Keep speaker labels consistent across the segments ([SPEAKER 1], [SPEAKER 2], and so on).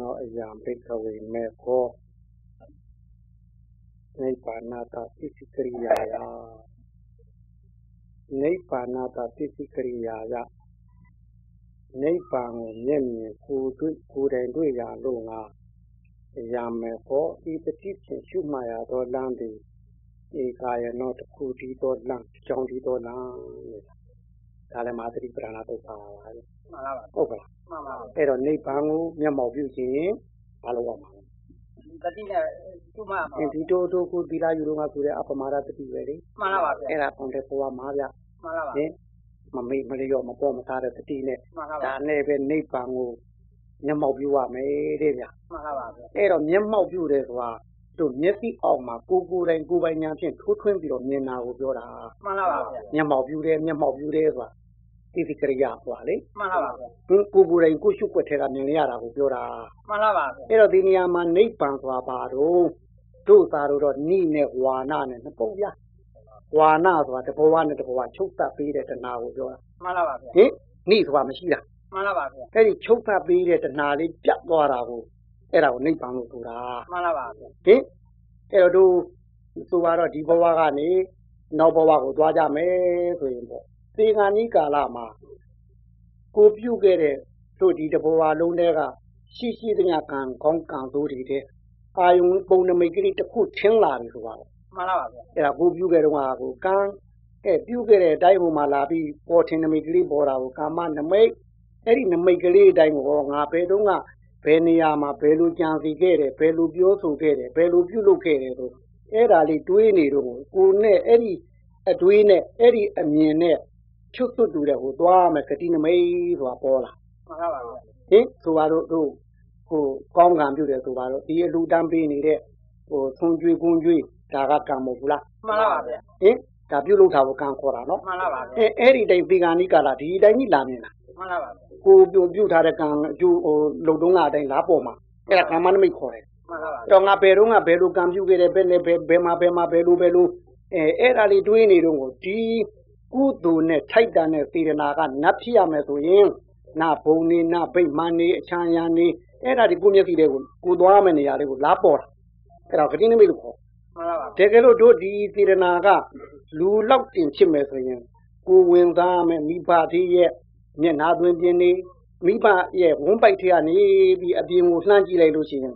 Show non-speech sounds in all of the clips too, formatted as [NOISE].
[SPEAKER 1] နောအယံဘိကဝေမေခောနိဗ္ဗာနာတပိစိကရိယာယနိဗ္ဗာနာတပိစိကရိယာယနိဗ္ဗာန်ကိုမျက်မြင်ကိုယ်တွေ့ကိုယ်တိုင်တွေ့ရလို့ငါအယံမေခောဤပฏิဖြင့်ရှုမှတ်ရသောလမ်းသည်ဧကာယနောတစ်ခုတည်းသောလမ်းကြောင်းတည်းသောလမ်းဒါလည်းမာသတိပ္ပဏာတုတ်ပါပါလေ
[SPEAKER 2] မှန်လားပါ
[SPEAKER 1] ဟုတ်ကဲ့
[SPEAKER 2] မှန်ပါပါ
[SPEAKER 1] အဲ့တော့နိဗ္ဗာန်ကိုမျက်မှောက်ပြုခြင်းဘာလို့ရမှာလဲ
[SPEAKER 2] တတိနဲ့သူ့မှာ
[SPEAKER 1] အင်းဒီတို့တို့ကိုသီလယူတော့ငါဆိုတဲ့အပမာဒတတိပဲလေ
[SPEAKER 2] မှန်လားပါဗျ
[SPEAKER 1] အဲ့ဒါပုံတဲ့ဘဝမှာဗျ
[SPEAKER 2] မှန်လားပါ
[SPEAKER 1] ဟင်မမေ့မလျော့မပေါ်မသားတဲ့တတိနဲ့
[SPEAKER 2] မှန်လားပါ
[SPEAKER 1] ဒါနဲ့ပဲနိဗ္ဗာန်ကိုမျက်မှောက်ပြုရမယ်တဲ့ဗျ
[SPEAKER 2] မှန်လားပါဗျ
[SPEAKER 1] အဲ့တော့မျက်မှောက်ပြုတယ်ဆိုတာတို့မျက်စိအောက်မှာကိုယ်ကိုယ်တိုင်ကိုယ်ပိုင်ညာဖြင့်ထိုးထွင်းပြီးတော့မြင်တာကိုပြောတာ
[SPEAKER 2] မှန်လားပါဗျ
[SPEAKER 1] မျက်မှောက်ပြုတယ်မျက်မှောက်ပြုတယ်ဆိုတာသိသိကရိယာဆိုတာလေ
[SPEAKER 2] မှန်လားပါဗျ
[SPEAKER 1] ကိုယ်ကိုယ်ကိုယ်တိုင်ကိုယ်ရှုွက်ထဲကမြင်ရတာကိုပြောတာ
[SPEAKER 2] မှန်လားပါဗျ
[SPEAKER 1] အဲ့တော့ဒီနေရာမှာနိဗ္ဗာန်ဆိုတာဘာတော့တို့သာတို့တော့နိနဲ့ဝါနာနဲ့နှစ်ပုံပြဝါနာဆိုတာတဘောဝနဲ့တဘောဝချုပ်တတ်ပေးတဲ့တဏှာကိုပြောတာ
[SPEAKER 2] မှန်လားပါဗျ
[SPEAKER 1] ဟင်နိဆိုတာမရှိတာ
[SPEAKER 2] မှန်လားပါဗျ
[SPEAKER 1] အဲ့ဒီချုပ်တတ်ပေးတဲ့တဏှာလေးပြတ်သွားတာကိုအဲ့ဒါကိုနိဗ္ဗာန်လို့ဆိုတာ
[SPEAKER 2] မှန်လားပါဗျ
[SPEAKER 1] ဟင်အဲ့တော့တို့ဆိုပါတော့ဒီဘဝကနေနောက်ဘဝကိုသွားကြမယ်ဆိုရင်ပေါ့သေငါနိကာလမှာကိုပြုတ်ခဲ့တဲ့တို့ဒီတဘောဝလုံးတဲက ရှိရှိသမျှကံကောင်းကံသိုးတွေတဲ့အာယုံပုံနမိတ်ကလေးတစ်ခုထင်းလာပြီဆိုပါတော့
[SPEAKER 2] မှန်လားပါဗျ
[SPEAKER 1] အဲ့ဒါကိုပြုခဲ့တော့ဟာကိုကံအဲပြုခဲ့တဲ့အတိုင်းဟိုမှာလာပြီးပေါ်ထင်းနမိတ်ကလေးပေါ်တာကိုကာမနမိတ်အဲ့ဒီနမိတ်ကလေးအတိုင်းကိုဟောငါဘယ်တော့ကဘယ်နေရာမှာဘယ်လိုကြံစီခဲ့တယ်ဘယ်လိုပြောဆိုခဲ့တယ်ဘယ်လိုပြုလုပ်ခဲ့တယ်ဆိုအဲ့ဒါလေးတွေးနေတော့ကိုနဲ့အဲ့ဒီအတွေးနဲ့အဲ့ဒီအမြင်နဲ့ချွတ်သွတ်တူတဲ့ဟိုသွားမယ်ဂတိနမိတ်ဆိုတာပေါ်လာ
[SPEAKER 2] မှန်လားပါဗျ
[SPEAKER 1] ဟင်ဆိုပါတော့တို့ဟိုကောင်းကံပြုတယ်ဆိုပါတော့ဒီအလူတန်းပေးနေတဲ့ဟိုသွန်ကြွေးကွန်းကြွေးဒါကကံမဟုတ်ဘူးလား
[SPEAKER 2] မှန်လားပါဗျ
[SPEAKER 1] ဟင်ဒါပြုလုပ်တာကိုကံခေါ်တာနော်
[SPEAKER 2] မှန်လားပါဗျ
[SPEAKER 1] အဲအဲ့ဒီတိုင်းပေကံနိကာလာဒီတိုင်းကြီးလာမြင်တာ
[SPEAKER 2] မှန်လားပါဗျ
[SPEAKER 1] ကိုပြုပြုထားတဲ့ကံအကျိုးဟိုလုံတုံးလာတိုင်းလာပေါ်မှာအဲ့ဒါကမ္မနမိတ်ခေါ်တယ်
[SPEAKER 2] မှန်လားပါ
[SPEAKER 1] အဲ့တော့ငါဘယ်တော့ငါဘယ်လိုကံပြုခဲ့တယ်ဘယ်နဲ့ဘယ်ဘယ်မှာဘယ်မှာဘယ်လိုဘယ်လိုအဲအဲ့ဒါလေးတွေးနေတော့ကိုဒီကုသိုလ်နဲ့ထိုက်တန်တဲ့စေတနာကနတ်ဖြစ်ရမယ်ဆိုရင်နာဘုံနေနာဗိမာန်နေအချမ်းရန်နေအဲ့ဒါဒီကိုယ့်မျက်စိတွေကိုကိုယ်သွားမယ့်နေရာတွေကိုလာပေါ်တာအဲ့ဒါဂတိနိမိတ်လို့ခေါ်
[SPEAKER 2] မှန်လားပါ
[SPEAKER 1] တကယ်လို့တို့ဒီစေတနာကလူလောက်တင်ဖြစ်မယ်ဆိုရင်ကိုယ်ဝင်သားမယ်မိဘသေးရဲ့မျက်နှာသွင်းခြင်းနေမိဘရဲ့ဝန်းပိုက်ထဲကနေပြီးအပြင်ကိုလှမ်းကြည့်လိုက်လို့ရှိရင်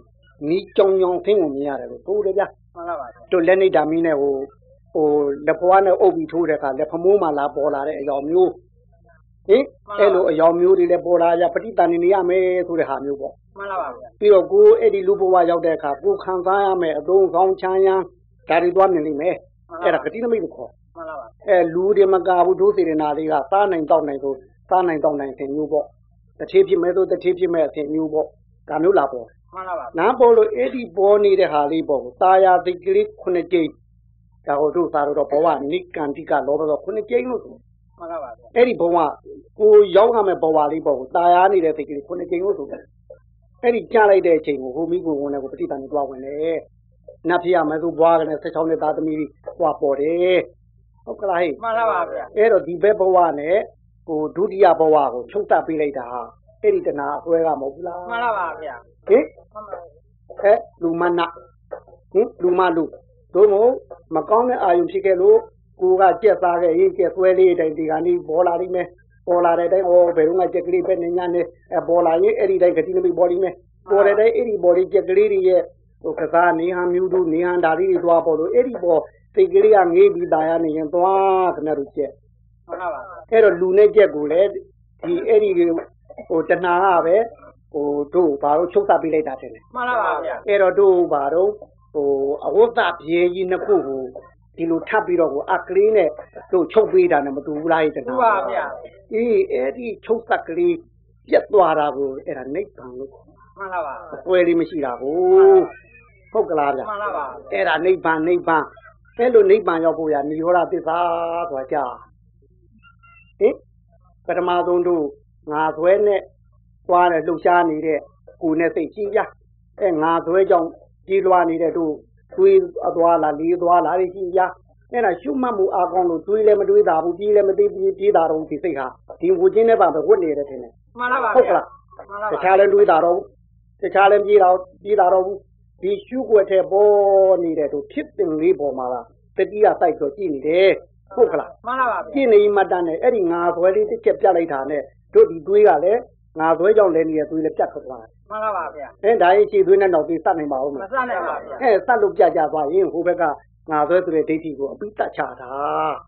[SPEAKER 1] မိကြောင်ကြောင်သင်းကိုမြင်ရတယ်လို့တို့တယ်ဗျာ
[SPEAKER 2] မှန်လားပါ
[SPEAKER 1] တို့လက်နေတာမီးနဲ့ဟိုဟိုလက်ဖွားနဲ့အုပ်ပြီးထိုးတဲ့အခါလက်ဖမိုးမှလာပေါ်လာတဲ့အရောင်မျိုးဟင်အဲ့လိုအရောင်မျိုးတွေလည်းပေါ်လာကြပဋိသန္ဓေနေရမယ်ဆိုတဲ့ဟာမျိုးပေါ့
[SPEAKER 2] မှန်လားပါဗျ
[SPEAKER 1] ပြီးတော့ကိုယ်အဲ့ဒီလူဘဝရောက်တဲ့အခါကိုယ်ခံစားရမယ်အသုံးဆောင်ချမ်းရမ်းဒါတွေသွားမြင်လိမ့်မယ်အဲ့ဒါဂတိနမိတ်ကိုခေါ်
[SPEAKER 2] မှန်လားပါ
[SPEAKER 1] အဲလူတွေမကဘူးဒုစေရနာတွေကစားနိုင်တောက်နိုင်ဆိုစားနိုင်တောက်နိုင်အတင်မျိုးပေါ့တစ်ထေးဖြစ်မယ်ဆိုတစ်ထေးဖြစ်မယ်အတင်မျိုးပေါ့ဒါမျိုးလာပေါ့
[SPEAKER 2] မှန်လားပါ
[SPEAKER 1] နားပေါ်လို့အဲ့ဒီပေါ်နေတဲ့ဟာလေးပေါ့။တာယာသိကလေးခုနှစ်ကြိမ်ဒါဟိုတို့သာတော့ဘဝနိကန္တိကလောဘတော့ခုနှစ်ကြိမ်လို့ဆို
[SPEAKER 2] မှန်လားပါဗျ
[SPEAKER 1] အဲ့ဒီဘဝကိုရောက်ရမယ့်ဘဝလေးပေါ့။တာယာနေတဲ့သိကလေးခုနှစ်ကြိမ်လို့ဆိုတယ်။အဲ့ဒီကြားလိုက်တဲ့အချိန်ကိုဟိုမိကိုဝင်တဲ့ကိုပฏิပန်သွားဝင်လေ။နတ်ဖျားမယ်ဆိုဘွားကလည်း16နှစ်သားသမီးဟွာပေါ်တယ်။ဟုတ်ကလားဟဲ့
[SPEAKER 2] မှန်လားပါဗျ
[SPEAKER 1] ။အဲ့တော့ဒီဘက်ဘဝနဲ့ဟိုဒုတိယဘဝကိုချုပ်တတ်ပေးလိုက်တာဟာအဲ့ဒီတဏှာအစွဲကမဟုတ်ဘူးလား
[SPEAKER 2] မှန်လားပါဗျ
[SPEAKER 1] ။ဟင်
[SPEAKER 2] မှန်ပါ
[SPEAKER 1] အဲလူမနဟင်လူမလူတို့မို့မကောင်းတဲ့အာယုံဖြစ်ခဲ့လို့ကိုကကြက်သားခဲ့ရင်ကြက်သွဲလေးအတိုင်းဒီကနေ့ပေါ်လာလိမ့်မယ်ပေါ်လာတဲ့အတိုင်းအော်ဘယ်တော့မှကြက်ကလေးပဲနေညာနဲ့အဲပေါ်လာရင်အဲ့ဒီတိုင်းကတိနမိပေါ်လိမ့်မယ်ပေါ်တဲ့အတိုင်းအဲ့ဒီပေါ်လေးကြက်ကလေးတွေရဲ့ဟိုကစားနေဟန်မျိုးတို့နေဟန်ဒါလေးတွေသွားပေါ်လို့အဲ့ဒီပေါ်သိကလေးကငေးပြီးตายရနေရင်သွားခဏတို့ကြက်
[SPEAKER 2] မှန်လားပါဗျ
[SPEAKER 1] အဲ့တော့လူနဲ့ကြက်ကိုလည်းဒီအဲ့ဒီဟိုတဏှာကပဲဟိုတို့ဘာလို့ချုပ်သပေးလိုက်တာတဲ့လေ
[SPEAKER 2] မှန်လားပါဗျ
[SPEAKER 1] အဲ့တော့တို့ဘာတော့ဟိုအဝတ်တပြေကြီးနှစ်ခုကိုဒီလိုထပ်ပြီးတော့ကိုအကလေးနဲ့တို့ချုပ်ပေးတာနဲ့မတူဘူးလားတ
[SPEAKER 2] သူ
[SPEAKER 1] က
[SPEAKER 2] ပါဗျ
[SPEAKER 1] အေးအဲ့ဒီချုပ်သက်ကလေးပြက်သွားတာကိုအဲ့ဒါနိဗ္ဗာန်လို့ခေါ်
[SPEAKER 2] မှန်လားပါ
[SPEAKER 1] အပွဲလေးမရှိတာကိုဟုတ်ကလားဗျ
[SPEAKER 2] မှန်လားပါ
[SPEAKER 1] အဲ့ဒါနိဗ္ဗာန်နိဗ္ဗာန်အဲ့လိုနိဗ္ဗာန်ရောက်ဖို့ရနိရောဓသစ္စာဆိုတာကြာဟင်ပထမဆုံးတို့ငါဆွဲနဲ့သွားတယ်လှုပ်ရှားနေတဲ့ကိုယ်နဲ့စိတ်ရှိကြ အဲငါသွဲကြောင့်ကြီးလွားနေတဲ့တို့သွေးအသွားလားလေးသွားလားတွေရှိကြအဲ့ဒါရှုမှတ်မှုအကောင်းလို့တွေးလည်းမတွေးတာဘူးပြေးလည်းမသိပြေးပြေးတာတော့ဒီစိတ်ဟာဒီဝူချင်းနဲ့ပါပဲဝတ်နေရတယ်ထင်တယ်
[SPEAKER 2] မှန်လားပါ
[SPEAKER 1] ဟုတ်ကလား
[SPEAKER 2] မှန်လား
[SPEAKER 1] တ
[SPEAKER 2] ပါ
[SPEAKER 1] ခြားလည်းတွေးတာတော့ တခြားလည်းပြေးတော့ပြေးတာတော့ဘူးဒီရှုွက်ထဲပေါ်နေတဲ့သူဖြစ်တင်လေးပေါ်မှာကတတိယစိုက်ဆိုကြည့်နေတယ်ဟုတ်ခလား
[SPEAKER 2] မှန်လားပါဗျာ
[SPEAKER 1] ကြည့်နေမှတ်တမ်းနဲ့အဲ့ဒီငါဆွဲလေးတစ်ချက်ပြလိုက်တာနဲ့တို့ဒီသွေးကလည်းငါဆွဲကြောင့်လည်းနေတဲ့သွေးလည်းပြတ်ထွက်သွားတယ်
[SPEAKER 2] မှန်လားပါဗျာ
[SPEAKER 1] အဲဒါရင်ခြေသွေးနဲ့နောက်သွေးစနိုင်ပါဦးမ
[SPEAKER 2] မ
[SPEAKER 1] လား
[SPEAKER 2] ဆန့်နိုင်ပါဗျာ
[SPEAKER 1] အဲစလို့ပြကြသွားရင်ဟိုဘက်ကငါဆွဲဆိုတဲ့ဒိဋ္ဌိကိုအပိတတ်ချတာ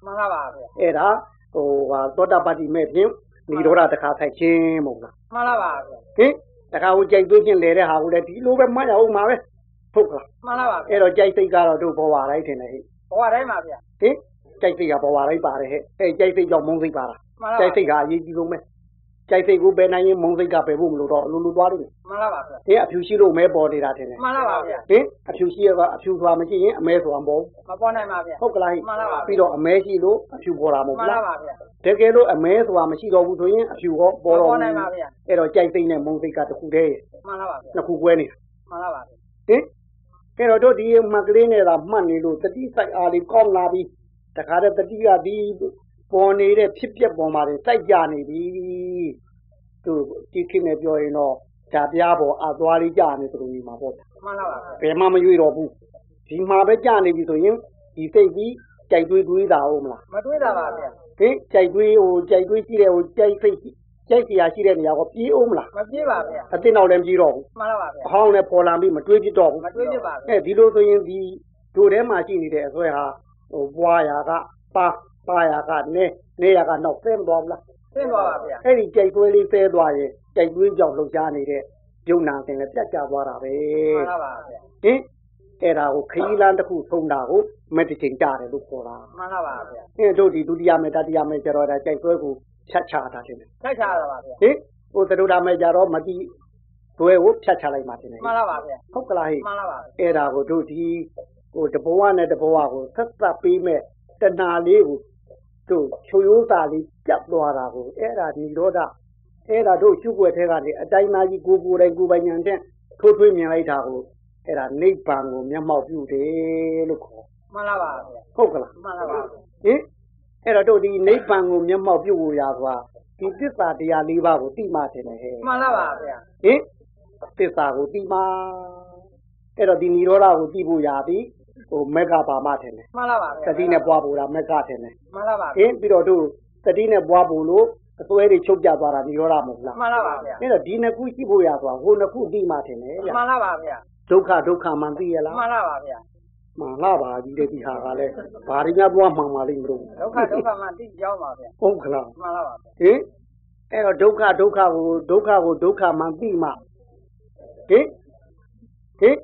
[SPEAKER 2] မှန်လားပါဗျာ
[SPEAKER 1] အဲ့ဒါဟိုဟာသောတာပတ္တိမဲ့ဖြင့်និရောဓတခါထိုက်ခြင်းမို့လား
[SPEAKER 2] မှန်လားပါဗျာ
[SPEAKER 1] ဟင်တခါကိုကြိုက်သွေးခြင်းလဲတဲ့ဟာကိုလည်းဒီလိုပဲမှတ်ရအောင်ပါပဲဟုတ်ကလား
[SPEAKER 2] မှန်လားပါဗျာ
[SPEAKER 1] အဲ့တော့ကြိုက်စိတ်ကတော့တို့ဘဝတိုင်းထင်တယ်ဟင်
[SPEAKER 2] ဘဝတိုင်းပါဗျာ
[SPEAKER 1] ဟင်ကြိုက်စိတ်ကဘဝတိုင်းပါတယ်ဟဲ့အဲ့ကြိုက်စိတ်ကြောင့်မုန်းစိတ်ပါလား
[SPEAKER 2] မှန်လား
[SPEAKER 1] ကြိုက်စိတ်ကအရေးကြီးဆုံးပဲကြိုက်စိတ်ကိုပယ်နိုင်ရင်မုန်းစိတ်ကပယ်ဖို့မလိုတော့အလိုလိုသွားလိမ့်မယ်
[SPEAKER 2] မှန်လားပါဗျာ
[SPEAKER 1] ဟင်အဖြူရှိလို့မဲပေါ်နေတာထင်တယ်
[SPEAKER 2] မှန်လားပါဗျာ
[SPEAKER 1] ဟင်အဖြူရှိရကအဖြူသွားမကြည့်ရင်အမဲသွားမပေါ်
[SPEAKER 2] မပေါ်နိုင်ပါဗျာ
[SPEAKER 1] ဟုတ်ကလားဟင်ပြီးတော့အမဲရှိလို့အဖြူပေါ်တာမဟုတ်
[SPEAKER 2] မှန်
[SPEAKER 1] ဘူးလား
[SPEAKER 2] လားပါဗျာ
[SPEAKER 1] တကယ်လို့အမဲဆိုတာမရှိတော့ဘူးဆိုရင်အဖြူဟောပေါ်တော့
[SPEAKER 2] ပေါ်နိုင်ပါဗျာ
[SPEAKER 1] အဲ့တော့ကြိုက်သိမ့်နဲ့မုံသိတ်ကတစ်ခုတည်းရ
[SPEAKER 2] မှန်လားပါဗျာ
[SPEAKER 1] နှစ်ခုကွဲနေတာ
[SPEAKER 2] မှန်လားပါ
[SPEAKER 1] ဟ
[SPEAKER 2] ဗျာ
[SPEAKER 1] င်အဲ့တော့တို့ဒီမကလေးနဲ့သာမှတ်နေလို့တတိစိုက်အားလေးကောင်းလာပြီတခါတည်းတတိကဒီပေါ်နေတဲ့ဖြစ်ပျက်ပေါ်မှာတွေစိုက်ကြနေပြီသူဒီခေတ်နဲ့ပြောရင်တော့ဒါပြားပေါ်အသွားလေးကြနေသလိုနေမှာပေါ့
[SPEAKER 2] မှန်လားပါဗျာ
[SPEAKER 1] ဘယ်မှမရွေ့တော့ဘူးဒီမှာပဲကြနေပြီဆိုရင်ဒီစိတ်ကြီးကြိုက်တွေးတွေးတာဟုတ်မလား
[SPEAKER 2] မတွေးတာပါဗျာ
[SPEAKER 1] ဟင်ကြိုက်သွေးဟိုကြိုက်သွေးရှိတဲ့ဟိုကြိုက်ဖိတ်ရှိကြိုက်စရာရှိတဲ့နေရာကိုပြေးအောင်မလား
[SPEAKER 2] မပြေးပါဗျာ
[SPEAKER 1] အတင်းတော့လည်းမပြေးတော့ဘူး
[SPEAKER 2] မှန်လားပါဗျာ
[SPEAKER 1] အဟောင်းလည်းပေါ်လာပြီးမတွေးပြတော့ဘူး
[SPEAKER 2] မတွေးဖြစ်ပါဗျာ
[SPEAKER 1] အဲဒီလိုဆိုရင်ဒီဒိုထဲမှာရှိနေတဲ့အဆွဲဟာဟိုပွားရာကပါပါရာကနဲနဲရာကနောက်ဆဲမသွားဘူးလား
[SPEAKER 2] သိသွားပါဗျာ
[SPEAKER 1] အဲ့ဒီကြိုက်သွေးလေးဆဲသွားရင်ကြိုက်သွေးကြောင့်လှုပ်ရှားနေတဲ့ယုံနာတင်လည်းပြတ်ကျသွားတာပဲ
[SPEAKER 2] မှန်လားပါဗျာ
[SPEAKER 1] ဟင်အဲ့ဒါကိုခရီးလမ်းတစ်ခုထုံတာကိုမက်တစ်ချိန်ကြားတယ်လို့ခေါ်တာ
[SPEAKER 2] မှန်လားပါဗျာ
[SPEAKER 1] ဟင်တို့ဒီဒုတိယမေတ္တတိယမေကျတော့ဒါကြိုက်သွေးကိုဖြတ်ချတာတင်တယ်
[SPEAKER 2] တိုက်ချရတာပါဗျာ
[SPEAKER 1] ဟင်ဟိုသတို့ဒါမဲ့ကြတော့မတိဒွဲကိုဖြတ်ချလိုက်မှတင်တယ်
[SPEAKER 2] မှန်လားပါဗျာ
[SPEAKER 1] ဟုတ်ကလားဟဲ့
[SPEAKER 2] မှန်လားပါဗျာ
[SPEAKER 1] အဲ့ဒါကိုတို့ဒီဟိုတဘဝနဲ့တဘဝကိုဆက်သက်ပေးမဲ့တဏှာလေးကိုတို့ချိုရိုးသားလေးပြတ်သွားတာကိုအဲ့ဒါនិရောဓအဲ့ဒါတို့ရှုွယ်ထဲကနေအတိုင်းသားကြီးကိုယ်ကိုယ်တိုင်ကိုယ်ပိုင်ဉာဏ်နဲ့ထိုးထွေးမြင်လိုက်တာကိုအဲ့ဒါနိဗ္ဗာန်ကိုမျက်မှောက်ပြုတယ်လို့ခေါ်
[SPEAKER 2] မှန်လားပါဗျာ
[SPEAKER 1] ဟုတ်ကလား
[SPEAKER 2] မှန်လားပါဗျာ
[SPEAKER 1] ဟင်အဲ့တော့တို့ဒီနိဗ္ဗာန်ကိုမျက်မှောက်ပြုဖို့ရာဆိုတာဒီသစ္စာတရား၄ပါးကိုသိမှတင်တယ်ဟဲ့
[SPEAKER 2] မှန်လားပါဗျာ
[SPEAKER 1] ဟင်သစ္စာကိုသိမှအဲ့တော့ဒီនិရောဓကိုသိဖို့ရာဒီဟိုမက္ကပါမတင်တယ်
[SPEAKER 2] မှန်လားပါ
[SPEAKER 1] သ
[SPEAKER 2] ဗျာ
[SPEAKER 1] တိနဲ့ပွားဖို့ရာမက္ကတင်တယ်
[SPEAKER 2] မှန်လားပါ
[SPEAKER 1] ဟ
[SPEAKER 2] ဗျာ
[SPEAKER 1] င်ပြီးတော့တို့သတိနဲ့ပွားဖို့လို့အစွဲတွေချုပ်ပြသွားတာនិရောဓမဟုတ်လား
[SPEAKER 2] မှန်လားပါဗျာ
[SPEAKER 1] အဲ့တော့ဒီနှစ်ခုရှိဖို့ရာဆိုတာဟိုနှစ်ခုသိမှတင်တယ်ဗျ
[SPEAKER 2] မှန်လားပါဗျာ
[SPEAKER 1] ဒုက္ခဒုက္ခမှန်သိရလား
[SPEAKER 2] မှန်လားပါဗျာ
[SPEAKER 1] မှန်လားပါကြီးတဲ့ဒီဟာကလည်းဘာရင်းများပွားမှန်ပါလိမ့်မလို့
[SPEAKER 2] ဒုက္ခဒုက္ခမှတိကြောင်းပါဗျာ
[SPEAKER 1] ဟုတ်ကလား
[SPEAKER 2] မှန်လားပါဗျာ
[SPEAKER 1] ဟင်အဲ့တော့ဒုက္ခဒုက္ခကိုဒုက္ခကိုဒုက္ခမှသိမှဟင်ဟင်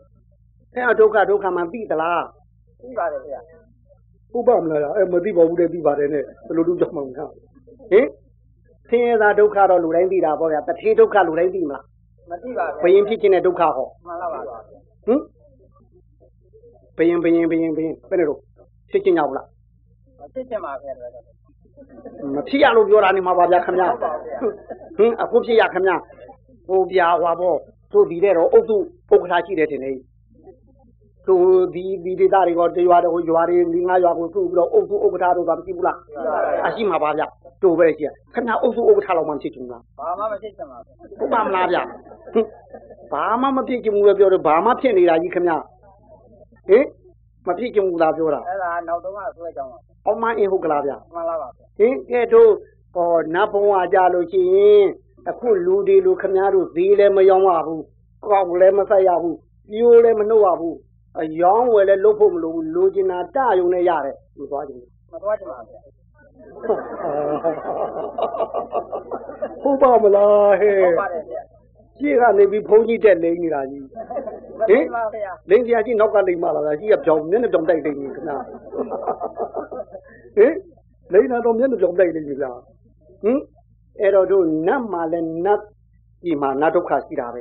[SPEAKER 1] အဲ့တော့ဒုက္ခဒုက္ခမှသိသလား
[SPEAKER 2] ပြီးပါတယ်ဗျာ
[SPEAKER 1] ဥပမလားအဲ့မသိပါဘူးတဲ့သိပါတယ်နဲ့ဘယ်လိုလုပ်ကြမှာလဲဟင်သင်ရတာဒုက္ခတော့လူတိုင်းသိတာပေါ့ဗျာတထေဒုက္ခလူတိုင်းသိမလား
[SPEAKER 2] မတိပါ
[SPEAKER 1] ဘ
[SPEAKER 2] ဗျာ
[SPEAKER 1] ယင်ဖြစ်ခြင်းတဲ့ဒုက္ခဟော
[SPEAKER 2] မှန်လားပါဗျာ
[SPEAKER 1] ဟင်ဘယင်ဘယင်ဘယင်ဘယင်ဘယ်နဲ့တော့ဖြစ်ခြင်းရောက်လား
[SPEAKER 2] မသိချင်ပါဗျာတော်တော်
[SPEAKER 1] မဖြစ်ရလို့ပြောတာနေမှာပါဗျာခင်ဗျာ
[SPEAKER 2] ဟုတ်ပါဗျာ
[SPEAKER 1] ဟင်အခုဖြစ်ရခင်ဗျာဟိုပြာဟွာပေါ့သူဒီတဲ့တော့အုတ်သူပုဂ္ဂလာရှိတယ်တင်လေ သူဒီဒီဒေတာတွေကတရွာတဟိုရွာတွေမိငါရွာကိုသူ့ပြီးတော့အုပ်စုဥက္ကဋ္ဌတို့ကမရှိဘူးလားအရှိမှာပါဗျတို့ပဲရှိရခဏအုပ်စုဥက္ကဋ္ဌလောက်မှဖြစ်ချင်ဘူးလား
[SPEAKER 2] ဘာမှမသိချင်ပါ
[SPEAKER 1] ဟု
[SPEAKER 2] ဗျာ
[SPEAKER 1] တ်ပါမလားဗျဟင်ဘာမှမဖြစ်ချင်ဘူးလို့ပြောတယ်ဘာမှဖြစ်နေတာကြီးခင်ဗျဟင်မဖြစ်ချင်ဘူးလားပြောတာ
[SPEAKER 2] အဲ့ဒါနောက်တော့မှဆွဲကြောင်းပါ
[SPEAKER 1] အောင်းမအင်းဟုတ်ကလားဗျ
[SPEAKER 2] မှန်လားပါဗျာ
[SPEAKER 1] ဟင်ကဲတို့ဟောနတ်ဘုံဟာကြလို့ရှိရင်အခုလူတွေလူခင်ဗျားတို့ဈေးလည်းမယောင်းရဘူးကောက်လည်းမဆက်ရဘူးပြိုးလည်းမနှုတ်ရဘူးအယောင်းဝယ်လည်းလုပ်ဖို့မလိုဘူးလိုချင်တာတယုံနဲ့ရတယ်မသွားချင်ဘူး
[SPEAKER 2] မသွားချင်ပါဗျာ
[SPEAKER 1] ဟုတ်ပါမလားဟဲ့
[SPEAKER 2] ဟုတ်ပါတယ်ဗျာ
[SPEAKER 1] ကြီးကနေပြီးဘုန်းကြီးတက်လိမ့်နေတာကြီး
[SPEAKER 2] မသိပါဗျာ
[SPEAKER 1] လိမ့်ကြကြီးနောက်ကလိမ့်မလာတာကြီးကပြောင်းမျက်နှာပြောင်းတိုက်လိမ့်နေခဏဟင်လိမ့်တာတော့မျက်နှာပြောင်းတိုက်လိမ့်နေလားဟင်အဲ့တော့တို့နတ်မှာလဲနတ်ဒီမှာနတ်ဒုက္ခရှိတာပဲ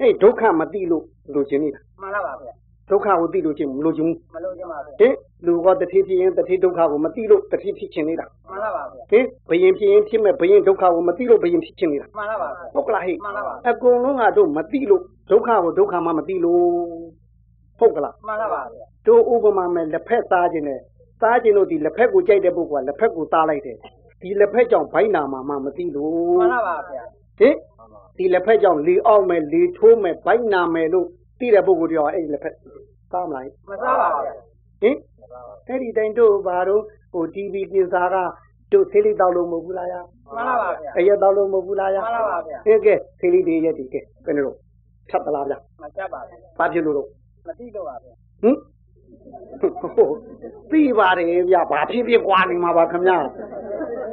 [SPEAKER 1] ဟဲ့ဒုက္ခမသိလို့လူချင်းနေတာ
[SPEAKER 2] မှန်လားပါဗျာ
[SPEAKER 1] ဒုက္ခကိုသိလို့ချင်းမလို့ချင်း
[SPEAKER 2] မလို့ချင်ပါဗျာ
[SPEAKER 1] ဟင်လူကတတိဖြစ်ရင်တတိဒုက္ခကိုမသိလို့တတိဖြစ်ချင်းနေတာ
[SPEAKER 2] မှန်လားပါဗျာ
[SPEAKER 1] ဟင်ဘယင်ဖြစ်ရင်ဖြစ်မဲ့ဘယင်ဒုက္ခကိုမသိလို့ဘယင်ဖြစ်ချင်နေတာ
[SPEAKER 2] မှန်လားပါဗျာ
[SPEAKER 1] ဟုတ်ကလားဟဲ့
[SPEAKER 2] မှန်လားပါ
[SPEAKER 1] အကုန်လုံးကတို့မသိလို့ဒုက္ခကိုဒုက္ခမှမသိလို့ဟုတ်ကလား
[SPEAKER 2] မှန်လားပါဗျာ
[SPEAKER 1] တို့ဥပမာမဲ့လက်ဖက်စားခြင်းနဲ့စားခြင်းတို့ဒီလက်ဖက်ကိုကြိုက်တဲ့ပုဂ္ဂိုလ်ကလက်ဖက်ကိုစားလိုက်တယ်ဒီလက်ဖက်ကြောင့်ဘိုင်းနာမှာမှမသိလို့
[SPEAKER 2] မှန်လားပါဗျာ
[SPEAKER 1] ဟင် ဒီလက်ဖက်ကြောင့်လေအောက်မယ်လေထိုးမယ်ဘိုက်နာမယ်လို့သိတဲ့ပုဂ္ဂိုလ်တွေရောအဲ့ဒီလက်ဖက်သားမလားဟင်
[SPEAKER 2] မစားပါဘူး
[SPEAKER 1] ဟင်
[SPEAKER 2] ဗျာ
[SPEAKER 1] အဲ့ဒီတိုင်းတို့ဘာတို့ဟို TV ပြင်စားကတို့သေးလေးတောက်လို့မဟုတ်ဘူးလားယာ
[SPEAKER 2] မှန်ပါပါဗျာ
[SPEAKER 1] အရက်တောက်လို့မဟုတ်ဘူးလားယာ
[SPEAKER 2] မှန်ပါပါဗျာ
[SPEAKER 1] ဟင်ကဲသေးလေးတွေရက်ဒီကဲကဲနေတော့ဖြတ်သလားဗျာ
[SPEAKER 2] မချက်ပါဘူး
[SPEAKER 1] ဘာဖြစ်လို့တော့
[SPEAKER 2] မသိတော့ပါဗျာ
[SPEAKER 1] ဟင်ဟိုသိပါတယ်ဗျာဘာဖြစ်ဖြစ်ကွာနေမှာပါခင်ဗျာ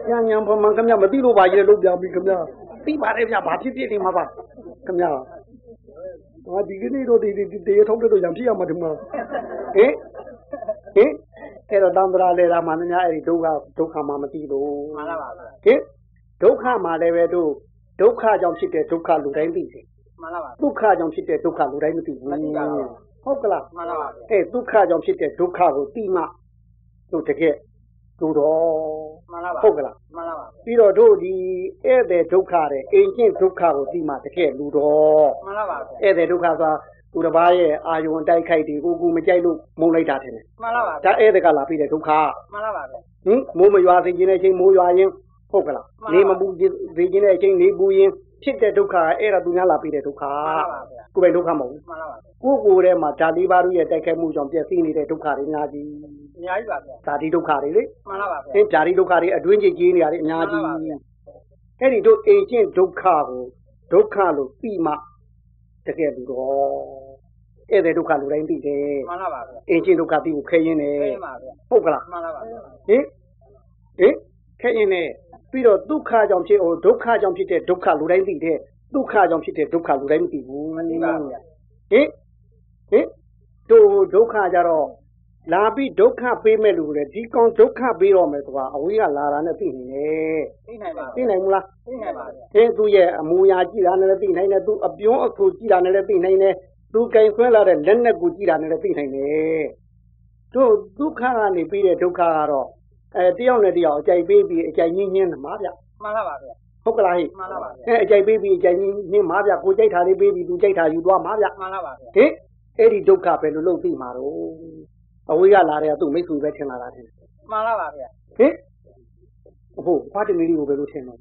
[SPEAKER 1] ညံညံဖမန်ခင်ဗျာမသိလို့ပါရေလို့ပြောင်းပြီခင်ဗျာသိပါတယ်ဗျာဘာဖြစ်ဖြစ်နေမှာပါခင်ဗျာဟာဒီကနေ့တော့ဒီဒီတေထုံးတဲ့တော့ရံဖြစ်ရမှာဒီမှာဟင်ဟင်အဲ့တော့တံ္ဍရာလေရာမှာများအဲ့ဒီဒုက္ခဒုက္ခမှာမသိလို့
[SPEAKER 2] မှန်ပါပါဗျာ
[SPEAKER 1] ဟင်ဒုက္ခမှာလည်းပဲတို့ဒုက္ခကြောင့်ဖြစ်တဲ့ဒုက္ခလူတိုင်းသိတယ်
[SPEAKER 2] မှန်ပါပါ
[SPEAKER 1] ဒုက္ခကြောင့်ဖြစ်တဲ့ဒုက္ခလူတိုင်းမသိဘူးဟုတ်ကလား
[SPEAKER 2] မှန်ပါပါဗျာ
[SPEAKER 1] အဲဒုက္ခကြောင့်ဖြစ်တဲ့ဒုက္ခကိုသိမှတို့တကယ်တို့တော့
[SPEAKER 2] မှန်ပါပါ
[SPEAKER 1] ဟုတ်ကလား
[SPEAKER 2] မှန်ပါပါ
[SPEAKER 1] ပြီးတော့တို့ဒီဧည့်သည်ဒုက္ခတဲ့အိမ်ကျင့်ဒုက္ခကိုသိမှတကယ်လူတော့
[SPEAKER 2] မှန်ပါပါဗျာ
[SPEAKER 1] ဧည့်သည်ဒုက္ခဆိုတာသူတစ်ပါးရဲ့အာယုံတိုက်ခိုက်တွေကိုကူမကြိုက်လို့မုန်းလိုက်တာထင်တယ်
[SPEAKER 2] မှန်ပါပါ
[SPEAKER 1] ဒါဧည့်သည်ကလာပြီးတဲ့ဒုက္ခ
[SPEAKER 2] မှန်ပါပါဗျာ
[SPEAKER 1] ဟင်မိုးမရွာသိခြင်းတဲ့အချိန်မိုးရွာရင်ဟုတ်ကလား
[SPEAKER 2] မှန်ပါ
[SPEAKER 1] နေမပူသိခြင်းတဲ့အချိန်နေပူရင်ဖြစ်တဲ့ဒုက္ခကအဲ့ဒါသူများလာပြီးတဲ့ဒုက္ခ
[SPEAKER 2] မှန်ပါပါဗျာ
[SPEAKER 1] ကိုယ်ပိုင်ဒုက္ခမဟုတ်
[SPEAKER 2] မှန်ပါပါဗျာ
[SPEAKER 1] ဘူးကိုယ်ကိုယ်ထဲမှာဓာတိပါးတို့ရဲ့တိုက်ခိုက်မှုကြောင့်ပြည့်စည်နေတဲ့ဒုက္ခတွေများကြီး
[SPEAKER 2] အများကြီးပါဗျာ
[SPEAKER 1] ဓာတိဒုက္ခတွေလေ
[SPEAKER 2] မှန်ပါပါဗျာ
[SPEAKER 1] အဲဓာတိဒုက္ခတွေအတွင်းကြီးကြီးနေရတဲ့အများကြီးအဲ့ဒီတို့အိမ်ချင်းဒုက္ခကိုဒုက္ခလို့ပြီးမှတကယ်လူတော့ဧည့်သည်ဒုက္ခလူတိုင်းပြီးတယ်
[SPEAKER 2] မှန်ပါပါဗျာ
[SPEAKER 1] အိမ်ချင်းဒုက္ခပြီးကိုခဲရင်တယ်
[SPEAKER 2] ပြင်ပါဗျာ
[SPEAKER 1] ဟုတ်ကလား
[SPEAKER 2] မှန်ပါပါဗျာ
[SPEAKER 1] ဟင်ဟင်ခဲရင်တယ်ပြီးတော့ဒုက္ခကြောင့်ဖြစ်ဟိုဒုက္ခကြောင့်ဖြစ်တဲ့ဒုက္ခလူတိုင်းပြီးတယ်ဒုက္ခကြောင့်ဖြစ်တဲ့ဒုက္ခလူတိုင်းမသိဘူးမသိ
[SPEAKER 2] ဒီပါ
[SPEAKER 1] ပါဘူး
[SPEAKER 2] ဗျာ
[SPEAKER 1] ဟင်ဟင်တို့ဒုက္ခကြတော့လာပြီးဒုက္ခပေးမဲ့လူတွေဒီကောင်ဒုက္ခပေးတော့မယ်ဆိုတာအဝေးကလာတာနဲ့သိနေတယ်
[SPEAKER 2] သိနိုင်ပါ
[SPEAKER 1] သိနိုင်မလား
[SPEAKER 2] သိနိုင်ပါဗျာ
[SPEAKER 1] သင်သူ့ရဲ့အမူအရာကြည့်တာနဲ့လည်းသိနိုင်တယ်သူအပြုံးအဆူကြည့်တာနဲ့လည်းသိနိုင်တယ်သူကင်ဆွဲလာတဲ့လက်နဲ့ကိုကြည့်တာနဲ့လည်းသိနိုင်တယ်တို့ဒုက္ခကနေပြီးတဲ့ဒုက္ခကတော့အဲတယောက်နဲ့တယောက်အကြိုက်ပေးပြီးအကြိုက်ညှင်းညှင်းနေမှာဗျ
[SPEAKER 2] မှန်ပါပါဗျာ
[SPEAKER 1] ဟုတ်ကလားဟဲ့
[SPEAKER 2] မှန်ပါပါဗျာ
[SPEAKER 1] အဲအကြိုက်ပေးပြီးအကြိုက်ညှင်းညှင်းမှာဗျကိုကြိုက်တာလေးပေးပြီးသူကြိုက်တာယူသွားမှာဗျ
[SPEAKER 2] မှန်ပါပါဗျာ
[SPEAKER 1] ဟင်အဲ့ဒီဒုက္ခပဲလို့လို့သိမှာတော့အဝေးကလာတဲ့ကသူ့မိတ်ဆွေပဲထင်လာတာထင်တယ်
[SPEAKER 2] မှန်ပါပါဗျာ
[SPEAKER 1] ဟင်ဟုတ်ဘာတမီးလေးကိုပဲလို့ထင်တော့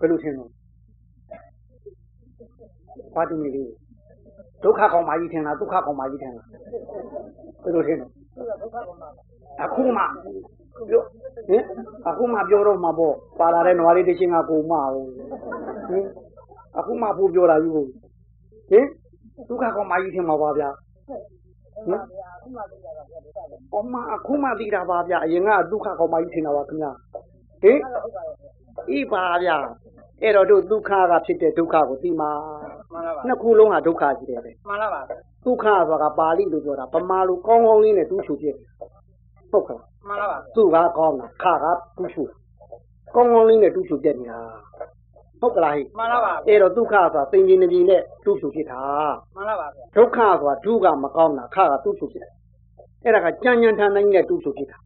[SPEAKER 1] ဘယ်လိုထင်တော့ဘာတမီးလေးကိုဒုက္ခကောင်မကြီးထင်လားဒုက္ခကောင်မကြီးထင်လားဘယ်လိုထင်တော့အခုမှပြောဟင်အခုမှပြောတော့မှာပေါ့ပါလာတဲ့နွားလေးတစ်ချင်းကကိုမအောင်ဟင်အခုမှဖို့ပြောတာယူကို ဟင်ဒုက္ခကောင်မကြီးထင်မှာပါဗျာဟင်အမအခုမှသိတာပါဗျာအရင်ကဒုက္ခကောင်မကြီးထင်တာပါခင်ဗျာဟင်ဤပါဗျာအဲ့တော့တို့ဒုက္ခကဖြစ်တဲ့ဒုက္ခကိုသိမှာ
[SPEAKER 2] မှန်ပါပါ
[SPEAKER 1] နှစ်ခုလုံးဟာဒုက္ခကြီးတယ်ပဲ
[SPEAKER 2] မှန်ပါပါဗျာ
[SPEAKER 1] ဒုက္ခဆိုတာကပါဠိလိုပြောတာဗမာလိုကောင်းကောင်းလေးနဲ့သူ့ချူပြည့်ဟုတ်ကလား
[SPEAKER 2] မှန်ပါပါဗျာ
[SPEAKER 1] သူ့ကကောင်းတာခါကသူ့ချူကောင်းကောင်းလေးနဲ့သူ့ချူပြည့်နေတာဟုတ်ကလားဟဲ့
[SPEAKER 2] မှန်ပါပါဗျာ
[SPEAKER 1] အဲ့တော့ဒုက္ခဆိုတာသင်္ကြန်နေပြီနဲ့သူ့ချူဖြစ်တာ
[SPEAKER 2] မှန်ပါပါဗျာ
[SPEAKER 1] ဒုက္ခဆိုတာဒုကမကောင်းတာခကသူ့ဖြူဖြစ်တယ်အဲ့ဒါကကြံကြံထန်ထန်ကြီးနဲ့သူ့ဖြူဖြစ်တာ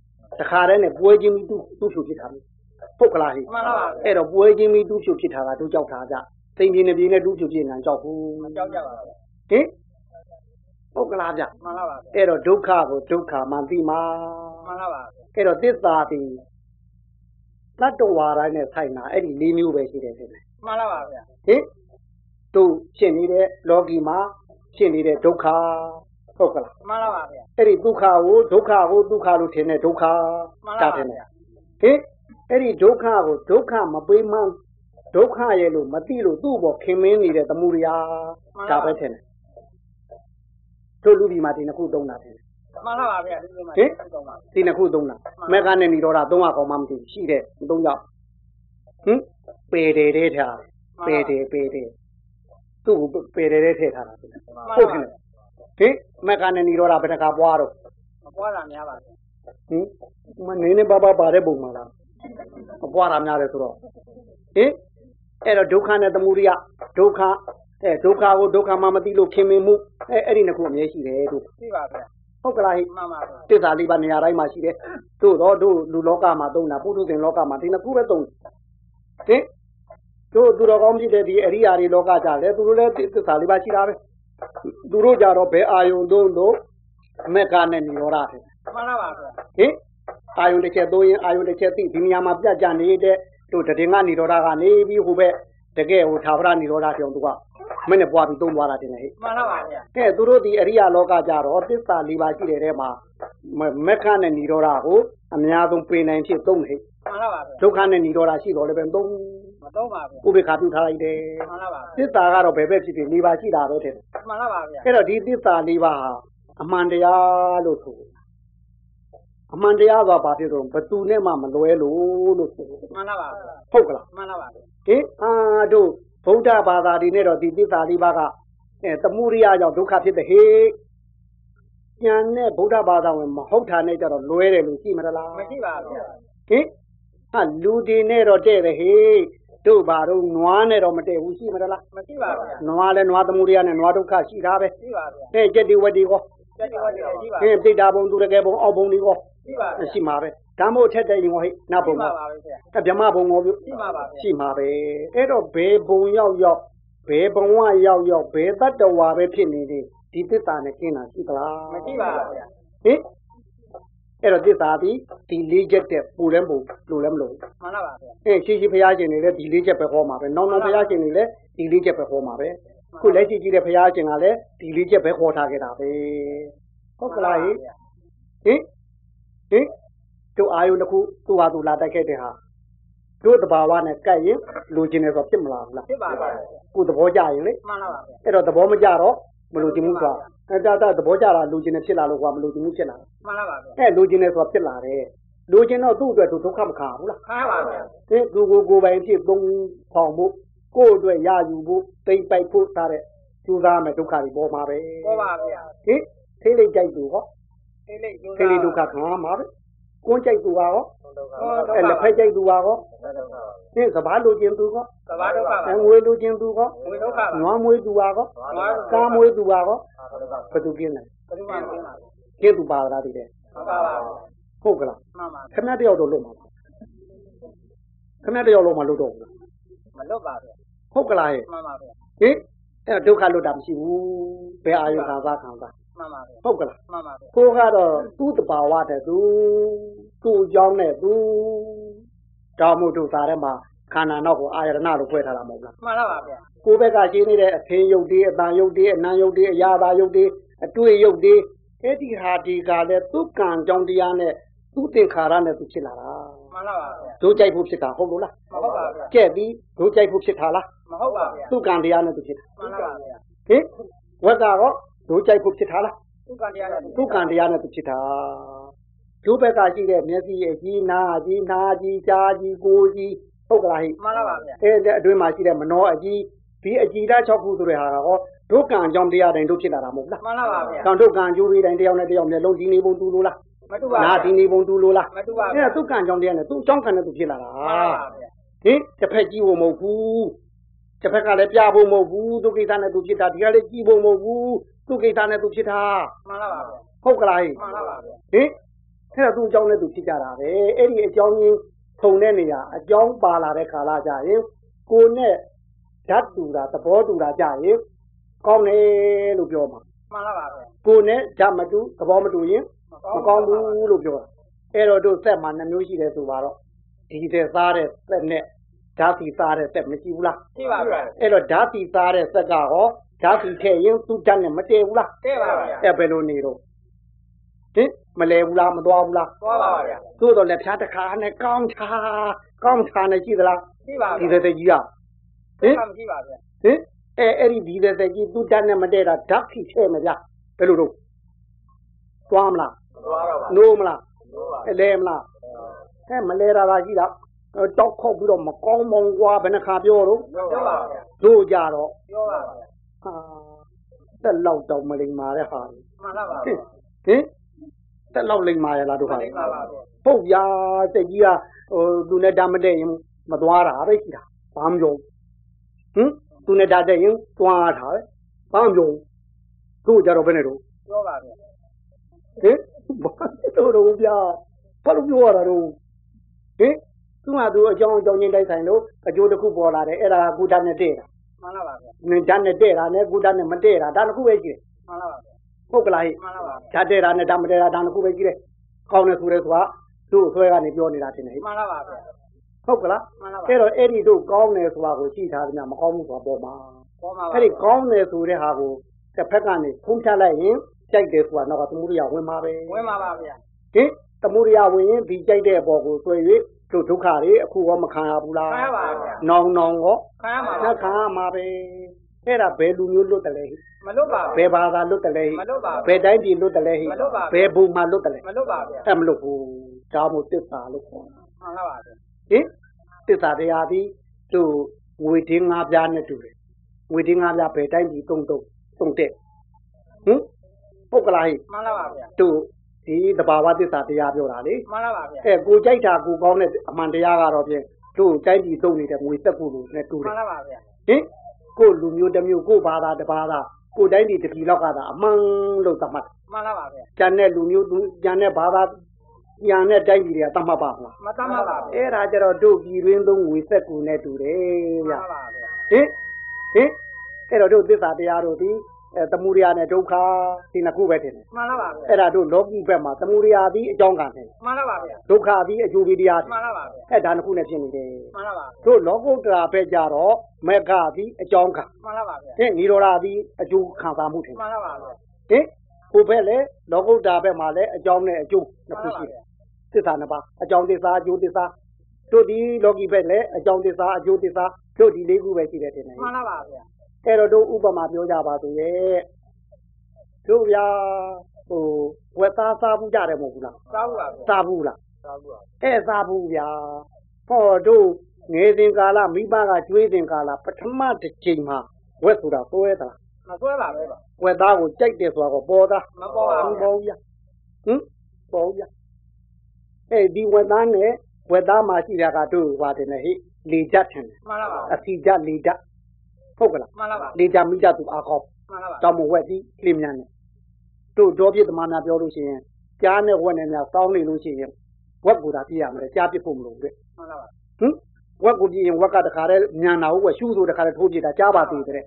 [SPEAKER 1] တခါတည်းနဲ့ပွဲချင်းပြီးသူ့သူ့ဖြူဖြစ်တာပဲပုတ်ကလားဟိ
[SPEAKER 2] မှန်ပါပါဗျာ
[SPEAKER 1] အဲ့တော့ပွဲချင်းပြီးသူ့ဖြူဖြစ်တာကတို့ကြောက်တာကြသိင်းပြင်းနေပြင်းနဲ့သူ့ဖြူဖြစ်နေတာကြောက်ဘူး
[SPEAKER 2] ကြောက်ကြပါဗျာ
[SPEAKER 1] ဟင်ပုတ်ကလားဗျ
[SPEAKER 2] မှန်ပါပါဗျာ
[SPEAKER 1] အဲ့တော့ဒုက္ခကိုဒုက္ခမှန်သိမှာ
[SPEAKER 2] မှန်ပါပါဗျာ
[SPEAKER 1] အဲ့တော့သစ္စာပြီးတတ္တဝါတိုင်းနဲ့ဆိုင်တာအဲ့ဒီ၄မျိုးပဲရှိတယ်ဖြစ်တယ်
[SPEAKER 2] မှန်ပါပါဗျာ
[SPEAKER 1] ဟင်တို့ဖြစ်နေတဲ့လောကီမှာဖြစ်နေတဲ့ဒုက္ခဟုတ်ကလား
[SPEAKER 2] မှန်ပါပါဗျာ
[SPEAKER 1] အဲ့ဒီဒုက္ခကိုဒုက္ခကိုဒုက္ခလို့ထင်တဲ့ဒုက္ခ
[SPEAKER 2] မှန်ပါ
[SPEAKER 1] ဒါ
[SPEAKER 2] ပါ
[SPEAKER 1] ထင်တ
[SPEAKER 2] ဗျာ
[SPEAKER 1] ယ်ဟင်အဲ့ဒီဒုက္ခကိုဒုက္ခမပေးမှန်းဒုက္ခရဲ့လို့မသိလို့သူ့ဘောခင်မင်းနေတဲ့သမှုရိယာ
[SPEAKER 2] မှန်ပါ
[SPEAKER 1] ဒါပဲထင်တယ်တို့လူဒီမှာဒီနှစ်ခုသုံးတာထင်တယ်
[SPEAKER 2] မှန်ပါပါဗျာဒီလိုမှတော့ပါ
[SPEAKER 1] ဒီနှစ်ခုသုံးတာမက်ကနဲ့ဏီတော်တာသုံးရကောင်မှမသိဘူးရှိတယ်သုံးယောက်ဟင်ပေတယ်တဲ့ထား ပေတယ်ပေတယ်သူ့ကိုပေတယ်တဲ့ထည့်ထားတာဟုတ်တယ်
[SPEAKER 2] မှန်ပါ
[SPEAKER 1] ဟုတ်တ
[SPEAKER 2] ပါ
[SPEAKER 1] ယ်ဟင်မက်ကနေနေတော့တာဘယ်တခါပွားတော့
[SPEAKER 2] မပွားတာများပါဗျာ
[SPEAKER 1] ဟင်မနေနေပါပါပါတဲ့ပုံမှာလားမပွားတာများတယ်ဆိုတော့ဟင်အဲ့တော့ဒုက္ခနဲ့သမုဒိယဒုက္ခအဲဒုက္ခကိုဒုက္ခမှမသိလို့ခင်မင်မှုအဲအဲ့ဒီနှစ်ခုအမြဲရှိတယ်တို့
[SPEAKER 2] သိပါဗျာ
[SPEAKER 1] ဟုတ်ကလားဟိ
[SPEAKER 2] မှန်ပါဗျာ
[SPEAKER 1] တစ္ဆာလေးပါနေရာတိုင်းမှာရှိတယ်တို့တော့တို့လူလောကမှာသုံးတာပုထုဇဉ်လောကမှာဒီနှစ်ခုပဲသုံးတယ်ဟင်တို့သူတော်ကောင်းဖြစ်တဲ့ဒီအရိယာတွေလောကကြလဲသူတို့လည်းသစ္စာလေးပါရှိတာပဲ သူတို့ကြတော့ဘယ်အာယုံသုံးလို့အမက်ကနဲ့နေရောတာတဲ့
[SPEAKER 2] မှန်ပါပါဗျာ
[SPEAKER 1] ဟင်အာယုံတစ်ချက်သုံးရင်အာယုံတစ်ချက်သိဒီနေရာမှာပြတ်ကြနေတဲ့ တို့တည်ငါနေတော်တာကနေပြီးဟိုဘက်တကယ်ဟိုသာဝရနေတော်တာကြောင့်သူကမင်းနဲ့ပွားပြီးသုံးသွားတာတင်လေဟဲ့
[SPEAKER 2] မှန်လားပါဗျာ
[SPEAKER 1] ကဲသူတို့ဒီအရိယာလောကကြတော့သစ္စာ၄ပါးရှိတဲ့ထဲမှာမမက္ခနဲ့နေတော်တာကိုအများဆုံးပင်နိုင်ဖြစ်သုံးလေ
[SPEAKER 2] မှန်လားပါဗျာ
[SPEAKER 1] ဒုက္ခနဲ့နေတော်တာရှိတော်လည်းပဲသုံး
[SPEAKER 2] မတော့ပါဗျာ
[SPEAKER 1] ဥပေက္ခပြုထားလိုက်တယ်
[SPEAKER 2] မှန်လားပါ
[SPEAKER 1] သစ္စာကတော့ဘယ်ဘက်ဖြစ်ဖြစ်၄ပါးရှိတာပဲတဲ့
[SPEAKER 2] မှန်လားပါဗျာ
[SPEAKER 1] အဲ့တော့ဒီသစ္စာလေးပါးဟာအမှန်တရားလို့ဆိုတယ်အမှန်တရားဆိုတာဘာဖြစ်လို့ဘယ်သူနဲ့မှမလွဲလို့လို့ဆိုတယ်
[SPEAKER 2] မှန်လားပါဗျာ
[SPEAKER 1] ဟုတ်ကလား
[SPEAKER 2] မှန်လားပါဗျာ
[SPEAKER 1] ဟင်အာတို့ဗုဒ္ဓဘာသာဒီနဲ့တော့ဒီသစ္စာလေးပါးကအဲသမှုရိယကြောင့်ဒုက္ခဖြစ်တဲ့ဟေ့ဉာဏ်နဲ့ဗုဒ္ဓဘာသာဝင်မဟုတ်တာနဲ့ကြတော့လွဲတယ်လို့ရှိမလား
[SPEAKER 2] မရှိပါဗျာ
[SPEAKER 1] ဟင်ဟာလူတွေနဲ့တော့တဲ့တယ်ဟေ့တို့ဘာတို့နွားနဲ့တော့မတဲ့ဘူးရှိမလား
[SPEAKER 2] မရှိပါဗျာ
[SPEAKER 1] နွားလဲနွားသမှုရိယနဲ့နွားဒုက္ခရှိတာပဲ
[SPEAKER 2] ရှိပါဗျာ
[SPEAKER 1] အဲကြက်တွေဝက်တွေကော
[SPEAKER 2] ကြက်ကြောတယ်ရှိပါ
[SPEAKER 1] ဟင်းပိတ္တာဘုံသူတကယ်ဘုံအောက်ဘုံတွေက
[SPEAKER 2] ရှိပါဗျာ
[SPEAKER 1] ရှိမှာပဲဓမ္မို့ထက်တဲ့ရင်ဟိနတ်ဘုံ
[SPEAKER 2] ရှိ
[SPEAKER 1] က
[SPEAKER 2] ပါပါဗျာ
[SPEAKER 1] အဲဗြဟ္မဘုံကိုပြု
[SPEAKER 2] ရှိပါပါဗျာ
[SPEAKER 1] ရှိမှာပဲအဲ့တော့ဘယ်ဘုံရောက်ရောက်ဘယ်ဘဝရောက်ရောက်ဘယ်တတ္တဝါပဲဖြစ်နေလေဒီသစ္စာနဲ့กินတာရှိသလား
[SPEAKER 2] မရှိပါဗျာ
[SPEAKER 1] ဟင်အဲ့တော့သစ္စာဒီဒီလေးချက်တဲ့ပူလဲမပူလို့လဲမလို့
[SPEAKER 2] မှန်လားပါဗျာ
[SPEAKER 1] အဲရှိရှိဖျားရှင်နေလဲဒီလေးချက်ပဲခေါ်မှာပဲနောင်နောင်ဖျားရှင်နေလဲဒီလေးချက်ပဲခေါ်မှာပဲအခုလက်ရှိကြည့်တဲ့ဖျားရှင်ကလည်းဒီလေးချက်ပဲခေါ်ထားခဲ့တာပဲဟုတ်ကလားဟင် ဟင်ဟင်တို့အာယုတစ်ခုသူ့ဟာသူလာတိုက်ခဲ့တဲ့ဟာတို့တဘာဝနဲ့ကပ်ရင်လူချင်းလည်းဆိုဖြစ်မလာဘူးလား
[SPEAKER 2] ဖြစ်ပါပါဗျာ
[SPEAKER 1] ကိုယ်သဘောကျရင်လေ
[SPEAKER 2] မှန်လားပါဗျာ
[SPEAKER 1] အဲ့တော့သဘောမကျတော့မလူချင်းဘူးကွာအဲ့ဒါဒါသဘောကျတာလူချင်းနဲ့ဖြစ်လာလို့ကွာမလူချင်းဘူးဖြစ်လာတာ
[SPEAKER 2] မှန်လားပါဗျာ
[SPEAKER 1] အဲ့လူချင်းလည်းဆိုဖြစ်လာတယ်လူချင်းတော့သူ့အတွက်သူဒုက္ခမခံဘူးလား
[SPEAKER 2] ခံရပါဗျာ
[SPEAKER 1] ဒီသူကိုယ်ကိုယ်ပိုင်ဖြစ်သုံးဖောင်ဖို့ကိုယ်အတွက်ရယူဖို့သိမ့်ပိုက်ဖို့စားတဲ့ကျူစားမယ်ဒုက္ခတွေပေါ်မှာပဲ
[SPEAKER 2] ပေါ်ပါဗျာ
[SPEAKER 1] ဟင်သိလိမ့်ကြိုက်သူဟော
[SPEAKER 2] သိလိဒုက္ခ
[SPEAKER 1] သိလိမ့်ဒုက္ခခံရမှာပဲကိုယ်ကြိုက်သူကဟော
[SPEAKER 2] ဒုက္ခ
[SPEAKER 1] အဲလက်ဖက်ကြိုက်သူပါကော
[SPEAKER 2] ဒုက္ခ
[SPEAKER 1] ဒီစဘာလိုချင်သူကော
[SPEAKER 2] သဘာဒုက္ခပါ
[SPEAKER 1] အငွေလိုချင်သူကော
[SPEAKER 2] ဝိဒုက္ခပါ
[SPEAKER 1] နွားမွေးသူပါကောကားမွေးသူပါကောဘယ်သူกินလဲ
[SPEAKER 2] ပရိမာဏပါဗျာ
[SPEAKER 1] กินသူပါတာတည်းလေ
[SPEAKER 2] ဟုတ်ပါပါ
[SPEAKER 1] ဟု
[SPEAKER 2] ဘူး
[SPEAKER 1] တ်ကလား
[SPEAKER 2] မှန်ပါ
[SPEAKER 1] ခမည်းတယောက်တော့လွတ်မှာပါခမည်းတယောက်လုံးမလွတ်တော့ဘူးလား
[SPEAKER 2] မလွတ်ပါဘူး
[SPEAKER 1] ဟုတ်ကလားဟဲ့
[SPEAKER 2] မှန်ပါဘူး
[SPEAKER 1] ဟင်အဲ့တော့ဒုက္ခလွတ်တာမရှိဘူးဘယ်အာယုခံစားခံစား
[SPEAKER 2] မှန်ပါဘူး
[SPEAKER 1] ဟုတ်ကလား
[SPEAKER 2] မှန်ပါဘူး
[SPEAKER 1] ကိုကတော့သူ့တဘာဝတဲ့သူသူ့အကြောင်းနဲ့သူဒါမှမဟုတ်သူ့စာထဲမှာခန္ဓာနောက်ကိုအာယတနာလို့ဖွဲ့ထားတာမဟုတ်လား
[SPEAKER 2] မှန်လားပါဗျာ
[SPEAKER 1] ကိုယ်ဘက်ကရှင်းနေတဲ့အဖင်းယုတ်တွေအတန်ယုတ်တွေအနံယုတ်တွေအရာသာယုတ်တွေအတွေ့ယုတ်တွေအဲ့ဒီဟာဒီကလည်းသူကံကြောင့်တရားနဲ့သူသင်္ခါရနဲ့သူဖြစ်လာတာ
[SPEAKER 2] မှန်လားပါဗျာ
[SPEAKER 1] ဒုကြိုက်ဖို့ဖြစ်တာဟုတ်လို့လား
[SPEAKER 2] မဟုတ်ပါဘူး
[SPEAKER 1] ကြက်ပြီးဒုကြိုက်ဖို့ဖြစ်တာလား
[SPEAKER 2] မဟုတ်ပါဘူး
[SPEAKER 1] သူကံတရားနဲ့သူဖြစ်တာ
[SPEAKER 2] မှန်လားပါဗျာ
[SPEAKER 1] ဟင်ဝက်ကတော့ဒုကြိုက်ဖို့ဖြစ်တာလား
[SPEAKER 2] သူကတရားနဲ့
[SPEAKER 1] သူကံတရားနဲ့သူဖြစ်တာဒုဘက်ကရှိတဲ့မျက်စိအကြီးနာအကြီးနာအကြီးကြားအကြီးကိုယ်အကြီးဟုတ်ကလားဟဲ့
[SPEAKER 2] မှန်လားပါဗျာ
[SPEAKER 1] အဲ့တဲ့အတွင်းမှာရှိတဲ့မနောအကြီးဒီအကြီးဓာတ်၆ခုဆိုတဲ့ဟာကဟောဒုက္ကံအကြောင်းတရားတိုင်းတို့ဖြစ်လာတာမဟုတ်လား
[SPEAKER 2] မှန်လားပါဗျာ
[SPEAKER 1] ကံဒုက္ကံအကျိုးပေးတိုင်းတရားနဲ့တရားမျက်လုံးဒီနေပုံတူလို့လား
[SPEAKER 2] မတူပါ
[SPEAKER 1] နာဒီ
[SPEAKER 2] ဘူး
[SPEAKER 1] နေပုံတူလို့လား
[SPEAKER 2] မတူပါဘူး
[SPEAKER 1] အဲ့ဒါဒုက္ကံအကြောင်းတရားနဲ့သူအကြောင်းကံနဲ့သူဖြစ်လာတာ
[SPEAKER 2] မှန်လားပါ
[SPEAKER 1] ဟင်
[SPEAKER 2] ဗျာ
[SPEAKER 1] တစ်ဖက်ကြည့်ဖို့မဟုတ်ဘူးတစ်ဖက်ကလည်းပြဖို့မဟုတ်ဘူးသူကိစ္စနဲ့သူဖြစ်တာဒီကလည်းကြည့်ဖို့မဟုတ်ဘူးသူကိစ္စနဲ့သူဖြစ်တာ
[SPEAKER 2] မှန်လားပါဗျာ
[SPEAKER 1] ဟုတ်ကလားဟဲ့
[SPEAKER 2] မှန်လားပါဗျာ
[SPEAKER 1] ဟင်အဲ့ဒါသူ့အကြောင်းနဲ့သူဖြစ်ကြတာပဲအဲ့ဒီအကြောင်းရင်းထုံတဲ့နေရာအကြောင်းပါလာတဲ့ခါလာကြရင်ကိုယ်နဲ့ဓာတ်တူတာသဘောတူတာကြရင်ကောင်းတယ်လို့ပြောမှာ
[SPEAKER 2] မှန်လားပါဗျာ
[SPEAKER 1] ကိုယ်နဲ့ဓာတ်မတူသဘောမတူရင်မကောင်းဘူးလို့ပြောတာအဲ့တော့တို့သက်မှာနှမျိုးရှိတယ်ဆိုပါတော့ဒီတဲ့သားတဲ့သက်နဲ့ဓာတ်စီသားတဲ့သက်မရှိဘူးလား
[SPEAKER 2] ရှိပါဗျာ
[SPEAKER 1] အဲ့တော့ဓာတ်စီသားတဲ့သက်ကဟောဓာတ်စီထည့်ရင်သူ့ဓာတ်နဲ့မတည့်ဘူးလား
[SPEAKER 2] တဲ့ပါဗျာ
[SPEAKER 1] အဲ့ဘယ်လိုနေတော့ဟင်မလဲဘူးလားမသွားဘူးလား
[SPEAKER 2] သွားပါဗျာ
[SPEAKER 1] သို့တော်လည်းဖျားတစ်ခါနဲ့ကောင်းချာကောင်းချာနဲ့ရှိသလား
[SPEAKER 2] ရှိပါ
[SPEAKER 1] ဒီ
[SPEAKER 2] ဗျာ
[SPEAKER 1] သက်သက်ကြီးကဟင်
[SPEAKER 2] မရှိပါဗျာ
[SPEAKER 1] ဟင်အဲအဲ့ဒီဒီသက်သက်ကြီးသူဓာတ်နဲ့မတည့်တာဓာတ်ဖြစ်ထဲမလားဘယ်လိုလုပ်သွားမလား
[SPEAKER 2] သွားတော့ပါ
[SPEAKER 1] နိုးမလား
[SPEAKER 2] သွားပါ
[SPEAKER 1] အလဲမလားအဲမလဲတာလားရှိတာအဲတောက်ခေါက်ပြီးတော့မကောင်းမောင်ကွာဘယ်နှခါပြောတော့
[SPEAKER 2] ပြောပါဗျာ
[SPEAKER 1] တို့ကြတော့
[SPEAKER 2] ပြောပါဗျာ
[SPEAKER 1] ဟာတက်လောက်တော့မလိမ္မာတဲ့ဟာတွေ
[SPEAKER 2] မှန်လားပါ
[SPEAKER 1] ဟင်
[SPEAKER 2] ဗျာ
[SPEAKER 1] ဟင်တက်လောက်လိမ္မာရလားတို့ဟာ
[SPEAKER 2] မှ
[SPEAKER 1] တွေ
[SPEAKER 2] န်လားပါဗျာ
[SPEAKER 1] ပုတ်ပြတက်ကြီးကဟိုသူနဲ့ဒါမတက်ရင်မသွားတာပဲရှိတာဘာမပြောဘူးဟင်သူနဲ့ဒါတက်ရင်သွားတာပဲဘာမပြောဘူးတို့ကြတော့ဘယ်နဲ့တော့
[SPEAKER 2] ပြောပါ
[SPEAKER 1] ဟ
[SPEAKER 2] ဗျာ
[SPEAKER 1] င်ဘာတို့တော့ဗျာဘာလို့ပြောရတာတော့ဟင်သူကသူအကြောင်းအကြောင်းချင်းတိုက်ဆိုင်လို့အကျိုးတစ်ခုပေါ်လာတယ်အဲ့ဒါကကုဒတ်နဲ့တဲ့တာ
[SPEAKER 2] မှန်လားပါဗျာ
[SPEAKER 1] နင်ဓာတ်နဲ့တဲ့တာနဲ့ကုဒတ်နဲ့မတဲ့တာဒါတစ်ခုပဲရှိတယ်
[SPEAKER 2] မှန်လားပါဗျာ
[SPEAKER 1] ဟုတ်ကလားဟဲ့
[SPEAKER 2] မှန်လားပါ
[SPEAKER 1] ဓာတ်တဲ့တာနဲ့ဓာတ်မတဲ့တာဒါတစ်ခုပဲရှိတယ်ကောင်းတယ်ဆိုတဲ့သူကသူ့အဆွဲကနေပြောနေတာတင်တယ်ဟဲ့
[SPEAKER 2] မှန်လားပါဗျာ
[SPEAKER 1] ဟုတ်ကလား
[SPEAKER 2] မှန်ပါပါ
[SPEAKER 1] အဲ့တော့အဲ့ဒီတို့ကောင်းတယ်ဆိုတာကိုကြည့်ထားတယ်များမကောင်းဘူးဆိုတာပေါ်မှာ
[SPEAKER 2] ပေါ်မှာပါ
[SPEAKER 1] အဲ့ဒီကောင်းတယ်ဆိုတဲ့ဟာကိုတစ်ဖက်ကနေဖုံးဖြတ်လိုက်ရင်ကြိုက်တယ်ဆိုတာတော့ကသမှုရိယဝင်ပါပဲ
[SPEAKER 2] ဝင်ပါပါဗျာ
[SPEAKER 1] ဟင်သမှုရိယဝင်ရင်ဒီကြိုက်တဲ့အပေါ်ကိုဆွဲ၍တို့ဒုက္ခတွေအခုရောမခံရဘူးလား
[SPEAKER 2] ခံရပါဗျာ
[SPEAKER 1] နောင်နောင်ရော
[SPEAKER 2] ခံရမှာပါ
[SPEAKER 1] နောက်ခံရမှာပဲအဲ့ဒါဘယ်လူမျိုးလွတ်တယ်လဲဟိ
[SPEAKER 2] မလွတ်ပါ
[SPEAKER 1] ဘ
[SPEAKER 2] ဘူး
[SPEAKER 1] ယ်ဘာသာလွတ်တယ်လဲဟိ
[SPEAKER 2] မလွတ်ပါဘူး
[SPEAKER 1] ဘယ်တိုင်းပြည်လွတ်တယ်လဲဟိ
[SPEAKER 2] မလွတ်ပါဘူး
[SPEAKER 1] ဘယ်ဘုံမှာလွတ်တယ်လဲ
[SPEAKER 2] မလွတ်ပါဗျာ
[SPEAKER 1] အဲ့မလွတ်ဘူးဒါမှမဟုတ်တစ္ဆာလို့ခေါ်တာ
[SPEAKER 2] မှန်ပါပါ
[SPEAKER 1] ဟ
[SPEAKER 2] ဗျာ
[SPEAKER 1] င်တစ္ဆာတရားသည်သူငွေတင်း၅ပြားနဲ့တူတယ်ငွေတင်း၅ပြားဘယ်တိုင်းပြီးတုံးတုံးတုံးတဲ့ဟင်ပုတ်ကလာဟိ
[SPEAKER 2] မှန်ပါပါဗျာ
[SPEAKER 1] သူဒီတဘာဝတစ္ဆာတရားပြောတာလေ
[SPEAKER 2] မှန်ပါပါဗျာ
[SPEAKER 1] အဲကိုကြိုက်တာကိုကောင်းတဲ့အမှန်တရားကတော့ဖြင့်သူတိုင်းပြီးတုံးနေတဲ့ငွေသက်ကူလိုနဲ့တူတ
[SPEAKER 2] မှ
[SPEAKER 1] ယ်
[SPEAKER 2] န်ပါပါဗျာ
[SPEAKER 1] ဟင်ကိုလူမျိုးတစ်မျိုးကိုဘာသာတစ်ဘာသာကိုတိုင်းပြီးတစ်ပြည်လောက်ကသာအမှန်လို့သတ်မှတ်တယ်
[SPEAKER 2] မှန်ပါပါဗျာ
[SPEAKER 1] ကျန်တဲ့လူမျိုးသူကျန်တဲ့ဘာသာညာနဲ့တိုင်းပြည်တွေကသတ်မှတ်ပါ့မလား
[SPEAKER 2] မတမ်းပါပါဗျာ
[SPEAKER 1] အဲ့ဒါကြတော့တို့ပြည်ရင်းသုံးငွေဆက်ကူနဲ့တူတယ်
[SPEAKER 2] မှ
[SPEAKER 1] ဗျ
[SPEAKER 2] န်ပါပါဗျာ
[SPEAKER 1] ဟင်ဟင်အဲ့တော့တို့သစ္စာတရားတို့ဒီအဲသမှုရိယနဲ့ဒုက္ခဒီနှစ်ခုပဲထင်တယ်
[SPEAKER 2] မှန်ပါပါဗျာ
[SPEAKER 1] အဲ့ဒါတို့လောကီဘက်မှာသမှုရိယသည်အကြောင်းကံနဲ့
[SPEAKER 2] မှန်ပါပါဗျာ
[SPEAKER 1] ဒုက္ခသည်အကျိုးပေးတရား
[SPEAKER 2] မှန်ပါပါဗျာ
[SPEAKER 1] အဲ့ဒါနှစ်ခုနဲ့ဖြစ်နေတယ်
[SPEAKER 2] မှန်ပါပါဗျာ
[SPEAKER 1] တို့လောကုတ္တရာဘက်ကြတော့မေဃသည်အကြောင်းကံ
[SPEAKER 2] မှန်ပါပါဗျာ
[SPEAKER 1] ဟင်နိရောဓသည်အကျိုးခံစားမှုထင်တ
[SPEAKER 2] မှ
[SPEAKER 1] ယ်
[SPEAKER 2] န်ပါပါဗျာ
[SPEAKER 1] ဟင်ကိုယ်ဘက်လည်းလောကုတ္တရာဘက်မှာလည်းအကြောင်းနဲ့အကျိုးနှစ်ခုရှိတယ် သစ္စာနှစ်ပါးအကြောင်းသစ္စာအကျိုးသစ္စာတို့ဒီလောကီဘက်လည်းအကြောင်းသစ္စာအကျိုးသစ္စာတို့ဒီလေးခုပဲရှိတယ်တင်တယ်
[SPEAKER 2] မှန်ပါပါဗျာ
[SPEAKER 1] အဲ့တော့တို့ဥပမာပြောကြပါသေးရဲ့တို့ဗျာဟိုဝက်သားစားဘူးကြတယ်မဟုတ်ဘူးလား
[SPEAKER 2] သာဘူးပါဗျာ
[SPEAKER 1] စားဘူးလား
[SPEAKER 2] သာဘူးပါဗျာ
[SPEAKER 1] အဲ့စားဘူးဗျာဟောတို့ငယ်စဉ်ကာလမိဘကကျွေးစဉ်ကာလပထမတစ်ချိန်မှာဝက်ဆိုတာသွဲသလား
[SPEAKER 2] မဆွဲပါပဲပါ
[SPEAKER 1] ဝက်သားကိုကြိုက်တယ်ဆိုတာကိုပေါ်သား
[SPEAKER 2] မပေါ်ပါ
[SPEAKER 1] ပေါ့
[SPEAKER 2] ဘူး
[SPEAKER 1] ပေါ့
[SPEAKER 2] ဗျာ
[SPEAKER 1] ဗျာဟင်ပေါ့ဗျာအဲဒီဝက်သားနဲ့ဝက်သားမှာရှိတာကတို့ဟွာတယ်နဲ့ဟိလေကြထင်တယ်
[SPEAKER 2] မှန်ပါပါ
[SPEAKER 1] အစီကြလေကြဟုတ်ကလား
[SPEAKER 2] မှန်ပါပါ
[SPEAKER 1] လေကြမိကြသူအားကောင်း
[SPEAKER 2] မှန်ပါပါ
[SPEAKER 1] တောင်မဝက်ကြီးလေမြန်တယ်တို့တော်ပြစ်သမားများပြောလို့ရှိရင်ကြားနဲ့ဝက်နဲ့များစောင်းနေလို့ရှိရင်ဝက်ကိုသာပြည့်ရမယ်ကြားပြစ်ဖို့မလိုဘူးတဲ့
[SPEAKER 2] မှန်ပါပါ
[SPEAKER 1] ဟင်ဝက်ကိုပြည့်ရင်ဝက်ကတခါတည်းမြန်တာဟုတ်ဝက်ရှူးဆိုတခါတည်းထိုးပြစ်တာကြားပါသေးတယ်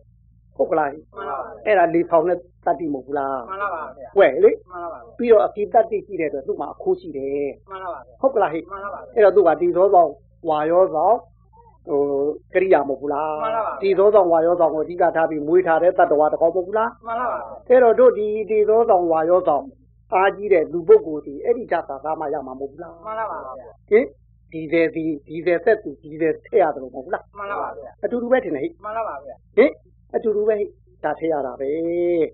[SPEAKER 1] ဟုတ်ကလားဟိ
[SPEAKER 2] မှန်ပါပါဗျာ
[SPEAKER 1] အဲ့ဒါလေဖောင်နဲ့တတ်တိမဟုတ်ဘူးလား
[SPEAKER 2] မှန်ပါပါဗျာ
[SPEAKER 1] ဝက်လေ
[SPEAKER 2] မှန်ပါပါဗျာ
[SPEAKER 1] ပြီးတော့အကိတတ်တိရှိတဲ့အတွက်သူ့မှာအခိုးရှိတယ်
[SPEAKER 2] မှန်ပါပါဗျာ
[SPEAKER 1] ဟုတ်ကလားဟဲ့
[SPEAKER 2] မှန်ပါပါဗျာ
[SPEAKER 1] အဲ့တော့သူကဒီသောဆောင်ဝါရောဆောင်ဟိုကရိယာမဟုတ်ဘူးလား
[SPEAKER 2] မှန်ပါပါ
[SPEAKER 1] ဒီသောဆောင်ဝါရောဆောင်ကိုအဓိကထားပြီးမွေးထားတဲ့တတ္တဝါတစ်ခေါက်မဟုတ်ဘူးလား
[SPEAKER 2] မှန်ပါပါဗျာ
[SPEAKER 1] အဲ့တော့တို့ဒီဒီသောဆောင်ဝါရောဆောင်အားကြီးတဲ့လူပုဂ္ဂိုလ်ဒီအဲ့ဒီဓာတ်သာကားမှရမှာမဟုတ်ဘူးလား
[SPEAKER 2] မှန်ပါပါဗျာ
[SPEAKER 1] ဟင်ဒီသေးဒီဒီသေးသက်သူဒီသေးထည့်ရတယ်လို့မဟုတ်ဘူးလား
[SPEAKER 2] မှန်ပါပါဗျာ
[SPEAKER 1] အတူတူပဲထင်တယ်ဟဲ့
[SPEAKER 2] မှန်ပါပါဗျာ
[SPEAKER 1] ဟင်အတူတူပဲဟဲ့ဒါထည့်ရတာပဲအဲ့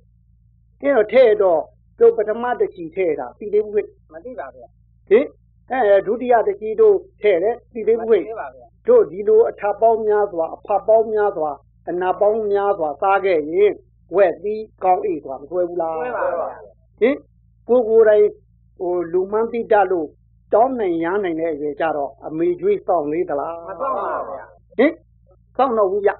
[SPEAKER 1] တော့ထည့်တော့တို့ပထမတစ်ချီထည့်တာပြီးသေးဘူးဟဲ့
[SPEAKER 2] မသိပါဗျာ
[SPEAKER 1] ဟင်အဲဒုတိယတကြီးတို့ထဲ့တယ်တိသိ
[SPEAKER 2] မ
[SPEAKER 1] ဘွေ
[SPEAKER 2] သိပါဗျာ
[SPEAKER 1] တို့ဒီလိုအထပ်ပေါင်းများစွာအဖပ်ပေါင်းများစွာအနာပေါင်းများစွာစားခဲ့ရင်ဝက်သီးကောင်းအေးစွာမဆွဲဘူးလား
[SPEAKER 2] ဆွဲပါဗျာ
[SPEAKER 1] ဟင်ကိုယ်ကိုယ်တိုင်ဟိုလူမန်းတိတလို့တောင်းနိုင်ရနိုင်တဲ့အရွယ်ကြတော့အမေကျွေးစောင့်လေးသလား
[SPEAKER 2] မတော့ပါဗျာ
[SPEAKER 1] ဟင်စောင့်တော့ဘူးဗျ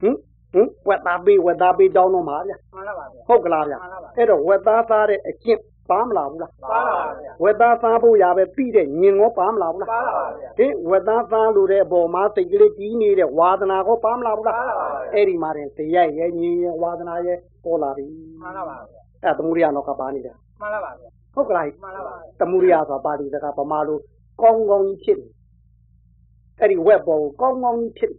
[SPEAKER 1] ဟင်ဟင်ဝက်သားပေးဝက်သားပေးတောင်းတော့မှာဗျ
[SPEAKER 2] မှန်ပါပါဗျာ
[SPEAKER 1] ဟုတ်ကလားဗျ
[SPEAKER 2] မှန်ပါပါ
[SPEAKER 1] အဲ့တော့ဝက်သားသားတဲ့အကျင့်ပါမလာဘူးလား
[SPEAKER 2] ပါပါဗျာ
[SPEAKER 1] ဝက်သားစားဖို့ရပဲပြီးတဲ့ညင်ကောပါမလားဘူး
[SPEAKER 2] ပါ
[SPEAKER 1] လား
[SPEAKER 2] ပါဗျာ
[SPEAKER 1] ဟင်ဝက်သားစားလို့တဲ့အပေါ်မှာစိတ်ကလေးကြီးနေတဲ့ဝါသနာကောပါမလားဘူးလား
[SPEAKER 2] ပါပါပါ
[SPEAKER 1] အဲ့ဒီမှာတဲ့တရက်ရဲ့ညင်ရဲ့ဝါသနာရဲ့ပေါ်လာပြီ
[SPEAKER 2] မှန်ပါပါဗျာ
[SPEAKER 1] အဲ့သမုဒိယတော့ကပါနေတာ
[SPEAKER 2] မှန်ပါပါဗျာ
[SPEAKER 1] ဟုတ်ကလား
[SPEAKER 2] မှန်ပါပါဗျာ
[SPEAKER 1] သမုဒိယဆိုတာပါဠိစကားဗမာလိုကောင်းကောင်းကြီးဖြစ်နေအဲ့ဒီဝက်ပေါ်ကိုကောင်းကောင်းကြီး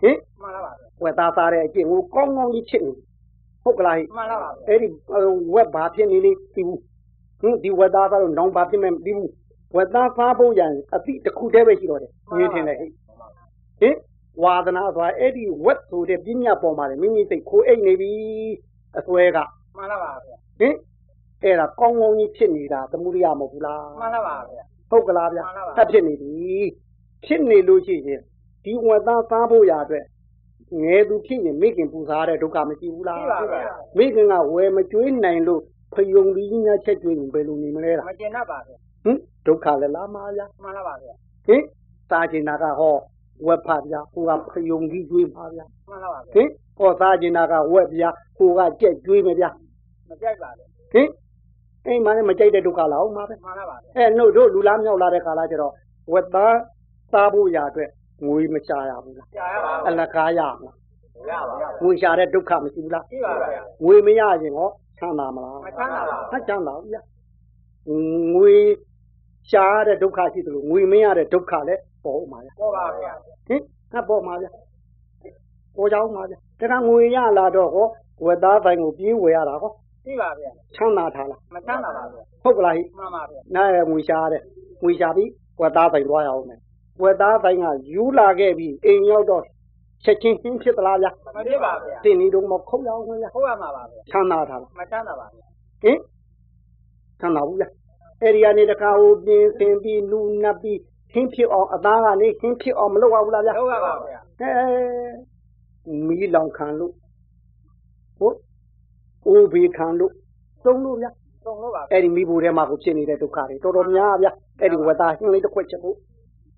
[SPEAKER 1] ဖြစ်နေဟင်
[SPEAKER 2] မှန်ပါပါဗျာ
[SPEAKER 1] ဝက်သားစားတဲ့အကျင့်ကိုကောင်းကောင်းကြီးဖြစ်နေဟုတ်ကလားဟိ
[SPEAKER 2] မှန်ပါပါဗျာ
[SPEAKER 1] အဲ့ဒီဝက်ဘာဖြစ်နေလဲသိဘူးဟင်ဒီဝက်သားသားတော့နောင်ဘာဖြစ်မယ်မသိဘူးဝက်သားသားဖို့ရန်အသည့်တစ်ခုတည်းပဲရှိတော့တယ်မြင်ထင်တယ်ဟဲ့ဟင်ဝါသနာဆိုတာအဲ့ဒီဝက်ဆိုတဲ့ပြညာပေါ်မှာလေမိမိစိတ်ခိုးအိတ်နေပြီအစွဲက
[SPEAKER 2] မှန်ပါပါဗျာ
[SPEAKER 1] ဟင်အဲ့ဒါကောင်းကောင်းကြီးဖြစ်နေတာသမှုရိယမဟုတ်ဘူးလား
[SPEAKER 2] မှန်ပါပါဗျာ
[SPEAKER 1] ဟုတ်ကလားဗျာ
[SPEAKER 2] မှန်ပါပါ
[SPEAKER 1] ဖတ်ဖြစ်နေပြီဖြစ်နေလို့ရှိရင်ဒီဝက်သားသားဖို့ရအတွက်ငယ်သူဖြစ်ရင်မိခင်ပူစားတဲ့ဒုက္ခမရှိဘူးလား
[SPEAKER 2] သိပါဗျာ
[SPEAKER 1] မိခင်ကဝယ်မကျွေးနိုင်လို့ဖယုံပြီးညာချက်ကျွေးရင်ဘယ်လိုနေမလဲလား
[SPEAKER 2] မကျင်တတ်ပါဗျာ
[SPEAKER 1] ဟင်ဒုက္ခလည်းလားမှားလား
[SPEAKER 2] မှန်ပါပါဗျာ
[SPEAKER 1] ဟင်စားကျင်တာကဟောဝက်ဖတ်ပြာကိုကဖယုံပြီးကျွေးပါဗျာ
[SPEAKER 2] မှန်ပါ
[SPEAKER 1] ဟ
[SPEAKER 2] ပါဗျာ
[SPEAKER 1] င်ဟောစားကျင်တာကဝက်ပြာကိုကကြက်ကျွေးမယ်ဗျာ
[SPEAKER 2] မကြိုက်ပါဗျာ
[SPEAKER 1] ဟင်အိမ်မှာလည်းမကြိုက်တဲ့ဒုက္ခလားဟုတ်မှာပဲ
[SPEAKER 2] မှန်ပါပါဗျာ
[SPEAKER 1] အဲနှုတ်တို့လူလားမြောက်လာတဲ့ခါလာကျတော့ဝက်သားစားဖို့ရအတွက်ငွေမချရဘူးလား
[SPEAKER 2] ကြားရပါ
[SPEAKER 1] အ
[SPEAKER 2] ဗျာ
[SPEAKER 1] လကားရမလား
[SPEAKER 2] ရပါဗျာ
[SPEAKER 1] ငွေချတဲ့ဒုက္ခမရှိဘူးလား
[SPEAKER 2] သိပါဗျာ
[SPEAKER 1] ငွေမရရင်ဟောချမ်းသာမလား
[SPEAKER 2] မချမ်းသာပါ
[SPEAKER 1] ဟာကြမ်းပါဘူးဗျာငွေရှားတဲ့ဒုက္ခရှိသလိုငွေမရတဲ့ဒုက္ခလည်း ပေါ်ဦးမှာဗျ
[SPEAKER 2] ပေါ်ပါဗျာ
[SPEAKER 1] ဟင်ငါပေါ်မှာဗျပေါ်ကြဦးမှာဗျတခါငွေရလာတော့ဟောဝက်သားပိုင်းကိုပြေးဝယ်ရတာဟော
[SPEAKER 2] သိပါဗျာ
[SPEAKER 1] ချမ်းသာထားလား
[SPEAKER 2] မချမ်းသာပါဗျာ
[SPEAKER 1] ဟုတ်ကလားဟိ
[SPEAKER 2] မှန်ပါဗျာ
[SPEAKER 1] နားရငွေရှာတဲ့ငွေရှာပြီးဝက်သားပိုင်းသွားရအောင်မယ်ဝက်သားပိုင်းကယူလာခဲ့ပြီးအိမ်ရောက်တော့ချက်ချင်းချင်းဖြစ်သလားဗျ
[SPEAKER 2] မဖြစ်ပါဗျာ
[SPEAKER 1] တင်ဒီတော့မခုတ်ရအောင်ခင်ဗျ
[SPEAKER 2] ဟုတ်ရမှာပါဗျာ
[SPEAKER 1] ချမ်းသာထားလား
[SPEAKER 2] မချမ်းသာပါဗျာ
[SPEAKER 1] ဟင်ဆမ်းပါဘူးလားအဲ့ဒီကနေတခါဟိုပြင်ဆင်ပြီးလူနပ်ပြီးခင်းဖြစ်အောင်အသားကနေခင်းဖြစ်အောင်မလုပ်ရဘူးလားဗျာ
[SPEAKER 2] ဟုတ်ရပါဗျာ
[SPEAKER 1] အဲမီးလောင်ခံလို့ဟုတ်အိုဘေခံလို့သုံးလို့ဗျာ
[SPEAKER 2] သုံးလို့ပါဗျာ
[SPEAKER 1] အဲ့ဒီမီးဘူးထဲမှာကိုဖြစ်နေတဲ့ဒုက္ခတွေတော်တော်များဗျာအဲ့ဒီဝတာဟင်းလေးတစ်ခွက်ချက်ဖို့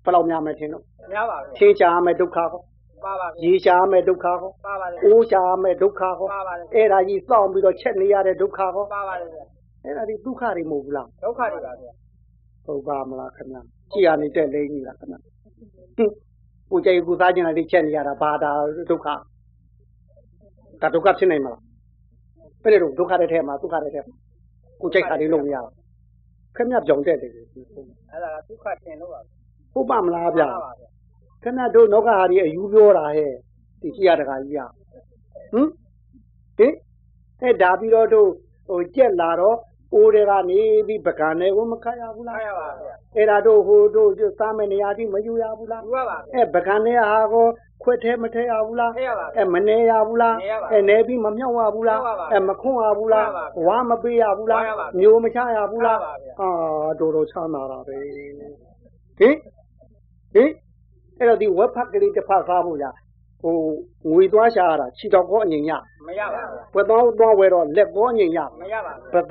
[SPEAKER 1] ဘယ်လောက်များမယ်ထင်တော့
[SPEAKER 2] များပါဗျာ
[SPEAKER 1] ခင်းချာရမယ်ဒုက္ခကော
[SPEAKER 2] ပါပါဗျာ
[SPEAKER 1] ရေချာရမယ်ဒုက္ခကော
[SPEAKER 2] ပါပါလေ
[SPEAKER 1] အိုးချာရမယ်ဒုက္ခကော
[SPEAKER 2] ပါပါလေ
[SPEAKER 1] အဲ့ဒါကြီးစောင့်ပြီးတော့ချက်နေရတဲ့ဒုက္ခကော
[SPEAKER 2] ပါပါလေဗျာ
[SPEAKER 1] အဲ့ဒါဒီဒုက္ခတွေမဟုတ်ဘူးလား
[SPEAKER 2] ဒုက္ခတွေပါဗျာ
[SPEAKER 1] ဟုတ်ပါမလားခင်ဗျာကြည်ရနေတဲ့လိမ့်ကြီးလားခင်ဗျာဟင်ကိုကြိုက်ကိုစားကျင်တာတွေချက်နေရတာဘာဒါဒုက္ခဒါဒုက္ခဖြစ်နိုင်မလားဘယ်လိုဒုက္ခတဲ့ထဲမှာဒုက္ခတဲ့ထဲမှာကိုကြိုက်တာတွေလုံးမရဘူးခင်ဗျာကြောင်တဲ့တယ်
[SPEAKER 2] အဲ့ဒါကဒုက္ခတင်လို့ပါဗျာ
[SPEAKER 1] ဟုတ်ပါမလားဗျာ
[SPEAKER 2] ပါပါဗျာ
[SPEAKER 1] ခင်ဗျာတို့နောက်ကဟာတွေအယူပြောတာဟဲ့ဒီကြည်ရတကကြီးရဟင်ဟင်အဲဒါပြီးတော့တို့ဟိုကြက်လာတော့အိုးတွေကနေပြီးပကံတွေကိုမခတ်ရဘူးလား
[SPEAKER 2] အားရပါဗျာ
[SPEAKER 1] အဲ့ဒါတို့ဟိုတို့ကျွတ်စားမယ့်နေရာတိမယူရဘူးလား
[SPEAKER 2] ယူရပါဗျာ
[SPEAKER 1] အဲ့ပကံနဲ့ဟာကိုခွက်ထဲမထည့်ရဘူးလား
[SPEAKER 2] ထည့်ရပါဗျာ
[SPEAKER 1] အဲ့မနေရဘူးလား
[SPEAKER 2] နေရပါ
[SPEAKER 1] အဲ့နေပြီးမမြောက်ရဘူးလား
[SPEAKER 2] မြောက်ရပါ
[SPEAKER 1] အဲ့မခွန့်ရဘူးလား
[SPEAKER 2] ခွန့်ရပါ
[SPEAKER 1] ဝါမပေးရဘူးလား
[SPEAKER 2] ဝါရပါ
[SPEAKER 1] မျိုးမချရဘူးလား
[SPEAKER 2] ဝါရပါဗျာ
[SPEAKER 1] အာတော်တော်ချမ်းသာတာပဲဟင်ဟင်အဲ့တော့ဒီဝက်ဖက်ကလေးတစ်ဖက်စားဖို့လားဟိုငွေသွားရှာရတာခြေတော်ကောအငင်ရ
[SPEAKER 2] မရပါဗျာ
[SPEAKER 1] ဝက်သွားသွားဝဲတော့လက်ကောအငင်ရ
[SPEAKER 2] မရပါ
[SPEAKER 1] ပ
[SPEAKER 2] ဗျာ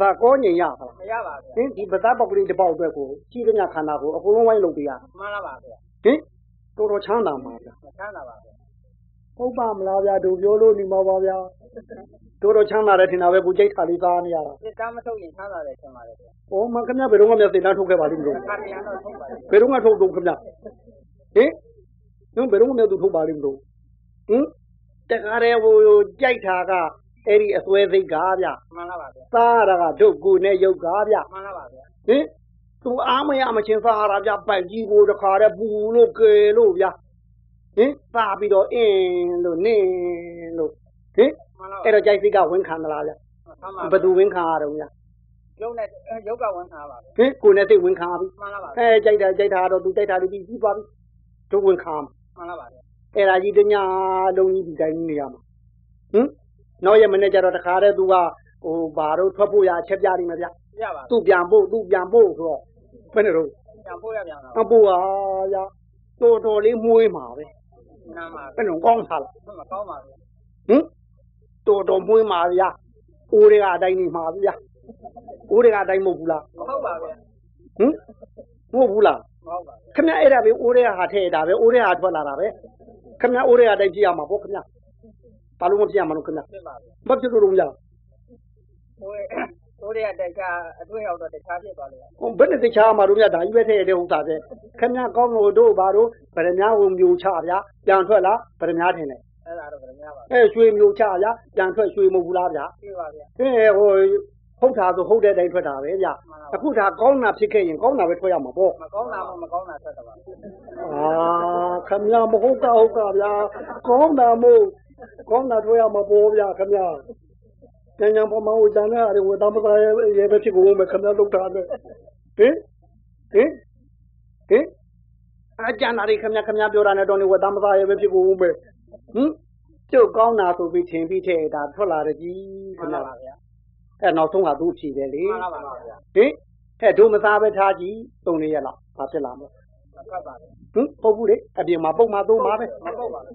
[SPEAKER 1] ဇာကောအငင်ရပါလား
[SPEAKER 2] မရပါဗျာ
[SPEAKER 1] ဟင်ဒီပသားပေါက်ကလေးတစ်ပေါက်အတွက်ကိုကြည့်ရမြခန္ဓာကိုအကုန်လုံးဝိုင်းလုပ်ပေးရ
[SPEAKER 2] မှန်လားပါဗျာ
[SPEAKER 1] ဟင်တော်တော်ချမ်းသာမှာဗျာ
[SPEAKER 2] မချမ်းသာပါဗျာ
[SPEAKER 1] ဟုတ်ပါမလားဗျာတို့ပြောလို့နေမှာပါဗျာတော်တော်ချမ်းသာတယ်ထင်တာပဲကိုကြိတ်ခါလေးသားနေရတာ
[SPEAKER 2] စစ်သားမထုတ်ရင်ချမ်းသာတယ်ထင်ပါတယ်ဗျာ
[SPEAKER 1] ။အော်မခင်ဗျာဘယ်တော့မှမျက်စိနှာထုတ်ခဲ့ပါလိမ့်မလို့
[SPEAKER 2] ခါတရံတော့ထုတ်ပါလေ
[SPEAKER 1] ဘယ်တော့မှထုတ်တော့ခင်ဗျာဟင်ညဘယ်တော့မှမျက်သူထုတ်ပါလိမ့်မလို့ဟင်တခါတည်းဟိုကြိုက်တာကအဲ့ဒီအစွဲစိတ်ကဗျာ
[SPEAKER 2] မှန်လားပါဗျာ
[SPEAKER 1] သားရတာကဒုတ်ကူနဲ့ရုပ်ကဗျာ
[SPEAKER 2] မှန်လားပါဗျာ
[SPEAKER 1] ဟင်သူအားမရမချင်းစားရကြပိုက်ကြီးကိုတခါတည်းပူလို့ကယ်လို့ဗျာဟင်စားပြီးတော့အင်းလို့နင်းလို့ဟင်
[SPEAKER 2] မှန်လား
[SPEAKER 1] အဲ့တော့ကြိုက်စိတ်ကဝင်ခံသလားဗျာဘယ်သူဝင်ခံရတော့ဗျာ
[SPEAKER 2] ရုပ်နဲ့ရုပ်ကဝန်ထားပါဗျာ
[SPEAKER 1] ဟင်ကိုယ်နဲ့စိတ်ဝင်ခံရပြီ
[SPEAKER 2] မှန်လားပါဗျာ
[SPEAKER 1] အဲကြိုက်တာကြိုက်တာတော့သူကြိုက်တာလေးပြီးပြီးပါပြီတို့ဝင်ခံရမှာ
[SPEAKER 2] မှန်လားပါဗျာ
[SPEAKER 1] အဲ့ဒါကြီးတညာလုံးကြီးဒီတိုင်းနေရမှာဟင်နောက်ရက်မနေ့ကျတော့တခါတည်းသူကဟိုဘာတို့ထွက်ဖို့ရအချက်ပြနေမှာဗျာ
[SPEAKER 2] ပြပါ
[SPEAKER 1] သူပြန်ဖို့သူပြန်ဖို့ဆိုတော့ဘယ်နဲ့တော့
[SPEAKER 2] ပြန်ပို့ရပြန်လား
[SPEAKER 1] အပူဟာရတော်တော်လေးမွေးမှာပဲ
[SPEAKER 2] နားပါ
[SPEAKER 1] ဘယ်လိုကောင်းစားလဲ
[SPEAKER 2] မကောင်းပါဘူး
[SPEAKER 1] ဟင်တော်တော်မွေးမှာဗျာအိုးတွေကအတိုင်းနေမှာဗျာအိုးတွေကအတိုင်းမဟုတ်ဘူးလား
[SPEAKER 2] မဟုတ်ပါဗျာ
[SPEAKER 1] ဟင်မဟုတ်ဘူးလား
[SPEAKER 2] မဟုတ်ပါဘူး
[SPEAKER 1] ခင်ဗျအဲ့ဒါပဲအိုးတွေကဟာထဲဒါပဲအိုးတွေကဟာထွက်လာတာပဲခင်ဗျအိုးတွေကအတိုင်းကြည့်ရမှာပေါ့ခင်ဗျဘာလို့မပြရမလို့ခင်ဗျ
[SPEAKER 2] ပြပါဗျာ
[SPEAKER 1] ဘာဖြစ်လို့လုံးကြလား
[SPEAKER 2] ဟိုတို့ရတဲ့ကအတွေ့ရောက်တော့တခြားဖြစ်သွားလေ
[SPEAKER 1] ဟိုဘယ်နဲ့တခြားမှာတို့မြတ်ဒါကြီးပဲထဲရတဲ့ဥစ္စာပဲခင်ဗျကောင်းလို့တို့ဘာတို့ဗရမ ्या ဝင်မျိုးချဗျာပြန်ထွက်လာဗရမ ्या ထင်တယ်
[SPEAKER 2] အဲ့ဒါတော့ပြန်ရပါ
[SPEAKER 1] အဲရွှေမျိုးချဗျာပြန်ထွက်ရွှေမဟုတ်ဘူးလားဗျာ
[SPEAKER 2] ပြပါဗျာ
[SPEAKER 1] အဲဟိုဟုတ်တာဆိုဟုတ်တဲ့အတိုင်းထွက်တာပဲဗျအခုဒါကောင်းတာဖြစ်ခဲ့ရင်ကောင်းတာပဲထွက်ရမှာပေါ့
[SPEAKER 2] မကောင်းတာမှမကောင်းတာဆက်တာပါ
[SPEAKER 1] အာခမရမဟုတ်တာဟုတ်တာဗျာကောင်းတာမို့ကောင်းတာထွက်ရမှာပေါ့ဗျာခမရကျန်ကျန်ပေါ်မှာဟိုကျန်တဲ့အားတွေဝတ်သားမသားရဲပဲဖြစ်ကုန်မယ်ခမရလောက်တာပဲဟင်ဟင်ဟင်အကျန်တာတွေခမရခမရပြောတာနဲ့တော့နေဝတ်သားမသားရဲပဲဖြစ်ကုန်မယ်ဟင်ကျုပ်ကောင်းတာဆိုပြီးထင်ပြီးထဲဒါထွက်လာတယ်ကြီးခ
[SPEAKER 2] မှန်
[SPEAKER 1] မရ
[SPEAKER 2] လားပါဗျာ
[SPEAKER 1] အဲနောက်ဆုံးကသူ့အဖြေပဲလေ
[SPEAKER 2] မှန်လားပါဗျာ
[SPEAKER 1] ဟင်အဲ့တို့မစားပဲထားကြည့်သုံးလေးရက်လောက်ဘာဖြစ်လာမလဲ
[SPEAKER 2] ဖတ်ပါဗျာ
[SPEAKER 1] ဟင်ပုတ်ဘူးလေအပြင်မှာပုတ်မှာသုံးမှာပဲ
[SPEAKER 2] မဟုတ်ပါဘူး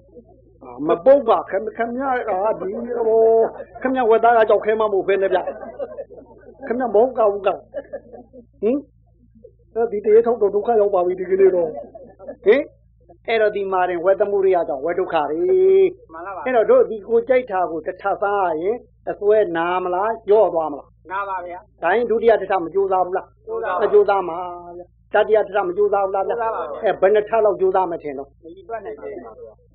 [SPEAKER 1] အာမပုတ်ပါခင်ခင်ဗျာအာဒီဟိုခင်ဗျာဝက်သားကကြောက်ခဲမှမဟုတ်ဖ ೇನೆ ဗျခင်ဗျာမဟုတ်ကဘူးကဟင်အဲ့ဒီတရေထုတ်တော့ဒုက္ခရောက်ပါပြီဒီကနေ့တော့ဟင်အဲ့တော့ဒီမာရင်ဝက်သမှုရိယကြောင့်ဝက်ဒုက္ခတွေ
[SPEAKER 2] မှန်လားပါ
[SPEAKER 1] အဲ့တော့တို့ဒီကိုကြိုက်တာကိုတစ်ထပ်စားရရင်အစွဲနာမလားကြော့သွားမလား
[SPEAKER 2] နာပါဗျာ
[SPEAKER 1] ဒါရင်ဒုတိယတစ်ထပ်မကြိုးစားဘူးလား
[SPEAKER 2] ကြိုးစားပါ
[SPEAKER 1] အကျိုးသားမှာဗျတတိယထပ်မကြိုးစားဘူးလားဗျ
[SPEAKER 2] ကြိုးစားပါဗျ
[SPEAKER 1] အဲဘယ်နှထပ်လောက်ကြိုးစားမထင်တော့
[SPEAKER 2] မကြီးတွက်နိုင်သေးဘူး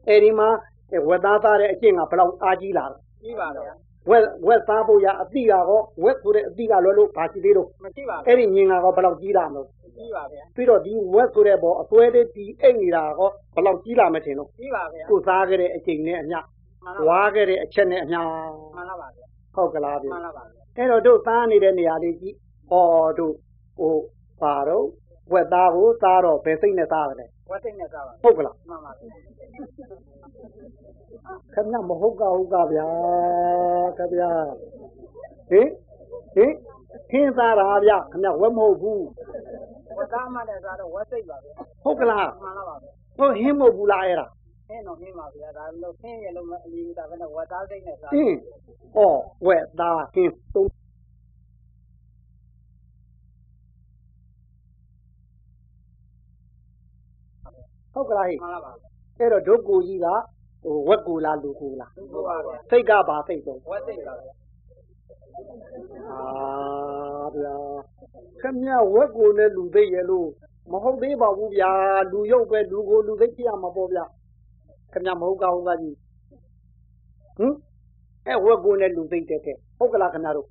[SPEAKER 1] အဲဒီမှာအဲဝက်သားသားတဲ့အကျင့်ကဘယ်လောက်အားကြီးလာလဲ
[SPEAKER 2] ကြီးပါဗျာ
[SPEAKER 1] ဝက်ဝက်သားဖို့ရအတိကရောဝက်ဆိုတဲ့အတိကလွယ်လို့ဘာရှိသေးတော့
[SPEAKER 2] မရှိပါဘူး
[SPEAKER 1] အဲဒီညင်ကရောဘယ်လောက်ကြီးလာမလို့
[SPEAKER 2] ပြီးပါဗျာ
[SPEAKER 1] ပြီးတော့ဒီဝက်ဆိုတဲ့ပေါ်အသွဲလေးဒီအိတ်နေတာဟောဘယ်လောက်ကြီးလာမထင်တော့
[SPEAKER 2] ပြီးပါဗျာ
[SPEAKER 1] ကိုယ်စားခဲ့တဲ့အချိန်နဲ့အမျှ
[SPEAKER 2] မှန်လား
[SPEAKER 1] ဝါခဲ့တဲ့အချက်နဲ့အမျှ
[SPEAKER 2] မှန်လားပါဗျာ
[SPEAKER 1] ဟုတ်ကလားဗျ
[SPEAKER 2] မှန်လားပါဗျာ
[SPEAKER 1] အဲ့တော့တို့သားနေတဲ့နေရာလေးကြီးဟောတို့ဟိုပါတော့ဝက်သားကိုစားတော့ဘယ်စိတ်နဲ့စားရလဲ
[SPEAKER 2] ဝတ်သိမ့်နဲ့စားပါ
[SPEAKER 1] ဟုတ်ကလား
[SPEAKER 2] မှန်ပါဗျာ
[SPEAKER 1] ခင်ဗျမဟုတ်ကဟုတ်ကဗျာခင်ဗျာဟင်ဟင်ခင်းစားတာဗျခင်ဗျဝက်မဟုတ်ဘူး
[SPEAKER 2] ဝတ်သားမှလည်းစားတော့ဝတ်သိမ့်ပါဗျာ
[SPEAKER 1] ဟုတ်ကလား
[SPEAKER 2] မှန်လားပါဗျာ
[SPEAKER 1] ဟုတ်ဟင်းမဟုတ်ဘူးလားအဲ့ဒါ
[SPEAKER 2] ဟင်းတော့ဟင်းပါဗျာဒါလို့ဟင်းရလုံးမအလီဒါပဲနဲ့ဝတ်သားသိမ့်နဲ့စား
[SPEAKER 1] အင်းအော်ဝဲသားဟင်းသုံးဟုတ်ကလားဟဲ့
[SPEAKER 2] မှန်လားပါဗျာ
[SPEAKER 1] အဲ့တော့ဒုက္ကူကြီးကဟိုဝက်ကူလားလူကူလား
[SPEAKER 2] သူ့ပါဗျာ
[SPEAKER 1] စိတ်ကပါစိတ်ဆုံး
[SPEAKER 2] ဝတ်သိမ့်ပါဗျာ
[SPEAKER 1] အာဗျာခမရဝက်ကူနဲ့လူသိရဲ့လို့မဟုတ်သေးပါဘူးဗျာလူရုပ်ပဲလူကိုလူသိကြရမှာပေါ့ဗျာခမရမဟုတ်ကဟုတ်ကကြီးဟင်အဲ့ဝက်ကူနဲ့လူသိတဲ့တဲ့ဟုတ်ကလားခမရတို့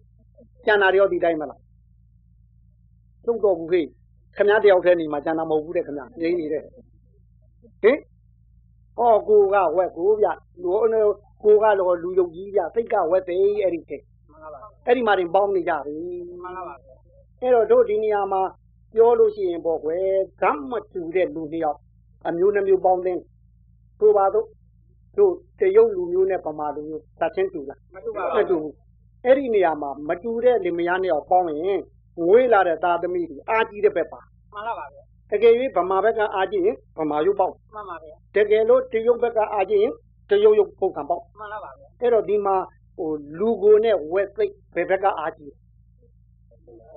[SPEAKER 1] ကျန်တာတွေရောဒီတိုင်းမလားလုံးတော်ဘူးဟေ့ခမရတယောက်တည်းနေမှာကျန်တာမဟုတ်ဘူးတဲ့ခမရငြိမ့်နေတဲ့ဟင်ဟောကိုကဝက်ကူဗျလူကိုကတော့လူရုပ်ကြီးဗျသိကဝက်သိအဲ့ဒီတဲ့
[SPEAKER 2] မှန်လားပါ
[SPEAKER 1] အဲ့ဒီမှာတင်ပေါင်းနေကြပြီ
[SPEAKER 2] မှန်လားပါဗျာ
[SPEAKER 1] အဲ့တော့တို့ဒီနေရာမှာပြောလို့ရှိရင်ပေါ့ကွယ်ဓမ္မတူတဲ့လူတစ်ယောက်အမျိုးနှမျိုးပေါင်းတဲ့ဆိုပါတော့တို့တရုတ်လူမျိုးနဲ့ဗမာလူမျိုးသတ်ချင်းတူလား
[SPEAKER 2] မတူပါ
[SPEAKER 1] မ
[SPEAKER 2] ဘူး
[SPEAKER 1] တူဘူးအဲ့ဒီနေရာမှာမတူတဲ့လင်မယားနဲ့ရောပေါင်းရင်ငွေလာတဲ့သာသမီတွေအာကြီးတဲ့ဘက်ပါ
[SPEAKER 2] မှန်လားပါဗျာ
[SPEAKER 1] တကယ်၍ဗမာဘက်ကအာကြီးရင်ဗမာရုပ်ပေါက်
[SPEAKER 2] မှန်ပါဗျာ
[SPEAKER 1] တကယ်လို့တရုတ်ဘက်ကအာကြီးရင်တရုတ်ရုပ်ပုံကံပေါက်
[SPEAKER 2] မှန်လားပါဗျာ
[SPEAKER 1] အဲ့တော့ဒီမှာဟိုလူကိုနဲ့ဝက်စိတ်ဘယ်ဘက်ကအာကြီး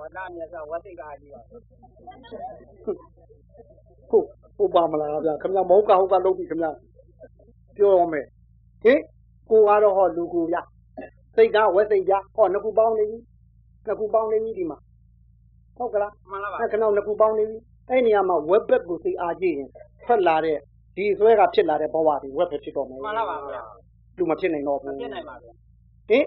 [SPEAKER 2] ဝတ်သားနဲ့စားဝတ်သိမ့်ကအကြီးပါဗျာ
[SPEAKER 1] ဟုတ်ဟုတ်ပါမလားဗျာခင်ဗျာမဟုတ်ကဟုတ်ကလုပ်ပြီခင်ဗျာပြောရမယ်ဟင်ကိုကတော့ဟောလူကိုဗျာစိတ်ကဝက်စိတ်ဗျာဟောနှစ်ခုပေါင်းနေပြီနှစ်ခုပေါင်းနေပြီဒီမှာဟုတ်ကလား
[SPEAKER 2] မှန်လားပါ
[SPEAKER 1] အဲခဏနှစ်ခုပေါင်းနေပြီအဲ့နေရာမှာဝက်ဘက်ကိုစိတ်အားကြည့်ရင်ထွက်လာတဲ့ဒီဆွဲကဖြစ်လာတဲ့ဘဝတွေဝက်ပဲဖြစ်တော့မယ်
[SPEAKER 2] မှန်လားပါဗျာ
[SPEAKER 1] လူမဖြစ်နိုင်တော့
[SPEAKER 2] မ
[SPEAKER 1] ဘူး
[SPEAKER 2] ပြစ်နိုင်ပါဗျာ
[SPEAKER 1] ဟင်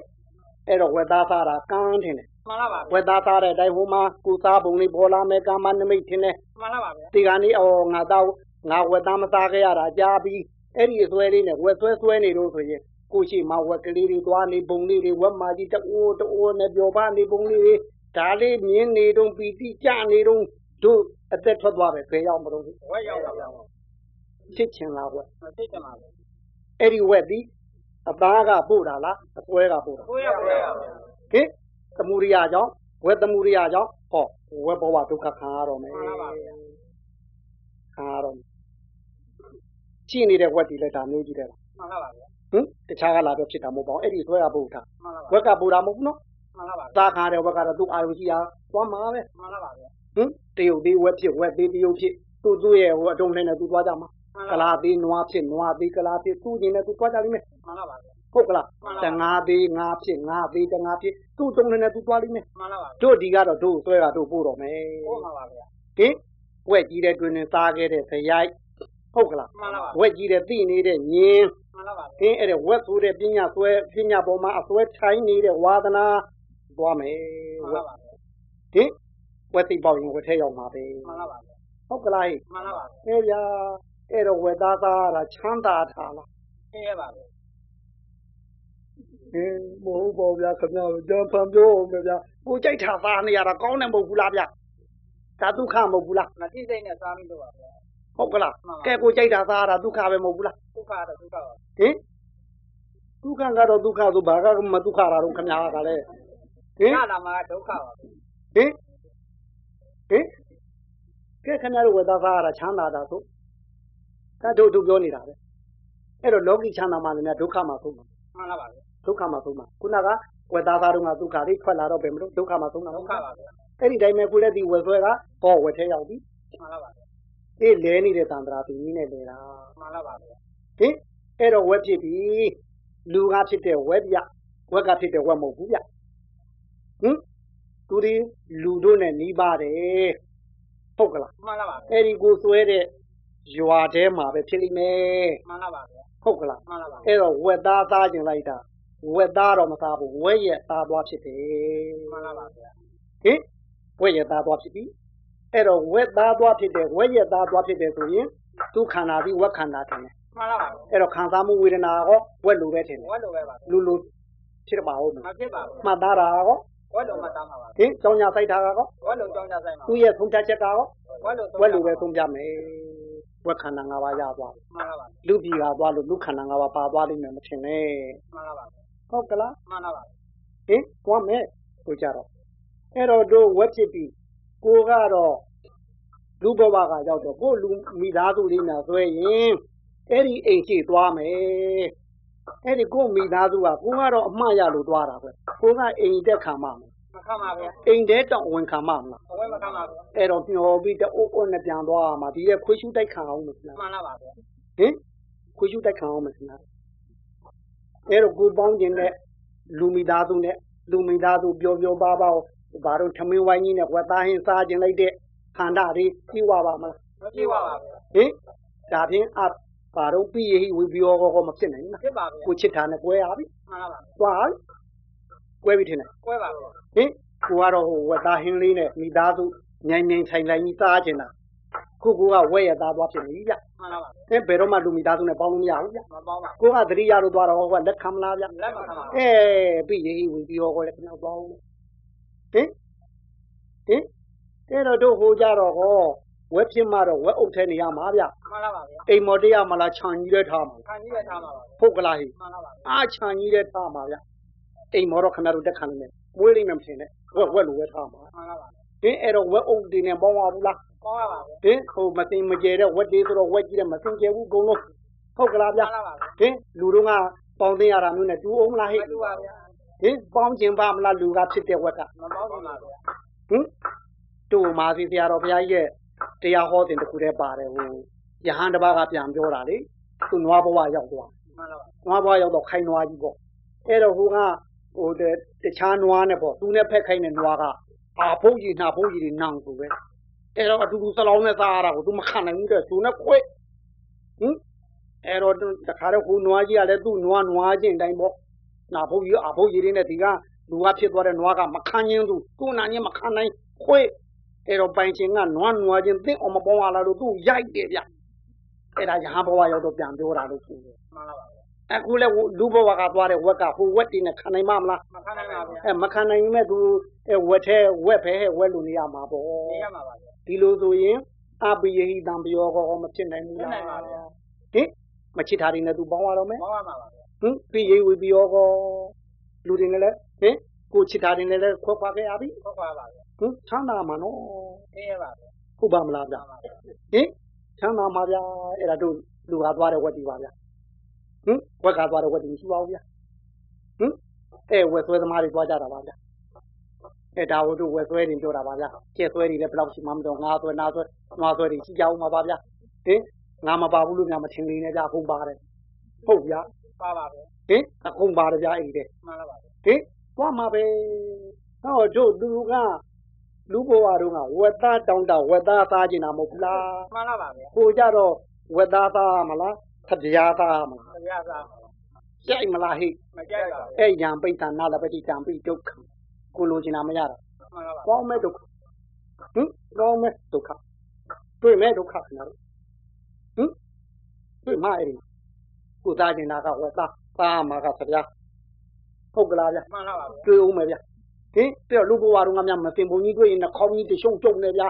[SPEAKER 1] အဲ့တော့ဝက်သားစားတာကန်းထင်တယ်
[SPEAKER 2] မှန်လားပါ
[SPEAKER 1] ဝ
[SPEAKER 2] ဗျာ
[SPEAKER 1] က်သားစားတဲ့အတိုင်းဟိုမှာကိုစားပုံလေးပေါ်လာမယ်ကာမနမိတ်ထင်တယ်
[SPEAKER 2] မှန်လားပါဗျာ
[SPEAKER 1] ဒီကနေ့အော်ငါတော့ငါဝက်သားမသားခဲ့ရတာကြားပြီးအဲ့ဒီအစွဲလေးနဲ့ဝက်ဆွဲဆွဲနေလို့ဆိုရင်ကိုရှိမှဝက်ကလေးတွေသွားနေပုံလေးတွေဝက်မာကြီးတအိုးတအိုးနဲ့ပျော်ပါနေပုံလေးတွေဒါလေးမြင်နေတုံးပီတိကြနေတုံးတို့အသက်ထွက်သွားပဲဘယ်ရောက်မလို့
[SPEAKER 2] ဝတ်ရောက်တော့
[SPEAKER 1] ချစ်ချင်လားဝက်
[SPEAKER 2] မသိတယ်မှာပဲ
[SPEAKER 1] အဲ့ဒီဝက်ဒီအသားကပို့တာလားအစွဲကပို့တာ
[SPEAKER 2] ကိုရပါပဲ
[SPEAKER 1] ဟင်သမှုရိယကြောင့်ဝက်သမှုရိယကြောင့်ဟောဝက်ဘဝဒုက္ခခံရတော့မယ်
[SPEAKER 2] မှန်လားပါဗျာ
[SPEAKER 1] ခံရတော့မယ်ရှိနေတဲ့ဝက်ဒီလည်းဒါမျိုးကြီးတယ်
[SPEAKER 2] မှန်လားပါဗျာ
[SPEAKER 1] ဟင်တခြားကလာတော့ဖြစ်တာမဟုတ်ပါဘူးအဲ့ဒီဆွဲကပို့တာ
[SPEAKER 2] မှန်လားပါ
[SPEAKER 1] ဝက်ကပို့တာမဟုတ်ဘူးနော်
[SPEAKER 2] မှန်လားပါ
[SPEAKER 1] သာခါတဲ့ဝက်ကတော့သူ့အာယုရှိတာသွားမှာပဲ
[SPEAKER 2] မှန်လားပါဗျာ
[SPEAKER 1] ဟင်တရုတ်သေးဝက်ဖြစ်ဝက်သေးတရုတ်ဖြစ်သူ့သူ့ရဲ့ဟိုအတုံးနဲ့နဲ့သူသွားကြမှာကလာသေးနွားဖြစ်နွားသေးကလာဖြစ်သူ့ညီနဲ့သူသွားကြလိမ့်မယ်
[SPEAKER 2] မှန်လားပါဗျာ
[SPEAKER 1] ဟုတ်ကလားတငါသေးငါဖြစ်ငါသေးတငါဖြစ်သူ့အတုံးနဲ့နဲ့သူသွားလိမ့်မယ်
[SPEAKER 2] မှန်လားပါ
[SPEAKER 1] တို့ဒီကတော့တို့ဆွဲတာတို့ပို့တော်မယ်
[SPEAKER 2] ကိုမှာပါဗျာ
[SPEAKER 1] ဟင်ဝက်ကြီးတဲ့တွင်တွင်သားခဲ့တဲ့ဇရိုက်ဟုတ်ကလား
[SPEAKER 2] မှန်လားပါ
[SPEAKER 1] ဝက်ကြီးတဲ့သိနေတဲ့ညင်း
[SPEAKER 2] မှန်လားပါ
[SPEAKER 1] သင်အဲ့ဒါဝက်ဆိုတဲ့ပညာဆွဲပညာပေါ်မှာအဆွဲထိုင်းနေတဲ့ဝါသနာသွားမယ်
[SPEAKER 2] မှ
[SPEAKER 1] ဝ
[SPEAKER 2] န်လား
[SPEAKER 1] က်
[SPEAKER 2] ပါ
[SPEAKER 1] ဟင်ဝက်သိပ်ပေါက်ရင်ဝက်ထဲရောက်မှာပဲ
[SPEAKER 2] မှန်လားပါ
[SPEAKER 1] ဟုတ်ကလားဟဲ့
[SPEAKER 2] မှန်လားပါ
[SPEAKER 1] အဲဗျာအဲ့တော့ဝက်သားသားရတာချမ်းသာတာလား
[SPEAKER 2] သိရပါဗျာ
[SPEAKER 1] ဟင်မဟုတ်ပါဘူးဗျာခင်ဗျာကျွန်တော်ဖန်ပြောအောင်ပဲဗျာကိုကြိုက်တာသားနေရတာကောင်းတယ်မဟုတ်ဘူးလားဗျာဒါဒုက္ခမဟုတ်ဘူးလား
[SPEAKER 2] မသိစိတ်နဲ့စားမိလို့ပါဗျာ
[SPEAKER 1] ဟုတ်ကလား
[SPEAKER 2] မှန်ပါ
[SPEAKER 1] ကဲကိုကြိုက်တာသားရတာဒုက္ခပဲမဟုတ်ဘူးလား
[SPEAKER 2] ဒုက္ခတော့ဒုက္ခပါ
[SPEAKER 1] ဟင်ဒုက္ခကတော့ဒုက္ခဆိုဘာကမဒုက္ခတာတော့ခင်ဗျာကလည်းဟင်
[SPEAKER 2] ရလာမှာဒုက္ခပါ
[SPEAKER 1] ဟင်ဟင်ကဲခဏတော့ဝေသားသားရတာချမ်းသာတာဆိုဒါတို့တို့ပြောနေတာပဲအဲ့တော့လောကီချမ်းသာမှလည်းများဒုက္ခမှဆုံးမှာ
[SPEAKER 2] မှန်လားပါဗျာ
[SPEAKER 1] ဒုက္ခမှဆုံးမှာခုနကဝေသားသားတို့ကဒုက္ခလေးထွက်လာတော့ဘယ်မလို့ဒုက္ခမှဆုံးတာ
[SPEAKER 2] ဒုက္ခပါဗျာ
[SPEAKER 1] အဲ့ဒီတိုင်းပဲကိုလည်းဒီဝေဆွဲကပေါ်ဝေထဲရောက်ပြီ
[SPEAKER 2] မှန်လားပါဗျာ
[SPEAKER 1] အေးလဲနေတဲ့သံတရာပြီးကြီးနဲ့လဲတာ
[SPEAKER 2] မှန်လားပါဗျာ
[SPEAKER 1] ဟင်အဲ့တော့ဝက်ဖြစ်ပြီလူကဖြစ်တဲ့ဝက်ပြဝက်ကဖြစ်တဲ့ဝက်မဟုတ်ဘူးဗျဟင်သူဒီလူတို့နဲ့နှီးပါတယ်ဟုတ်ကလား
[SPEAKER 2] မှန်လားပါဗျာ
[SPEAKER 1] အဲ့ဒီကိုဆွဲတဲ့ရွာထဲမှာပဲဖြစ်လိမ့်မယ်
[SPEAKER 2] မှန်လားပါဗျာ
[SPEAKER 1] ဟုတ်ကလား
[SPEAKER 2] မှန်လားပါ
[SPEAKER 1] အဲ့တော့ဝက်သားစားကျင်လိုက်တာဝက်သားတော့မစားဘူးဝက်ရဲ့သားသွားဖြစ်တယ်
[SPEAKER 2] မှန်လားပါဗျာ
[SPEAKER 1] ဟင်ဝက်ရဲ့သားသွားဖြစ်ပြီ အဲ့တော့ဝက်သားသွားဖြစ်တယ်ဝက်ရက်သားသွားဖြစ်တယ်ဆိုရင်သူခန္ဓာပြီးဝက်ခန္ဓာထင်တယ်
[SPEAKER 2] မှန်လားပါ
[SPEAKER 1] အဲ့တော့ခံစားမှုဝေဒနာရောဝက်လိုပဲထင်တယ်
[SPEAKER 2] ဝတ်လိုပဲပါ
[SPEAKER 1] လူလူဖြစ်ပါဦးမ
[SPEAKER 2] မ
[SPEAKER 1] လား
[SPEAKER 2] ဖြစ်ပါဘူး
[SPEAKER 1] မှတ်သားတာရော
[SPEAKER 2] ဝတ်လိုမှတားမှာပါ
[SPEAKER 1] ဟင်ကြောင်ညာစိုက်တာရော
[SPEAKER 2] ဝတ်လိုကြောင်းကြဆိုင်မှာ
[SPEAKER 1] သူ့ရဲ့ဖုန်တက်ချက်ကရော
[SPEAKER 2] ဝတ်လို
[SPEAKER 1] ဝက်လိုပဲသုံးပြမယ်ဝက်ခန္ဓာ၅ပါးရသွားတယ်
[SPEAKER 2] မှန်လားပါ
[SPEAKER 1] လူပြည်ဟာသွားလို့လူခန္ဓာ၅ပါးပါသွားလိမ့်မယ်မထင်နဲ့
[SPEAKER 2] မှန်လားပါ
[SPEAKER 1] ဟုတ်ကလား
[SPEAKER 2] မှန်လားပါ
[SPEAKER 1] ဟင်သွားမယ်ဆိုကြတော့အဲ့တော့တို့ဝက်ဖြစ်ပြီကိုကတော့လူဘဝကရောက်တော့ကိုလူမိသားစုလေးနဲ့ဆွဲရင်အဲ့ဒီအိမ်ရှိသွားမယ်အဲ့ဒီကိုမိသားစုကကိုကတော့အမှားရလို့သွားတာပဲကိုကအိမ်တက်ခံမမယ်
[SPEAKER 2] မခတ်ပါဗျာ
[SPEAKER 1] အိမ်တဲတောင်ဝင်ခံမမလား
[SPEAKER 2] အဝဲမခတ်ပါဘူး
[SPEAKER 1] အဲ့တော့မျောပြီးတအုပ်အုပ်နဲ့ပြန်သွားရမှာဒီရဲ့ခွေးရှူးတိုက်ခံအောင်လို့လား
[SPEAKER 2] မှန်လားပါဗျာ
[SPEAKER 1] ဟင်ခွေးရှူးတိုက်ခံအောင်မစလားအဲ့တော့ကိုပေါင်းခြင်းနဲ့လူမိသားစုနဲ့လူမိသားစုပျော်ပျော်ပါပါဘာတို့ထမင်းဝိုင်းကြီးနဲ့ဝက်သားဟင်းစားခြင်းလိုက်တဲ့ခန္ဓာတွေကြီးဝပါမလား
[SPEAKER 2] မပြေပါပါဗျာ
[SPEAKER 1] ဟင်ဒါဖြင့်အဘာတို့ပြည့်ဟိဝိပယောကောကောမဖြစ်နိုင်ဘူး
[SPEAKER 2] မ
[SPEAKER 1] လား
[SPEAKER 2] ဖြစ်ပါဗျာ
[SPEAKER 1] ကိုချစ်တာနဲ့ကွဲရပြီ
[SPEAKER 2] မှန်လားပါ
[SPEAKER 1] ကွာပြီကွဲပြီထင်တယ်
[SPEAKER 2] ကွဲပါဗျာ
[SPEAKER 1] ဟင်ကိုကတော့ဟိုဝက်သားဟင်းလေးနဲ့မိသားစုညင်ညင်ဆိုင်ဆိုင်ကြီးစားခြင်းလားခုကူကဝက်ရသားသွားဖြစ်နေပြီဗျ
[SPEAKER 2] မှန်လားပါ
[SPEAKER 1] အဲဘယ်တော့မှလူမိသားစုနဲ့ပေါင်းလို့မရဘူးဗျ
[SPEAKER 2] မပေါင်းပါ
[SPEAKER 1] ကိုကသတိရလို့သွားတော့ဟိုကလက်ခံမလားဗျ
[SPEAKER 2] လက်မခတ်ပါဘူး
[SPEAKER 1] အဲပြီးရင်ဝင်ပြီးတော့ခေါ်တယ်ခဏပေါင်းဟင်ဟင်အဲ့တော့တို့ဟိုကြတော့ဟောဝက်ဖြစ်မှတော့ဝက်အုပ်ထဲနေရမှာဗျ
[SPEAKER 2] မှန်လားပါဗျာ
[SPEAKER 1] အိမ်မော်တရားမလားခြံကြီးလဲထားမှာ
[SPEAKER 2] ခံကြီးပဲထားမှာပါ
[SPEAKER 1] ဟုတ်ကလားဟိ
[SPEAKER 2] မှန်လားပါ
[SPEAKER 1] အာခြံကြီးလဲထားမှာဗျအိမ်မော်တော့ခဏတို့တက်ခံနေတယ်မွေးလိမ့်မယ်မထင်နဲ့ဝက်ဝက်လိုဝက်ထားမှာ
[SPEAKER 2] မှန်လားပါ
[SPEAKER 1] ဟင်အဲ့တော့ဝက်အုပ်တွေနဲ့ပေါင်းရဘူးလား
[SPEAKER 2] ပေါင်းရပါဗျာ
[SPEAKER 1] ဟင်ဟိုမသိမကျဲတဲ့ဝက်တွေဆိုတော့ဝက်ကြီးတဲ့မသိကျဲဘူးအကုန်လုံးဟုတ်ကလား
[SPEAKER 2] မှ
[SPEAKER 1] ဗျ
[SPEAKER 2] န်လားပါဗျာ
[SPEAKER 1] ဟင်လူတို့ကပေါင်းသိရတာမျိုးနဲ့တူအောင်မလားဟိ
[SPEAKER 2] မတူပါဗျာ
[SPEAKER 1] ဟင်ပေါင်းကျင်ပါမလားလူကဖြစ်တဲ့ဝက်က
[SPEAKER 2] မပေါင်းဘူးပါဗျာ
[SPEAKER 1] ဟင်တူမာစီဆရာတော်ဘုရားကြီးရဲ့တရားဟောတင်တစ်ခုတည်းပါတယ်ဟိုယဟန်တစ်ပါးကပြန်ပြောတာလေသူနွားဘဝရောက်သွား
[SPEAKER 2] မှန်လားပါ
[SPEAKER 1] နွားဘဝရောက်တော့ခိုင်နွားကြီးပေါ့အဲ့တော့ဟိုကဟိုတတခြားနွားနဲ့ပေါ့သူနဲ့ဖက်ခိုင်းတဲ့နွားကအာဖုတ်ကြီးနှာဖုတ်ကြီးတွေနောင်ဆိုပဲအဲ့တော့အတူတူစလောင်းနဲ့စားရတာကိုသူမခံနိုင်ဘူးတဲ့သူနဲ့ခွဲ့ဟင်အဲ့တော့တခါတော့ဟိုနွားကြီးကလည်းသူ့နွားနွားချင်းအတိုင်းပေါ့နှာဖုတ်ကြီးအာဖုတ်ကြီးတွေနဲ့ဒီကလူကဖြစ်သွားတဲ့နွားကမခံရင်သူသူ့နာချင်းမခံနိုင်ခွဲ့အဲ့တော့ပိုင်ချင်းကနွားနွားချင်းသင့်အောင်မပေါင်းရလားလို့သူ့ရိုက်တယ်ဗျအဲ့ဒါရဟန်းဘဝရောက်တော့ပြန်ပြောတာလို့ဆိုတယ်
[SPEAKER 2] မှန်လားပါဗျာ
[SPEAKER 1] အခုလည်းလူဘဝကသွားတဲ့ဝက်ကဟိုဝက်တင်နဲ့ခံနိုင်မမလား
[SPEAKER 2] မခတ်နိုင်ပါဗျာ
[SPEAKER 1] အဲမခံနိုင်ရင်မဲ့သူအဲဝက်ထဲဝက်ပဲဟဲ့ဝက်လူနေရမှာပေါ့
[SPEAKER 2] နေရမှာပါဗျာ
[SPEAKER 1] ဒီလိုဆိုရင်အပိယဟိတံပယောကောမဖြစ်နိုင်ဘူး
[SPEAKER 2] နေ
[SPEAKER 1] လား
[SPEAKER 2] နိုင်ပါဗျာ
[SPEAKER 1] ဟင်မချစ်တာတွေနဲ့သူပေါင်းရတော့မယ်
[SPEAKER 2] ပေါင်းရမှာပါဗျာ
[SPEAKER 1] ဟင်ပိယဝိပယောကောလူတွေနဲ့လည်းဟင်ကိုချစ်တာတွေနဲ့လည်းခွဲခွာခဲ့ရပြီ
[SPEAKER 2] ဟုတ်ပါပါဗျာ
[SPEAKER 1] ဟင်ချမ်းသာမှာနော်
[SPEAKER 2] သိရပါဗျာ
[SPEAKER 1] ဟုတ်ပါမလားဗျ
[SPEAKER 2] မှန်ပါဗျာ
[SPEAKER 1] ဟင်ချမ်းသာမှာဗျအဲ့ဒါတို့လူကသွားတဲ့ဝက်တီပါဗျဟင်ဝက်ကသွားတဲ့ဝက်တီမရှိပါဘူးဗျဟင်အဲဝက်ဆွဲသမားတွေသွားကြတာပါဗျ အဲဒါဝတ္ထုဝယ်ဆွဲနေပြောတာပါဗျာကျက်ဆွဲနေလည်းဘယ်လောက်ရှိမှမတော့ငါဆွဲနာဆွဲနွားဆွဲတွေရှိကြအောင်ပါပါဗျာဟင်ငါမပါဘူးလို့များမထင်နေနဲ့ကြာဟုတ်ပါတယ်ဟုတ်ဗျာ
[SPEAKER 2] ပါပါဗျာ
[SPEAKER 1] ဟင်အကုန်ပါတယ်ဗျာအဲ့ဒီတဲ့
[SPEAKER 2] မှန်လားပါဗျာ
[SPEAKER 1] ဟင်သွားမှာပဲဟောတို့သူကလူဘဝတုန်းကဝက်သားတောင်းတာဝက်သားသားကျင်တာမဟုတ်ဘူးလား
[SPEAKER 2] မှန်လားပါဗျာ
[SPEAKER 1] ကိုကြတော့ဝက်သားသားမလားသတရားသားမလား
[SPEAKER 2] တရားစား
[SPEAKER 1] ကြိုက်မလားဟိ
[SPEAKER 2] မကြိုက်ပါဘူး
[SPEAKER 1] အဲ့ရန်ပိဋ္ဌာနာလပတိတံပိဒုက္ခကိုလိုချင်တာမရတာ
[SPEAKER 2] မှန်လားပါ
[SPEAKER 1] ကောင်းမဲ့ဒုက္ခဟင်ကောင်းမဲ့ဒုက္ခတွေ့မဲ့ဒုက္ခခင်ဗျားတို့ဟင်တွေ့မှအဲ့ဒီကိုသားကျင်တာကဝက်သားသားမှာကဆရာဟုတ်ကလားဗျာ
[SPEAKER 2] မှန်လားပါဗျာ
[SPEAKER 1] တွေ့ဦးမယ်ဗျာဟင်ပြီးတော့လူဘဝတုန်းကများမသိဘုံကြီးတွေ့ရင်နှာခေါင်းကြီးတရှုံကျုံနေဗျာ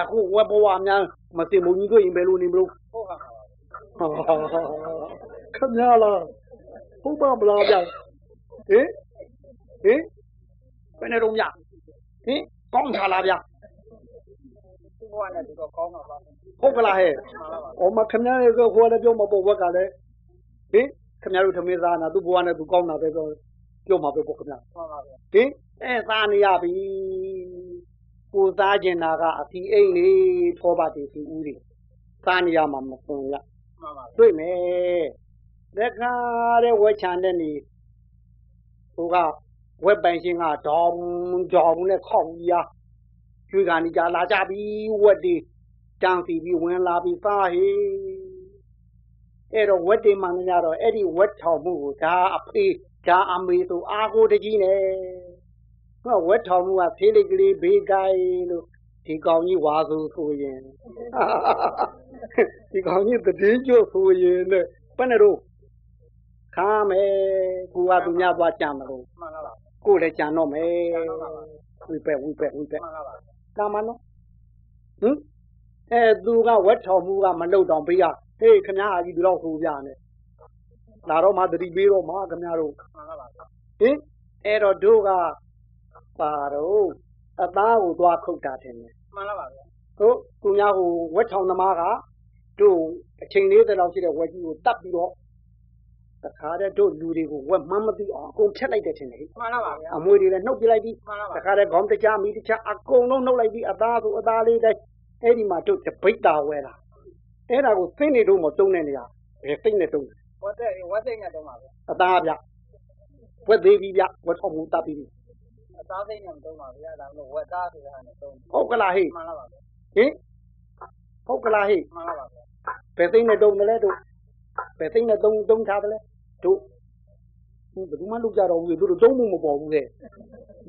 [SPEAKER 1] အခုဝက်ဘဝများမသိဘုံကြီးတွေ့ရင်ဘယ်လိုနေမလို့
[SPEAKER 2] ဟုတ်ပါပါဗျာ
[SPEAKER 1] ခင်ဗျားလားဟုတ်ပါမလားဗျာဟင်ဟင်ဘယ်နဲ့တော့ဗျာဟင်ကောင်းချလားဗျာ
[SPEAKER 2] သူ့ဘဝနဲ့သူတော့ကောင်းပါပါ
[SPEAKER 1] ဟုတ်ကလားဟဲ့
[SPEAKER 2] မှန်လားပါ
[SPEAKER 1] ။အော်မခင်ဗျားရဲ့ခေါ်လည်းပြောမှာပေါ့ဝက်ကလည်းဟင်ခင်ဗျားတို့ထမင်းစားနာသူ့ဘဝနဲ့သူကောင်းတာပဲပြောပြောမှာပဲပေါ့ခင်ဗျာ
[SPEAKER 2] မှန်ပါဗျာ
[SPEAKER 1] ။ဟင်အဲစားနေရပြီ။ကိုစားကျင်တာကအတီအိမ်နေထောပါတီစီဦးတွေစားနေရမှာမကွန်ရ
[SPEAKER 2] မှန်ပါဗျာ
[SPEAKER 1] တွေ့မယ်။လက်ကားတဲ့ဝက်ချန်တဲ့နေဟိုကဝက်ပိုင်ရှင်ကဒေါင်ဒေါင်နဲ့ခောက်ကြီးရကျွေးကန်ကြီးကြလာကြပြီဝက်တွေ တန်းစီပြီးဝင်လာပြီးပါဟေအဲ့တော့ဝက်တေမန်ရတော့အဲ့ဒီဝက်ထောင်မှုကိုဒါအဖေးဒါအမေဆိုအာကိုတကြီးနဲ့ဟောဝက်ထောင်မှုကဖေးလေးကလေးဘေးကိုင်လို့ ဒီကောင်ကြီးဝါဆိုဆိုရင်ဟာ [LAUGHS] ဒီကောင်ကြီးတတိကျွတ်ဆိုရင်နဲ့ဘယ်နဲ့တော့ခါမယ်ကိုကသူများသွားကြံမလို့
[SPEAKER 2] မှန်လားပါ
[SPEAKER 1] ကိုလည်းကြံတော့မယ်
[SPEAKER 2] ကျန်တော့ပါပါ
[SPEAKER 1] ဝိပက်ဝိပက်ဝိပက်
[SPEAKER 2] မှန်လားပါ
[SPEAKER 1] တာမန်နော်ဟင်အဲသူကဝက်ထော်မှုကမလုံတော့ဘေးကဟေးခမည်းဟာကြီးဒီလောက်ဆိုပြနဲ့လာတော့မှတတိပေးတော့မှခမည်းတို့
[SPEAKER 2] မှန်လားပါ
[SPEAKER 1] ဟင်အဲ့တော့တို့ကပါတော့အသားကိုသွားခုတ်တာထင်တယ်
[SPEAKER 2] မှန်လားပါ
[SPEAKER 1] ဟုတ်သူများဟိုဝက်ထောင်သမားကတို့အချိန်လေးတလောက်ရှိတဲ့ဝက်ကြီးကိုတတ်ပြီးတော့တခါတည်းတို့လူတွေကိုဝက်မှန်းမသိအောင်အကုန်ဖြတ်လိုက်တယ်ထင်တယ်ဟိ
[SPEAKER 2] မှန်လားပါဗျာ
[SPEAKER 1] အမွေတွေလည်းနှုတ်ပြလိုက်ပြီး
[SPEAKER 2] မှန်လားပါ
[SPEAKER 1] တခါတည်းခေါင်းတစ်ချမိတစ်ချအကုန်လုံးနှုတ်လိုက်ပြီးအသားဆိုအသားလေးတိုင်းအဲ့ဒီမှာတို့တပိတ်တာဝဲလာအဲ့ဒါကိုသိနေတို့မတုံးတဲ့နေရာဘယ်သိနေတုံးလဲ
[SPEAKER 2] ဝတ်တဲ့ဝတ်တဲ့ညတော့ပါဗျာ
[SPEAKER 1] အသားဗျဝက်သေးပြီးဗျဝက်ထောင်မူတတ်ပြီးပြီ
[SPEAKER 2] အသားသိညမတော့ပါဗျာဒါမျိုးဝတ်သားဆိုတာနဲ့တော့
[SPEAKER 1] ဟုတ်ကလားဟေ့
[SPEAKER 2] မှန်လားပါဗျာ
[SPEAKER 1] ဟင်ဟုတ်ကလားဟိ
[SPEAKER 2] မှန်လားပါဗျာ
[SPEAKER 1] ဘယ်သိမ့်နဲ့တုံးတယ်လဲတို့ဘယ်သိမ့်နဲ့တုံးတုံးထားတယ်လဲတို့ဟင်ဘယ်သူမှလုပ်ကြတော့ဘူးလေတို့တို့တုံးမှုမပေါ်ဘူးလေ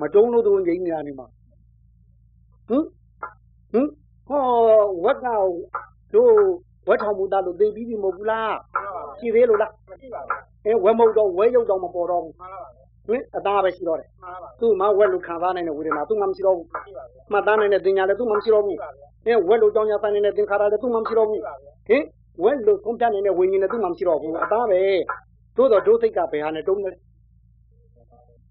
[SPEAKER 1] မတုံးလို့တို့ငြိမ်းနေတာနေမှာဟင်ဟင်ဟောဝက်ကတို့ဝက်ထောင်မူတာလို့သိပြီးပြီမဟုတ်ဘူးလား
[SPEAKER 2] မှန်လားပါ
[SPEAKER 1] ရှိသေးလို့လား
[SPEAKER 2] မရှိပါ
[SPEAKER 1] အဲ
[SPEAKER 2] ဘူး
[SPEAKER 1] ဝက်မဟုတ်တော့ဝဲရုပ်တော့မပေါ်တော့ဘူး
[SPEAKER 2] မှန်လားပါဗျာ
[SPEAKER 1] ဟင်အသားပဲရှိတော့တယ်
[SPEAKER 2] မှန်လားပါ
[SPEAKER 1] သူ့မှာဝက်လို့ခံစားနိုင်တဲ့ဝေဒနာသူ့မှာမရှိတော့ဘူး
[SPEAKER 2] ရှိပါဗျာ
[SPEAKER 1] မှတ်သားနိုင်တဲ့တင်ညာလည်းသူ့မှာမရှိတော့ဘူး
[SPEAKER 2] ရှိပါဗျာ
[SPEAKER 1] အဲဝက်လို့ကြောင်းရဆိုင်နေတဲ့သင်္ခါရလည်းသူ့မှာမရှိတော့
[SPEAKER 2] ရှိ
[SPEAKER 1] ဘူး
[SPEAKER 2] ပါဗျာ
[SPEAKER 1] ဟင်ဝဲလို့ဆုံးဖြတ်နေတဲ့ဝိညာဉ်နဲ့သူ့မှာမရှိတော့ဘူးအသားပဲသို့တော့ဒုစိတ်ကဘယ်ဟာနဲ့တုံးလဲ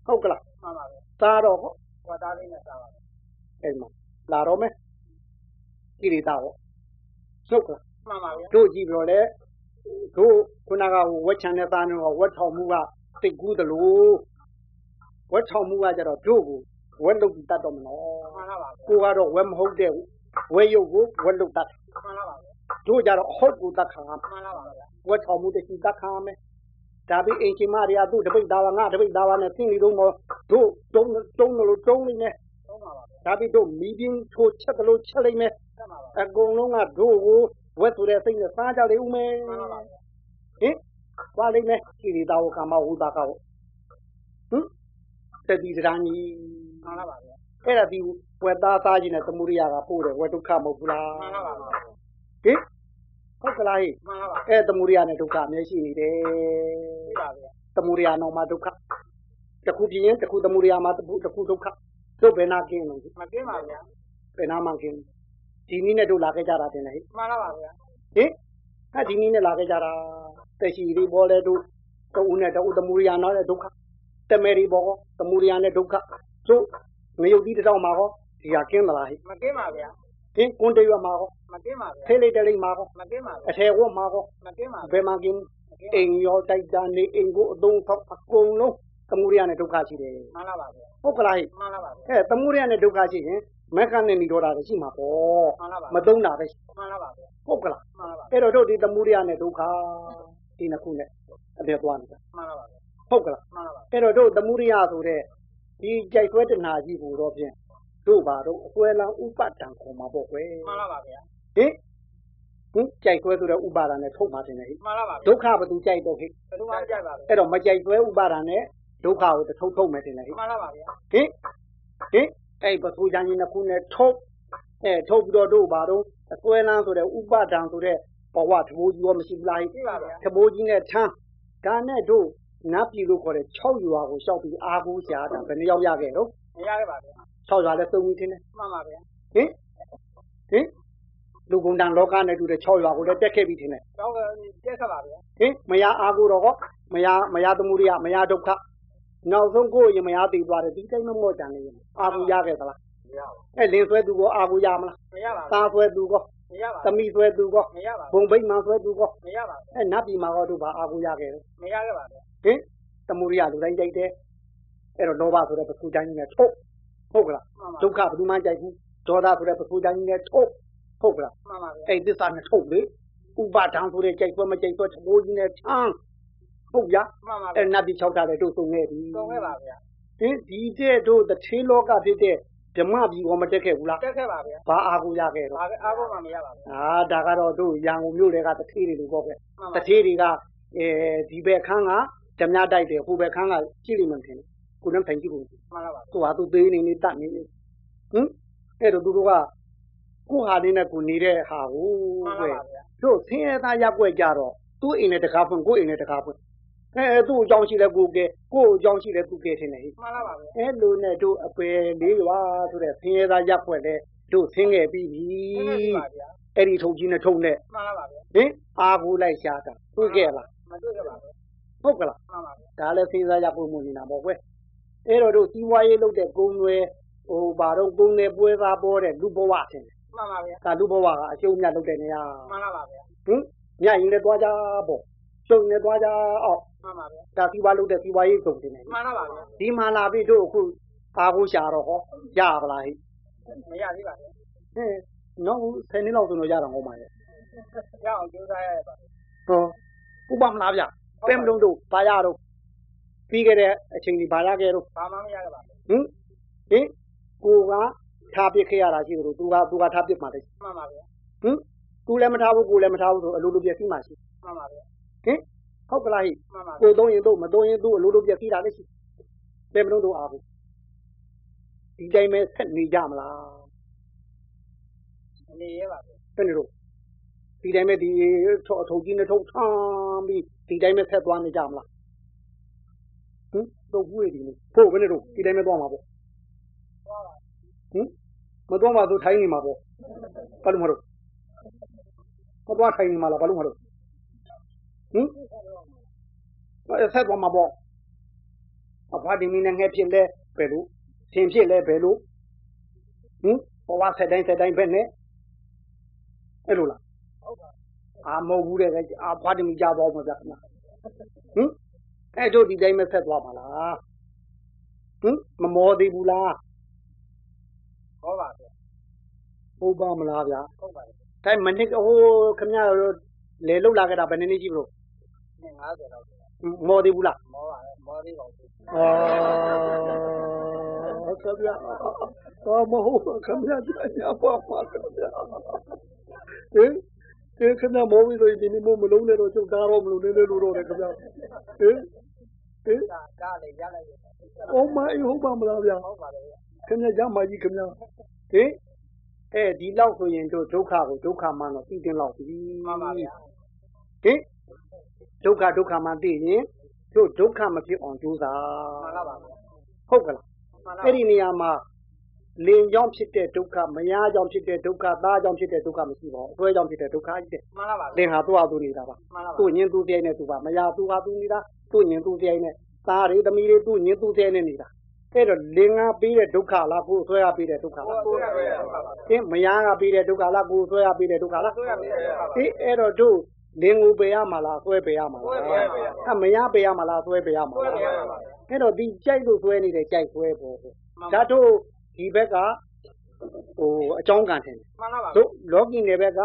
[SPEAKER 1] ဟုတ်ကလား
[SPEAKER 2] မှန်ပါဗျာ
[SPEAKER 1] သားတော့ဟော
[SPEAKER 2] ဝတ်သားသိညတော့ပါဗျာ
[SPEAKER 1] အဲ့ဒီမှာလာတော့မယ်ကိရိတာဟောဟုတ်ကလား
[SPEAKER 2] မှန်ပါဗျာ
[SPEAKER 1] တို့ကြည့်ပြတော့လေတို့ခုနကဟိုဝက်ချန်တဲ့သားနဲ့ဟောဝက်ထောင်မှုကသိတ်ကူးသလိုဝက်ထောင်မှုကကြတော့တို့ကိုဝက်လုတ်ပြီးတတ်တော့မနော်
[SPEAKER 2] မှန်လားပါဗျာ
[SPEAKER 1] ကိုကတော့ဝက်မဟုတ်တဲ့ဝဲရုပ်ကိုဝက်လုတ်တတ်
[SPEAKER 2] မှန်လားပါဗျာ
[SPEAKER 1] တို့ကြတော့အဟုတ်ကိုတတ်ခံရမှာ
[SPEAKER 2] မှန်လားပါဗျာ
[SPEAKER 1] ဝတ်ထောင်မှုတစ်ခုတတ်ခါမယ်ဒါပြီးအင်ဂျင်မာရီယာသူ့တပိတ်သားပါငါတပိတ်သားပါနဲ့သိနေတော့မတို့တုံးတုံးလို့တုံးနေမယ်
[SPEAKER 2] သုံးပါပါဗျာ
[SPEAKER 1] ဒါပြီးတို့မီဒီယမ်ထိုးချက်လို့ချက်လိုက်မယ်
[SPEAKER 2] ဆက်ပါပါ
[SPEAKER 1] အကုန်လုံးကတို့ကိုဝက်သူတဲ့စိတ်နဲ့စားကြလိမ့်ဦးမယ်
[SPEAKER 2] မှန်လားပါဗျာ
[SPEAKER 1] ဟင်သွားလိမ့်မယ်ကိရိတာဝကာမဝုတာကဝဟင်တတိတရာကြီး
[SPEAKER 2] မှန်လားပါဗျာ
[SPEAKER 1] အဲ့ဒါဒီဝက်သားစားခြင်းနဲ့သမုဒိယကပို့တယ်ဝက်ဒုက္ခမဟုတ်ဘူးလား
[SPEAKER 2] မှန်လားပါဗျာ
[SPEAKER 1] ဟင်ဟုတ်ကလားဟဲ့
[SPEAKER 2] မှန်လားပါဗျာ
[SPEAKER 1] အဲ့သမုဒိယနဲ့ဒုက္ခအမြဲရှိနေတယ်
[SPEAKER 2] ရှိပါဗျာ
[SPEAKER 1] သမုဒိယနောင်မှာဒုက္ခတစ်ခုပြင်းရင်တစ်ခုသမုဒိယမှာတစ်ခုတစ်ခုဒုက္ခတို့ဘယ်နာကင်းလို့
[SPEAKER 2] မကင်းပါဗျာ
[SPEAKER 1] ဘယ်နာမှကင်းဒီနည်းနဲ့တို့လာခဲ့ကြတာတင်လေဟ
[SPEAKER 2] မှန်လားပါဗျာ
[SPEAKER 1] ိဟင်ဟာဒီနည်းနဲ့လာခဲ့ကြတာတက်ရှိလေးပေါ်လေတို့တဦးနဲ့တဦးသမုဒိယနောက်နဲ့ဒုက္ခတမဲရီပေါ်ဟောသမုဒိယနဲ့ဒုက္ခတို့ငရုတ်ကြီးတစ်တောက်မှာဟောဒီဟာကင်းမလားဟိ
[SPEAKER 2] မကင်းပါဗျာ
[SPEAKER 1] ဟင်ကွန်တရွတ်မှာဟော
[SPEAKER 2] မကင်းပါဗျာ
[SPEAKER 1] ဖေးလိုက်တလိမ့်မှာဟော
[SPEAKER 2] မကင်းပါဗျာ
[SPEAKER 1] အထေဝတ်မှာဟော
[SPEAKER 2] မကင်းပါ
[SPEAKER 1] ဘ
[SPEAKER 2] ဗျာ
[SPEAKER 1] ယ်မှာကင်းအိမ်ရောတိုက်တာနေအိမ်ကိုအသုံးဖောက်အကုန်လုံးသမုဒိယနဲ့ဒုက္ခရှိတယ်
[SPEAKER 2] မှန်လားပါဗျာ
[SPEAKER 1] ဟုတ်ကလားဟိ
[SPEAKER 2] မှန်လားပါဗျာ
[SPEAKER 1] အဲသမှုရနဲ့ဒုက္ခရှိရင်မက္ခနဲ့និရောဓလည်းရှိမှာပေါ့
[SPEAKER 2] မှန်လားပါ
[SPEAKER 1] မသုံးတာပဲရှိ
[SPEAKER 2] မှန်လားပါဗျာ
[SPEAKER 1] ဟုတ်ကလား
[SPEAKER 2] မှန်လားပါ
[SPEAKER 1] အဲ့တော့တို့ဒီသမှုရနဲ့ဒုက္ခဒီနှစ်ခုနဲ့အပြည့်သွားနေတာ
[SPEAKER 2] မှန်လားပါဗျာ
[SPEAKER 1] ဟုတ်ကလား
[SPEAKER 2] မှန်လားပါ
[SPEAKER 1] အဲ့တော့တို့သမှုရဆိုတဲ့ဒီကြိုက်ဆွဲတဏှာကြီးကိုတော့ဖြင့်တို့ပါတော့အစွဲလန်းဥပဒံခေါ်မှာပေါ့ကွယ်
[SPEAKER 2] မှန်လားပါဗျာ
[SPEAKER 1] ဟင်ဟင်ကြိုက်ဆွဲဆိုတဲ့ဥပါဒံနဲ့ထုတ်မှာတင်တယ်ဟိ
[SPEAKER 2] မှန်လားပါဗျာ
[SPEAKER 1] ဒုက္ခဘယ်သူကြိုက်တော့ဟိ
[SPEAKER 2] ဘယ်သူမှမကြိုက်ပါဗျာ
[SPEAKER 1] အဲ့တော့မကြိုက်ဆွဲဥပါဒံနဲ့ဒုက္ခကိုတစ်ထုတ်ထုတ်မယ်တင်တယ်ဟိ
[SPEAKER 2] မှန်လားပါဗျာ
[SPEAKER 1] ဟင်ဟင်အဲ့ပထူချန်ကြီးနှစ်ခုနဲ့ထုတ်အဲထုတ်ပြီးတော့တို့ဘာတော့အစွဲလန်းဆိုတဲ့ဥပဒံဆိုတဲ့ဘဝသဘောကြီးရောမရှိဘူးလားဟိ
[SPEAKER 2] ရှိပါဗျာ
[SPEAKER 1] သဘောကြီးနဲ့ထမ်းဒါနဲ့တို့နတ်ပြည်လို့ခေါ်တဲ့6ရွာကိုရှောက်ပြီးအာဟုရှာတာဘယ်နှယောက်ရခဲ့တော့
[SPEAKER 2] မရခဲ့ပါဗျာ
[SPEAKER 1] 6ရွာလဲသုံးဦးထင်းတယ်
[SPEAKER 2] မှန်ပါဗျာ
[SPEAKER 1] ဟင်ဟင်လူကုန်တန်လောကနဲ့တူတဲ့6ရွာကိုလည်းတက်ခဲ့ပြီးထင်းတယ်
[SPEAKER 2] တော့ကျက်ဆက်ပါဗျာ
[SPEAKER 1] ဟင်မယားအာဟုတော့ဟောမယားမယားသမှုရိယမယားဒုက္ခနောက်ဆုံးကိုယ့်ရင်မယားတည်သွားတယ်ဒီတိုင်းမမော့ကြနေရင်အာဟုရခဲ့သလား
[SPEAKER 2] မရပါ
[SPEAKER 1] အဲလင်းဆွဲသူကိုအာဟုရမလား
[SPEAKER 2] မရပါ
[SPEAKER 1] သားဆွဲသူကော
[SPEAKER 2] မရပါ
[SPEAKER 1] သမီးဆွဲသူကော
[SPEAKER 2] မရပါ
[SPEAKER 1] ဘုံဘိတ်မှန်ဆွဲသူကော
[SPEAKER 2] မရပါ
[SPEAKER 1] အဲနတ်ပြည်မှာကောတို့ဘာအာကိုရခဲ့လဲ
[SPEAKER 2] မရခဲ့ပါဗျာ
[SPEAKER 1] ဟင်တမှုရိယလူတိုင်းကြိုက်တယ်အဲ့တော့လောဘဆိုတဲ့ပထူတိုင်းကြီးနဲ့ထုတ်ဟုတ်ကလား
[SPEAKER 2] မှန်ပါ
[SPEAKER 1] ဒုက္ခဘယ်သူမှကြိုက်ဘူးဒေါသဆိုတဲ့ပထူတိုင်းကြီးနဲ့ထုတ်ဟုတ်ကလား
[SPEAKER 2] မှန်ပါဗျာ
[SPEAKER 1] အဲ့ဒီသစ္စာနဲ့ထုတ်လေဥပါဒံဆိုတဲ့ကြိုက်ပွဲမကြိုက်ပွဲသဘောကြီးနဲ့ချမ်းဟုတ်ရ
[SPEAKER 2] မှန်ပါဗျာ
[SPEAKER 1] အဲ့နတ်ပြည်၆တာလည်းတို့သုံးခဲ့ပြီ
[SPEAKER 2] တော့ခဲ့ပါဗျာ
[SPEAKER 1] ဟင်ဒီတဲ့တို့တစ်ထေးလောကဖြစ်တဲ့ဓမ္မပြည်ကောမတက်ခဲ့ဘူးလား
[SPEAKER 2] ကျက်ခဲ့ပါဗျာ
[SPEAKER 1] ဘာအာကိုရခဲ့တော့
[SPEAKER 2] ဘာအားကိုမှမရပါဗျာ
[SPEAKER 1] အာဒါကတော့တို့ရန်ကုန်မြို့တွေကတထေးတွေလို့ပေါ့ကွ
[SPEAKER 2] မှန်
[SPEAKER 1] တ
[SPEAKER 2] ပါ
[SPEAKER 1] ထေးတွေကအဲဒီဘက်ခန်းကဓမြတိုက်တယ်ဟိုဘက်ခန်းကကြည့်လိမ့်မယ်ထင်တယ်ကိုယ်နဲ့ထိုင်ကြည့်ကို
[SPEAKER 2] မှန်လားပါ
[SPEAKER 1] သူဟာသူသေးနေနေတတ်နေနေဟင်အဲ့တော့သူတို့က ကိုယ့်ဟာလေးနဲ့ကိုယ်နေတဲ့ဟာကို
[SPEAKER 2] မှန်ပါ
[SPEAKER 1] ပဲ
[SPEAKER 2] ပါဗျာ
[SPEAKER 1] တို့ဆင်းရဲသားရက်ွက်ကြတော့သူ့အိမ်နဲ့တကားဖွင့်ကိုယ့်အိမ်နဲ့တကားဖွင့်အဲသူ့အကြောင်းရှိလဲကိုယ်ကဲကိုယ့်အကြောင်းရှိလဲသူ့ကဲထင်တယ်ဟိ
[SPEAKER 2] မှန်ပါပါဗျာ
[SPEAKER 1] အဲလိုနဲ့တို့အပယ်လေးရွာဆိုတဲ့ဆင်းရဲသားရက်ွက်လဲတို့ဆင်းခဲ့ပြီးပြီ
[SPEAKER 2] အင်းပါပါဗျာ
[SPEAKER 1] အဲ့ဒီထုံကြီးနဲ့ထုံနဲ့
[SPEAKER 2] မှန်ပါပါဗျာ
[SPEAKER 1] ဟင်အာကိုလိုက်ရှာတာတွေ့ခဲ့လား
[SPEAKER 2] မတွေ့ကြပါဘူး
[SPEAKER 1] ဟုတ်ကလား
[SPEAKER 2] မှန်ပါဗျာ
[SPEAKER 1] ဒါလည်းစဉ်းစားရဖို့မလိုနေတာပေါ့ကွယ်အဲ့တော့တို့စီးပွားရေးလုပ်တဲ့ကုံတွေဟိုဘာတော့ကုံတွေပွဲသားပေါ်တဲ့လူဘဝတင်တယ်
[SPEAKER 2] မှန်ပါဗျာ
[SPEAKER 1] ဒါလူဘဝကအကျုံးမြတ်လုပ်တဲ့နေရာ
[SPEAKER 2] မှန်ပါပါဗျာ
[SPEAKER 1] ဟင်ညရင်လည်းသွားကြပေါ့ကျုံလည်းသွားကြအောင်
[SPEAKER 2] မှန်ပါဗျာ
[SPEAKER 1] ဒါစီးပွားလုပ်တဲ့စီးပွားရေးကုံတင်တယ်
[SPEAKER 2] မှန်ပါပါဗျာ
[SPEAKER 1] ဒီမှာလာပြီတို့အခုပါဖို့ရှာတော့ဟောရပါလားဟိ
[SPEAKER 2] မရသေးပါဘူး
[SPEAKER 1] ဟင်နောက်ဆယ်နှစ်လောက်ဆိုတော့ရတော့ဟောမှာလေ
[SPEAKER 2] ရအောင်ကြိုးစားရရပါ
[SPEAKER 1] ဟောဥပမလားဗျပဲမလုံးတို့ဘာရတော့ပြီးခဲ့တဲ့အချိန်ဒီဘာရခဲ့တော့
[SPEAKER 2] ဘာမှမရကြပါဘူး
[SPEAKER 1] ဟင်ဟင်ကိုကထားပစ်ခဲ့ရတာရှိသလိုသူကသူကထားပစ်မှာလေ
[SPEAKER 2] မှန်ပါဗျာ
[SPEAKER 1] ဟင်သူလည်းမထားဘူးကိုလည်းမထားဘူးဆိုအလိုလိုပြက်စီးမှာရှိ
[SPEAKER 2] မှန်ပါဗျာ
[SPEAKER 1] ဟင်ဟုတ်ကလားဟိ
[SPEAKER 2] မှန်ပါဗျာ
[SPEAKER 1] ကိုသုံးရင်တို့မသုံးရင်တို့အလိုလိုပြက်စီးတာလည်းရှိဘယ်မလို့တို့အားဘူးဒီတိုင်းပဲဆက်နေကြမလား
[SPEAKER 2] နေရပါဘူး
[SPEAKER 1] ဘယ်နေလို့ဒီတိုင်းပဲဒီထုတ်အထုတ်ကြီးနဲ့ထုတ်ထမ်းပြီးဒီတိုင်းပဲဆက်သွားနေကြမလားဟင်တို့ဘူးရည်ဒီနေ့ဖို့ဘယ်နေလို့ဒီတိုင်းပဲသွားမှာပေါ့
[SPEAKER 2] သွားပါ
[SPEAKER 1] ဟင်မသွားမှာသူထိုင်းနေမှာပေါ့ ဘာလို့မလို့မသွားထိုင်နေမှာလားဘာလို့မလို့ဟင်အဲ့ဆက်သွားမှာပေါ့အဖာဒီမီနဲ့ငှက်ဖြစ်လဲဘယ်လိုသင်ဖြစ်လဲဘယ်လိုဟင်ဘဝဆက်တိုင်းဆက်တိုင်းပဲနဲ့အဲ့လိုလား
[SPEAKER 2] ဟုတ်ပါ
[SPEAKER 1] အာမဟုတ်ဘူးတဲ့အာဖာဒီမီကြားပါဦးမပြတ်နာဟင်အဲ့တို့ဒီတိုင်းမဆက်သွားပါလားဟင်မမောသေးဘူးလား
[SPEAKER 2] ဘောပါဗျာ
[SPEAKER 1] ဟုတ်ပါမလားဗျာ
[SPEAKER 2] ဟုတ်ပါတယ်
[SPEAKER 1] တိုင်းမနစ်ကဟိုခင်ဗျားတို့လေလောက်လာခဲ့တာဘယ်နည်းနည်းကြည့်လို့
[SPEAKER 2] 50လောက်
[SPEAKER 1] မော်သေးဘူးလား
[SPEAKER 2] မောပါမောသေးပါဘူး
[SPEAKER 1] အော်ခင်ဗျာတော့မဟုတ်ခင်ဗျာကြာညာပါပါခင်ဗျာဟင်ဒီခင်ဗျာမော်ပြီးတော့ဒီနေ့မလုံးနဲ့တော့ချုပ်ကားတော့မလို့နည်းနည်းလို့တော့တယ်ခင်ဗျာဟင်ဟင်
[SPEAKER 2] ဒါဒါလည်းရလိုက်ရပါဘူး
[SPEAKER 1] oh my ဟုတ်ပါမလားဗျာ
[SPEAKER 2] ဟုတ်ပါတယ်ဗျာ
[SPEAKER 1] ခင်ဗျာရမကြီးခင်ဗျာဟင်အဲဒီလောက်ဆိုရင်တို့ဒုက္ခကိုဒုက္ခမှန်တော့သိတင်လောက်ပြီ
[SPEAKER 2] မှန်ပါဗျာ
[SPEAKER 1] ဟင်ဒုက္ခဒုက္ခမှသိရင်တို့ဒုက္ခမဖြစ်အောင်ကြိုးစား
[SPEAKER 2] မှန်လားပါဗျာ
[SPEAKER 1] ဟုတ်ကလား
[SPEAKER 2] မှန်လား
[SPEAKER 1] အဲ့ဒီနေရာမှာလင်ကြောင့်ဖြစ်တဲ့ဒုက္ခမယားကြောင့်ဖြစ်တဲ့ဒုက္ခသားကြောင့်ဖြစ်တဲ့ဒုက္ခမရှိပါဘူးအဆွဲကြောင့်ဖြစ်တဲ့ဒုက္ခကြီးတဲ့
[SPEAKER 2] မှန်လားပါ
[SPEAKER 1] လင်ဟာသူ့အသူနေတာပါ
[SPEAKER 2] မှန်လားပါ
[SPEAKER 1] သူ့ညင်သူ့ပြိုင်နဲ့သူပါမယားသူ့ဟာသူနေတာသူ့ညင်သူ့ပြိုင်နဲ့သားတွေသမီးတွေသူ့ညင်သူ့ပြိုင်နဲ့နေတာအဲ့တော့လင်ကပေးတဲ့ဒုက္ခလားကိုယ်အဆွဲကပေးတဲ့ဒုက္ခလား
[SPEAKER 2] ကိုယ်ကပဲဟုတ်ပါပါ
[SPEAKER 1] ဟင်မယားကပေးတဲ့ဒုက္ခလားကိုယ်အဆွဲကပေးတဲ့ဒုက္ခလား
[SPEAKER 2] ကိုယ်ကပဲဟုတ်ပါပါ
[SPEAKER 1] ဒီအဲ့တော့တို့လင်ကိုပေးရမှာလားဆွဲပေးရမှာလား
[SPEAKER 2] ဆွဲပေးရမှာပါ
[SPEAKER 1] အမရပေးရမှာလားဆွဲပေးရမှာ
[SPEAKER 2] ကိုယ်က
[SPEAKER 1] လား
[SPEAKER 2] ပဲဟုတ်ပါပါ
[SPEAKER 1] အဲ့တော့ဒီကြိုက်လို့ဆွဲနေတဲ့ကြိုက်ဆွဲပေါ့
[SPEAKER 2] မှန်ပါ
[SPEAKER 1] ဒါတို့ဒီဘက်ကဟိုအကြောင်းကံထင်တယ်
[SPEAKER 2] မှန်လားပါ
[SPEAKER 1] တို့လောကီနယ်ဘက်က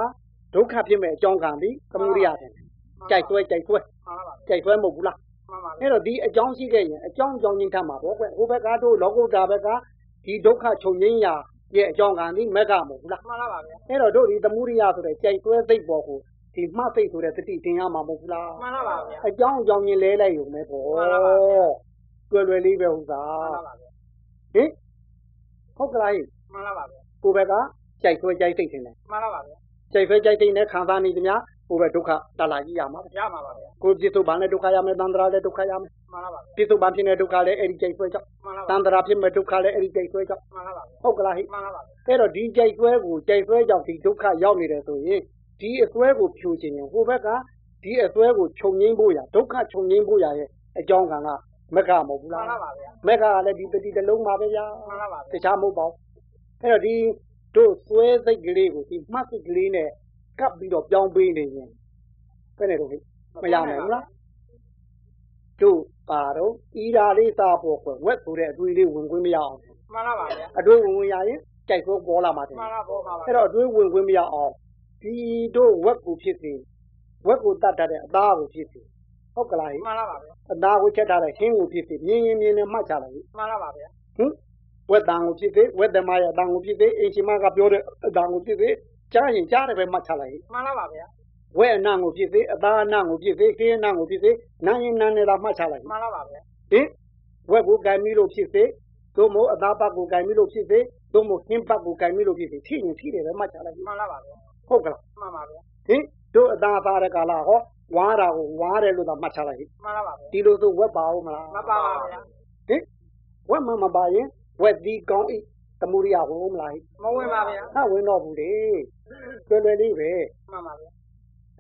[SPEAKER 1] ဒုက္ခဖြစ်မဲ့အကြောင်းကံဒီသမုဒိယထင်တယ်ကြိုက်ဆွဲကြိုက်ဆွဲ
[SPEAKER 2] မှန်လားပါ
[SPEAKER 1] ကြိုက်ဆွဲမဟုတ်ဘူးလား
[SPEAKER 2] မှန်ပါလေ
[SPEAKER 1] အဲ့တော့ဒီအကြောင်းရှိခဲ့ရင်အကြောင်းကြောင်းချင်းထပ်မှာပေါ့ကွဟိုဘက်ကတို့လောကုတ္တရာဘက်ကဒီဒုက္ခချုပ်ငြိမ်းရာရဲ့အကြောင်းကံဒီမက္ခမဟုတ်ဘူးလား
[SPEAKER 2] မှန်လားပါဗျာ
[SPEAKER 1] အဲ့တော့တို့ဒီသမုဒိယဆိုတဲ့ကြိုက်တွဲသိပ်ပေါ်ကိုဒီမှတ်သိပ်ဆိုတဲ့သတိတင်ရမှာမဟုတ်ဘူးလား
[SPEAKER 2] မှန်လားပါဗျာ
[SPEAKER 1] အကြောင်းအကြောင်းချင်းလဲလိုက်ရုံပဲပေါ့
[SPEAKER 2] မှန်ပါပါ
[SPEAKER 1] တွယ်တွယ်လေးပဲဥစ္စာ
[SPEAKER 2] မှန်လားပါဗျာ
[SPEAKER 1] ဟင်ဟုတ်ကလားဟင်
[SPEAKER 2] မှန်လားပါဗျာ
[SPEAKER 1] ကိုယ်ဘက်ကကြိုက်တွဲကြိုက်သိပ်တင်တယ်
[SPEAKER 2] မှန်လားပါဗျာ
[SPEAKER 1] ကြိုက်ဖဲကြိုက်သိပ်နဲ့ခံစားနေကြများကိုယ်ပဲဒုက္ခတလာကြီးရမှာ
[SPEAKER 2] ရမှာပါဗျာ
[SPEAKER 1] ကိုယ်ပြစ်ဆုံးဘာနဲ့ဒုက္ခရမယ်တန္တရာလည်းဒုက္ခရမယ်
[SPEAKER 2] မှန်လားပါဗျာ
[SPEAKER 1] ပြစ်ဆုံးဘာဖြစ်နေဒုက္ခလည်းအဲ့ဒီကြိုက်တွဲကြောင့်
[SPEAKER 2] မှန်လား
[SPEAKER 1] တ
[SPEAKER 2] ပါ
[SPEAKER 1] န္တရာဖြစ်မဲ့ဒုက္ခလည်းအဲ့ဒီကြိုက်တွဲကြောင့်
[SPEAKER 2] မှန်လားပါဗျာ
[SPEAKER 1] ဟုတ်ကလားဟင်
[SPEAKER 2] မှန်လားပါဗျာ
[SPEAKER 1] အဲ့တော့ဒီကြိုက်ဆွဲကိုကြိုက်ဆွဲကြောင့်ဒီဒုက္ခရောက်နေတယ်ဆိုရင်ဒီအဆွဲကိုဖြိုခြင်းရင်ဟိုဘက်ကဒီအဆွဲကိုခြုံငိမ့်ဖို့ရဒုက္ခခြုံငိမ့်ဖို့ရရဲ့အကြောင်းကံကမက္ခမဟုတ်ဘူး
[SPEAKER 2] မှန်
[SPEAKER 1] လား
[SPEAKER 2] လားပါဗျာ
[SPEAKER 1] မက္ခကလည်းဒီပတိတစ်လုံးပါပဲဗျာ
[SPEAKER 2] မှန်လားပါ
[SPEAKER 1] တ
[SPEAKER 2] ဗျာ
[SPEAKER 1] ခြားမဟုတ်ပါဘူးအဲ့တော့ဒီတို့ဆွဲစိတ်ကလေးကိုဒီမှတ်စိတ်ကလေးနဲ့ကပ်ပြီးတော့ပြောင်းပေးနေရင်ဘယ်နဲ့တော့ဟိမရနိုင်ဘူးလားတို့ပါတော့ဤဓာလေးစာပေါ်ကွယ်ဝက်ဆိုတဲ့အတွေးလေးဝင်ခွင့်မရအောင်
[SPEAKER 2] မှန်လားပါဗျာ
[SPEAKER 1] အတွေးဝင်ဝင်ရရင်ကြိုက်ဆွဲပေါ်လာမှာတယ်
[SPEAKER 2] မှန်လားပေါ်ပါပါ
[SPEAKER 1] အဲ့တော့အတွင်းဝင်ခွင့်မရအောင်ဒီတို့ဝက်ကိုဖြစ်စေဝက်ကိုတတ်တတ်တဲ့အသားကိုဖြစ်စေဟုတ်ကလားဟင်
[SPEAKER 2] မှန်လားပါဗျာ
[SPEAKER 1] အသားကိုချက်ထားတဲ့ဟင်းကိုဖြစ်စေမြင်းရင်မြင်းနဲ့မှတ်ချလိုက်ဟင်
[SPEAKER 2] မှန်လားပါဗျာ
[SPEAKER 1] ဟင်ဝက်တန်ကိုဖြစ်စေဝက်သမားရဲ့အသားကိုဖြစ်စေအင်ရှင်မကပြောတဲ့အသားကိုဖြစ်စေကြားရင်ကြားတယ်ပဲမှတ်ချလိုက်ဟင်
[SPEAKER 2] မှန်လားပါဗျာ
[SPEAKER 1] ဝက်အနံ့ကိုဖြစ်စေအသားအနံ့ကိုဖြစ်စေဟင်းအနံ့ကိုဖြစ်စေနာရင်နာနဲ့သာမှတ်ချလိုက်ဟင်
[SPEAKER 2] မှန်လားပါဗျာ
[SPEAKER 1] ဟင်ဝက်ကိုကံပြီးလို့ဖြစ်စေသို့မဟုတ်အသားပတ်ကိုကံပြီးလို့ဖြစ်စေ သို့မဟုတ်ဟင်းဘတ်ကိုကင်မိလို့ဖြစ်စီထိရင်ထိတယ်ပဲမှတ်ချလိုက်
[SPEAKER 2] မှန်လားပါပဲ
[SPEAKER 1] ဟုတ်ကလား
[SPEAKER 2] မှန်ပါပဲ
[SPEAKER 1] ဟင်တို့အသာသားတဲ့ကာလဟောဝါတာကိုဝါတယ်လို့သာမှတ်ချလိုက်ဟိ
[SPEAKER 2] မှန်လားပါပဲ
[SPEAKER 1] ဒီလိုဆိုဝက်ပါဦးမလား
[SPEAKER 2] မပါပါဗျာ
[SPEAKER 1] ဟင်ဝက်မှမပါရင်ဝက်ဒီကောင်းဤသမုဒိယဟုတ်မလားဟိ
[SPEAKER 2] မဝင်ပါဗျာ
[SPEAKER 1] ဟာဝင်တော့ဘူးလေလွယ်လွယ်လေးပဲ
[SPEAKER 2] မှန်ပါဗျာ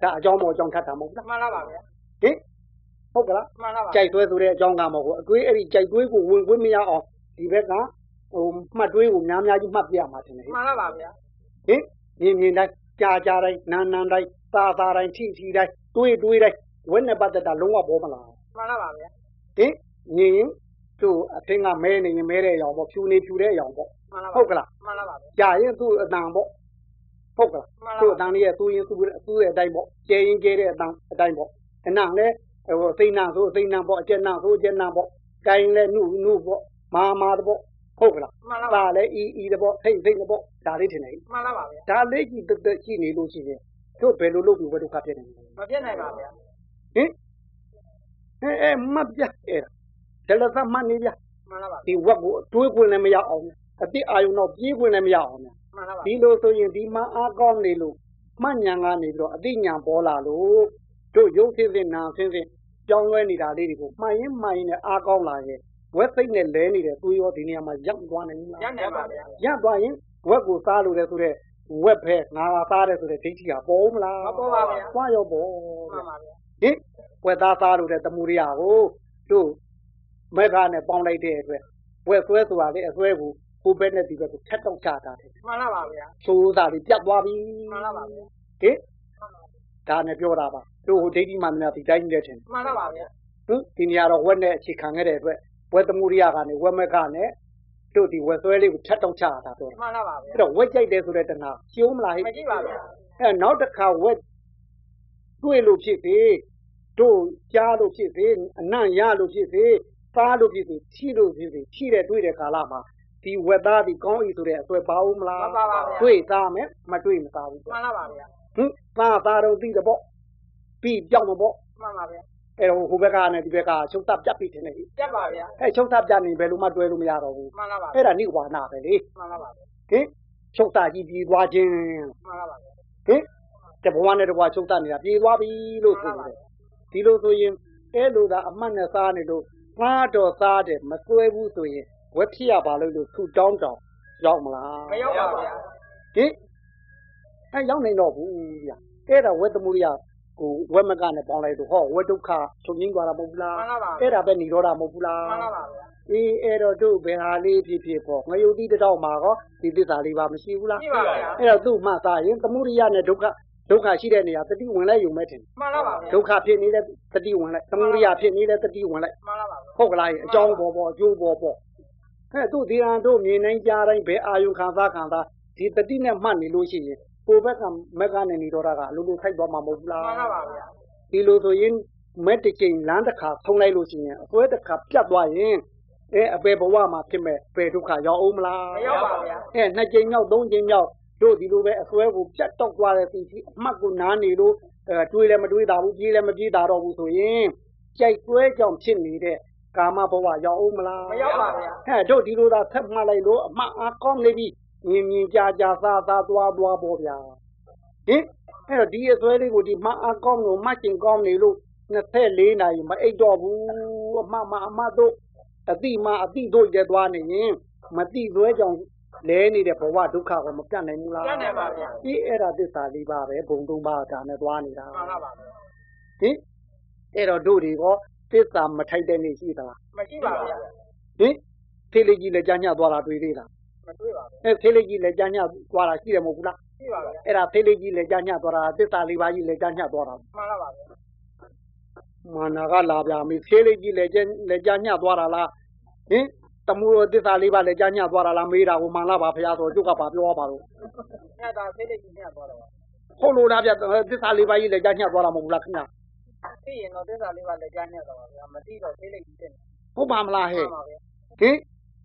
[SPEAKER 1] ဒါအကြောင်းပေါ်အကြောင်းထပ်တာမဟုတ်ဘူးလား
[SPEAKER 2] မှန်လားပါဗျာ
[SPEAKER 1] ဟင်ဟုတ်ကလား
[SPEAKER 2] မှန်လားပါ
[SPEAKER 1] ကြိုက်သွဲဆိုတဲ့အကြောင်းကမဟုတ်ဘူးအတွေးအဲ့ဒီကြိုက်သွဲကိုဝင်ခွင့်မရအောင်ဒီဘက်ကဟိုမှတ်တွေးကိုများများကြီးမှတ်ပြရမှာတင်တယ်
[SPEAKER 2] မှန်လားပါဗျာ
[SPEAKER 1] ဟင်မြင်မြင်တိုင်းကြားကြားတိုင်းနာနာတိုင်းသာသာတိုင်းထိထိတိုင်းတွေးတွေးတိုင်းဝဲနဲ့ပတ်သက်တာလုံးဝပေါ်မလာဘူး
[SPEAKER 2] မှန်လားပါဗျာ
[SPEAKER 1] ဟင်မြင်ရင်သူ့အထင်ကမဲနေရင်မဲတဲ့အရောင်ပေါ့ဖြူနေဖြူတဲ့အရောင်ပေါ့
[SPEAKER 2] မှန်လားပါ
[SPEAKER 1] ဟုတ်ကလား
[SPEAKER 2] မှန်လားပါဗျာ
[SPEAKER 1] ကြာရင်သူ့အတန်ပေါ့ဟုတ်ကလား
[SPEAKER 2] မှန်ပါ
[SPEAKER 1] သူ့အတန်လေးရဲ့သူ့ရင်သူ့သူ့ရဲ့အတိုင်းပေါ့ကျဲရင်ကျဲတဲ့အတန်အတိုင်းပေါ့အနံလဲဟိုအသိနာဆိုအသိနာပေါ့အကျက်နာဆိုအကျက်နာပေါ့ကိုင်းလဲနုနုပေါ့မာမာတပေါ့ဟုတ်ကလား
[SPEAKER 2] မှန်လားပါ
[SPEAKER 1] ပါလဲအီအီတပေါ့ထိတ်ထိတ်တပေါ့ဒါလေးထင်တယ်
[SPEAKER 2] မှန်လားပါဗျာ
[SPEAKER 1] ဒါလေးကြီးတက်တက်ရှိနေလို့ရှိရင်တို့ဘယ်လိုလုပ်ပြီးဘယ်ဒုက္ခဖြစ်နေလဲ
[SPEAKER 2] မပြတ်နိုင်ပါ
[SPEAKER 1] ဟ
[SPEAKER 2] ဗျာ
[SPEAKER 1] င်အဲအဲမတ်ပြအဲ့ဒါလည်းသမတ်နေပြ
[SPEAKER 2] မှန်လားပါ
[SPEAKER 1] ဒီဝက်ကိုအတွေးခွင့်လည်းမရအောင်အတိအာယုံတော့ပြေးခွင့်လည်းမရအောင်
[SPEAKER 2] မှန်လားပါ
[SPEAKER 1] ဒီလိုဆိုရင်ဒီမှာအားကောင်းနေလို့မှတ်ဉာဏ်ကနေပြီးတော့အသိဉာဏ်ပေါ်လာလို့တို့ရုပ်ဖြစ်ဖြစ်နာမ်ဖြစ်ဖြစ်ကြောင်းလဲနေတာလေးတွေကိုမှန်ရင်မှန်ရင်လည်းအားကောင်းလာရဲ့ဝက်စိတ်နဲ့လဲနေတဲ့သူရောဒီနေရာမှာရပ်သွားနိုင်ဘူး
[SPEAKER 2] ရ
[SPEAKER 1] လား
[SPEAKER 2] နိုင်ပါဗျာ
[SPEAKER 1] ရပ်သွားရင်ဝက်ကိုစားလို့လဲဆိုတော့ဝက်ပဲငါကစားတယ်ဆိုတဲ့ဒိဋ္ဌိကပေါ်မလားသွားရောပေါ်
[SPEAKER 2] မှန်ပါဗျာ
[SPEAKER 1] ဟင်ဝက်သားစားလို့တဲ့တမှုရိယာကိုတို့မက်ခါနဲ့ပေါင်းလိုက်တဲ့အတွက်ဝက်ဆွဲဆိုတာလေအဆွဲကိုကိုယ်ပဲနဲ့ဒီဘက်ကိုဖြတ်တော့ချတာတယ်
[SPEAKER 2] မှန်လားပါဗျာ
[SPEAKER 1] သိုးသားတွေပြတ်သွားပြီ
[SPEAKER 2] မှန်လားပါဗျာ
[SPEAKER 1] ဟင်ဒါနဲ့ပြောတာပါတို့ဟိုဒိဋ္ဌိမှန်များဒီတိုင်းကြီးလက်ထင်
[SPEAKER 2] မှန်လားပါဗျာ
[SPEAKER 1] ဟုတ်ဒီနေရာတော့ဝက်နဲ့အခြေခံခဲ့တဲ့အတွက်ဝက်သမုဒိယကနေဝက်မက်ကနဲ့တို့ဒီဝက်ဆွဲလေးကိုဖြတ်တောက်ချတာပြောတာ
[SPEAKER 2] မှန်လားပါဗျာ
[SPEAKER 1] အဲ့တော့ဝက်ကြိုက်တယ်ဆိုတဲ့တဏှာကျုံးမလားဟဲ့
[SPEAKER 2] မကြည့်ပါဗျာ
[SPEAKER 1] အဲ့နောက်တစ်ခါဝက်တွေ့လို့ဖြစ်စေတို့ကြားလို့ဖြစ်စေအနံ့ရလို့ဖြစ်စေသားလို့ဖြစ်စေဖြီးလို့ဖြစ်စေဖြီးတဲ့တွေ့တဲ့ကာလမှာဒီဝက်သားဒီကောင်းဤဆိုတဲ့အဆွဲပါဦးမလား
[SPEAKER 2] မပါပါဗျာ
[SPEAKER 1] တွေ့သားမယ်မတွေ့မသားဘူး
[SPEAKER 2] မှန်လားပါဗျာ
[SPEAKER 1] ဟင်သားသားတော့သိတယ်ပေါ့ပြီးကြောက်မပေါ့
[SPEAKER 2] မှန်ပါဗျာ
[SPEAKER 1] အဲတော့ဟိုဘက်ကနဲ့ဒီဘက်ကချုပ်သားပြတ်ပြီးတင်တယ်ဟိ
[SPEAKER 2] ပြတ်ပါဗျာ
[SPEAKER 1] အဲချုပ်သားပြတ်နေဘယ်လိုမှတွဲလို့မရတော့ဘူး
[SPEAKER 2] မှန်လားပါဗျာ
[SPEAKER 1] အဲ့ဒါနိဝါနာပဲလေ
[SPEAKER 2] မှန်လားပါဗျာ
[SPEAKER 1] ဟင်ချုပ်သားကြီးပြေးသွားခြင်း
[SPEAKER 2] မှန်လားပါဗျာ
[SPEAKER 1] ဟင်တဘဝနဲ့တဘဝချုပ်သားနေတာပြေးသွားပြီလို့ဆိုတယ်ဒီလိုဆိုရင်အဲ့လိုသာအမှတ်နဲ့စားနေလို့သားတော်စားတယ်မစွဲဘူးဆိုရင်ဝက်ဖြစ်ရပါလို့လို့ထူတောင်းတောင်းရောက်မလား
[SPEAKER 2] မရောက်ပါဗျာ
[SPEAKER 1] ဟင်အဲရောက်နေတော့ဘူးဗျာအဲ့ဒါဝက်သမုဒိယဟိုဝက်မကနဲ့ပေါင်းလိုက်တော့ဟောဝက်ဒုက္ခချုပ်ငင်းသွားတာမဟုတ်ဘူးလား
[SPEAKER 2] မှန်လားပါဗျာ
[SPEAKER 1] အဲ့ဒါပဲនិရောဓမဟုတ်ဘူးလား
[SPEAKER 2] မှန်လားပါဗျာ
[SPEAKER 1] အေးအဲ့တော့တို့ဘယ်ဟာလေးဖြစ်ဖြစ်ပေါ့ငရုတ်တိတစ်တောက်မှာကောဒီသစ္စာလေးပါမရှိဘူးလား
[SPEAKER 2] ကြည့်ပါဗျာ
[SPEAKER 1] အဲ့တော့သူ့မှသားရင်သမုဒိယနဲ့ဒုက္ခဒုက္ခရှိတဲ့နေရာတတိဝင်လိုက်ယူမဲ့တယ်
[SPEAKER 2] မှန်လားပါဗျာ
[SPEAKER 1] ဒုက္ခဖြစ်နေတဲ့တတိဝင်လိုက်သမုဒိယဖြစ်နေတဲ့တတိဝင်လိုက်
[SPEAKER 2] မှန်လားပါဗျာ
[SPEAKER 1] ဟုတ်ကလားအကြောင်းပေါ်ပေါ်အကျိုးပေါ်ပေါ်အဲ့သူ့ဒီရန်တို့မြင်နိုင်ကြတိုင်းဘယ်အာယုခံစားခံစားဒီတတိနဲ့မှတ်နေလို့ရှိရင်ကိုယ်ဘက်ကမက်ကနဲ့និရောဓကအလိုလိုခိုက်သွားမှာမဟုတ်ဘူးလား
[SPEAKER 2] မှန်လားပါဗျာ
[SPEAKER 1] ဒီလိုဆိုရင်မက်တစ်ချိန်လမ်းတစ်ခါဖုံးလိုက်လို့ရှိရင်အပွဲတစ်ခါပြတ်သွားရင်အဲအပေဘဝမှာဖြစ်မဲ့ပေဒုက္ခရောက်အောင်မလား
[SPEAKER 2] မရောက်ပါဗျာ
[SPEAKER 1] အဲနှစ်ချိန်မြောက်သုံးချိန်မြောက်တို့ဒီလိုပဲအစွဲကိုပြတ်တော့သွားတဲ့စီစီအမှတ်ကိုနားနေလို့အဲတွေးလည်းမတွေးတာဘူးပြေးလည်းမပြေးတာတော့ဘူးဆိုရင်ကြိုက်တွဲကြောင့်ဖြစ်နေတဲ့ကာမဘဝရောက်အောင်မလား
[SPEAKER 2] မရောက်ပါဗျာ
[SPEAKER 1] အဲတို့ဒီလိုသာဆက်မှတ်လိုက်လို့အမှတ်အားကောင်းနေပြီမြင်မြင်ကြာကြာစားစားသွားသွားပေါ့ဗျာ ဟင်အဲ့တော့ဒီအစွဲလေးကိုဒီမအားကောင်းလို့မတ်ကျင်ကောင်းနေလို့24နာရီမအိပ်တော့ဘူးအမမအမတို့အတိမအတိတို့ကျသွားနေရင်မတိသွဲကြောင့်လဲနေတဲ့ဘဝဒုက္ခကိုမပြတ်နိုင်ဘူးလား
[SPEAKER 2] ကြက်နေပါဗျာ
[SPEAKER 1] ဒီအဲ့ဒါသစ္စာလေးပါပဲဘုံသုံးပါးဒါနဲ့သွားနေတာ
[SPEAKER 2] မှန်လားပါဗျာ
[SPEAKER 1] ဟင်အဲ့တော့တို့တွေကသစ္စာမထိုက်တဲ့နေ့ရှိသလား
[SPEAKER 2] မရှိပါဗျာ
[SPEAKER 1] ဟင်သေးလေးကြီးလည်းကြာညသွားတာတွေ့သေးလား
[SPEAKER 2] မတွေ့ပါဘူး
[SPEAKER 1] အဲသေးလေးကြီးလည်းကြာညသွားတာရှိတယ်မဟုတ်ဘူးလား
[SPEAKER 2] ရှိပါဗျာ
[SPEAKER 1] အဲ့ဒါသေးလေးကြီးလည်းကြာညသွားတာသစ္စာလေးပါးကြီးလည်းကြာညသွားတာ
[SPEAKER 2] မှန်လားပါဗျာ
[SPEAKER 1] မာနာကလာပြမိသေးလေးကြီးလည်းကျလည်းကြညသွားတာလားဟင်တမူရောတစ္ဆာလေးပါလည်းကြညသွားတာလားမေးတာကိုမှန်လားပါဖရာဆိုကျုပ်ကပါပြောရပါတော့
[SPEAKER 2] ညတာသေးလေးကြီးညတော့ [LAUGHS] တော့
[SPEAKER 1] ဟုတ်လို့လားဗျတစ္ဆာလေးပါကြီးလည်းကြညသွားတာမဟုတ်ဘူးလားခင်ဗျ
[SPEAKER 2] သိရင်တော့သစ္စာလေးပါလက်ကြညတော့ပါဗျာမသိတော့သေးလေးကြီးတက်နေ
[SPEAKER 1] ဟုတ်ပါမလားဟဲ့
[SPEAKER 2] မှန်ပါဗျာ
[SPEAKER 1] ဟင်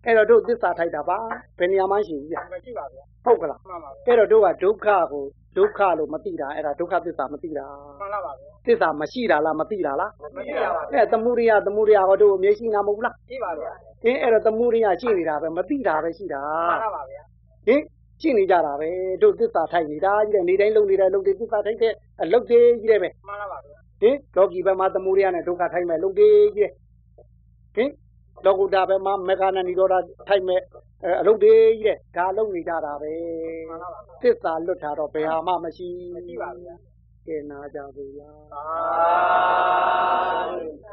[SPEAKER 1] အဲ့တော့တို့တစ္ဆာထိုက်တာပါဘယ်နေရာမှရှိဘူးဗျ
[SPEAKER 2] မရှိပါဗျာ
[SPEAKER 1] ဟုတ်ကလား
[SPEAKER 2] မှန်ပါဗျာ
[SPEAKER 1] အဲ့တော့တို့ကဒုက္ခကိုဒုက္ခလို့မသိတာအဲ့ဒါဒုက္ခတစ္ဆာမသိတာ
[SPEAKER 2] မှန်လားပါဗျာ
[SPEAKER 1] တစ္ဆာမရှိတာလားမသိတာလား
[SPEAKER 2] မရှိပါဘူး
[SPEAKER 1] အဲ့တမူရိယတမူရိယဟောတို့အမြဲရှိနေတာမဟုတ်ဘူးလား
[SPEAKER 2] ရှိပါဗျာ
[SPEAKER 1] ဟင်အဲ့တော့တမူရိယရှိနေတာပဲမသိတာပဲရှိတာ
[SPEAKER 2] မှန်လားပါဗျာ
[SPEAKER 1] ဟင်ရှိနေကြတာပဲတို့သစ္စာထိုက်နေတာကြီးတဲ့နေတိုင်းလုံနေတိုင်းလုံတွေသစ္စာထိုက်တဲ့အလုပ်တွေကြီးတဲ့ပဲ
[SPEAKER 2] မှန်လားပါဗျာ
[SPEAKER 1] ဟင်လောကီဘက်မှာသမုဒိယနဲ့ဒုက္ခထိုက်မဲ့လုပ်တွေကြီးတဲ့ဟင်လောကုတ္တဘက်မှာမေဃာနဏိရောဓထိုက်မဲ့အဲအလုပ်တွေကြီးတဲ့ဒါလုပ်နေကြတာပဲ
[SPEAKER 2] မှန်လားပါဗျာ
[SPEAKER 1] သစ္စာလွတ်တာတော့ဘယ်ဟာမှမရှိ
[SPEAKER 2] မရှိပါဘူးဗျာ
[SPEAKER 1] ကဲနာကြပါဗျာ
[SPEAKER 2] သာ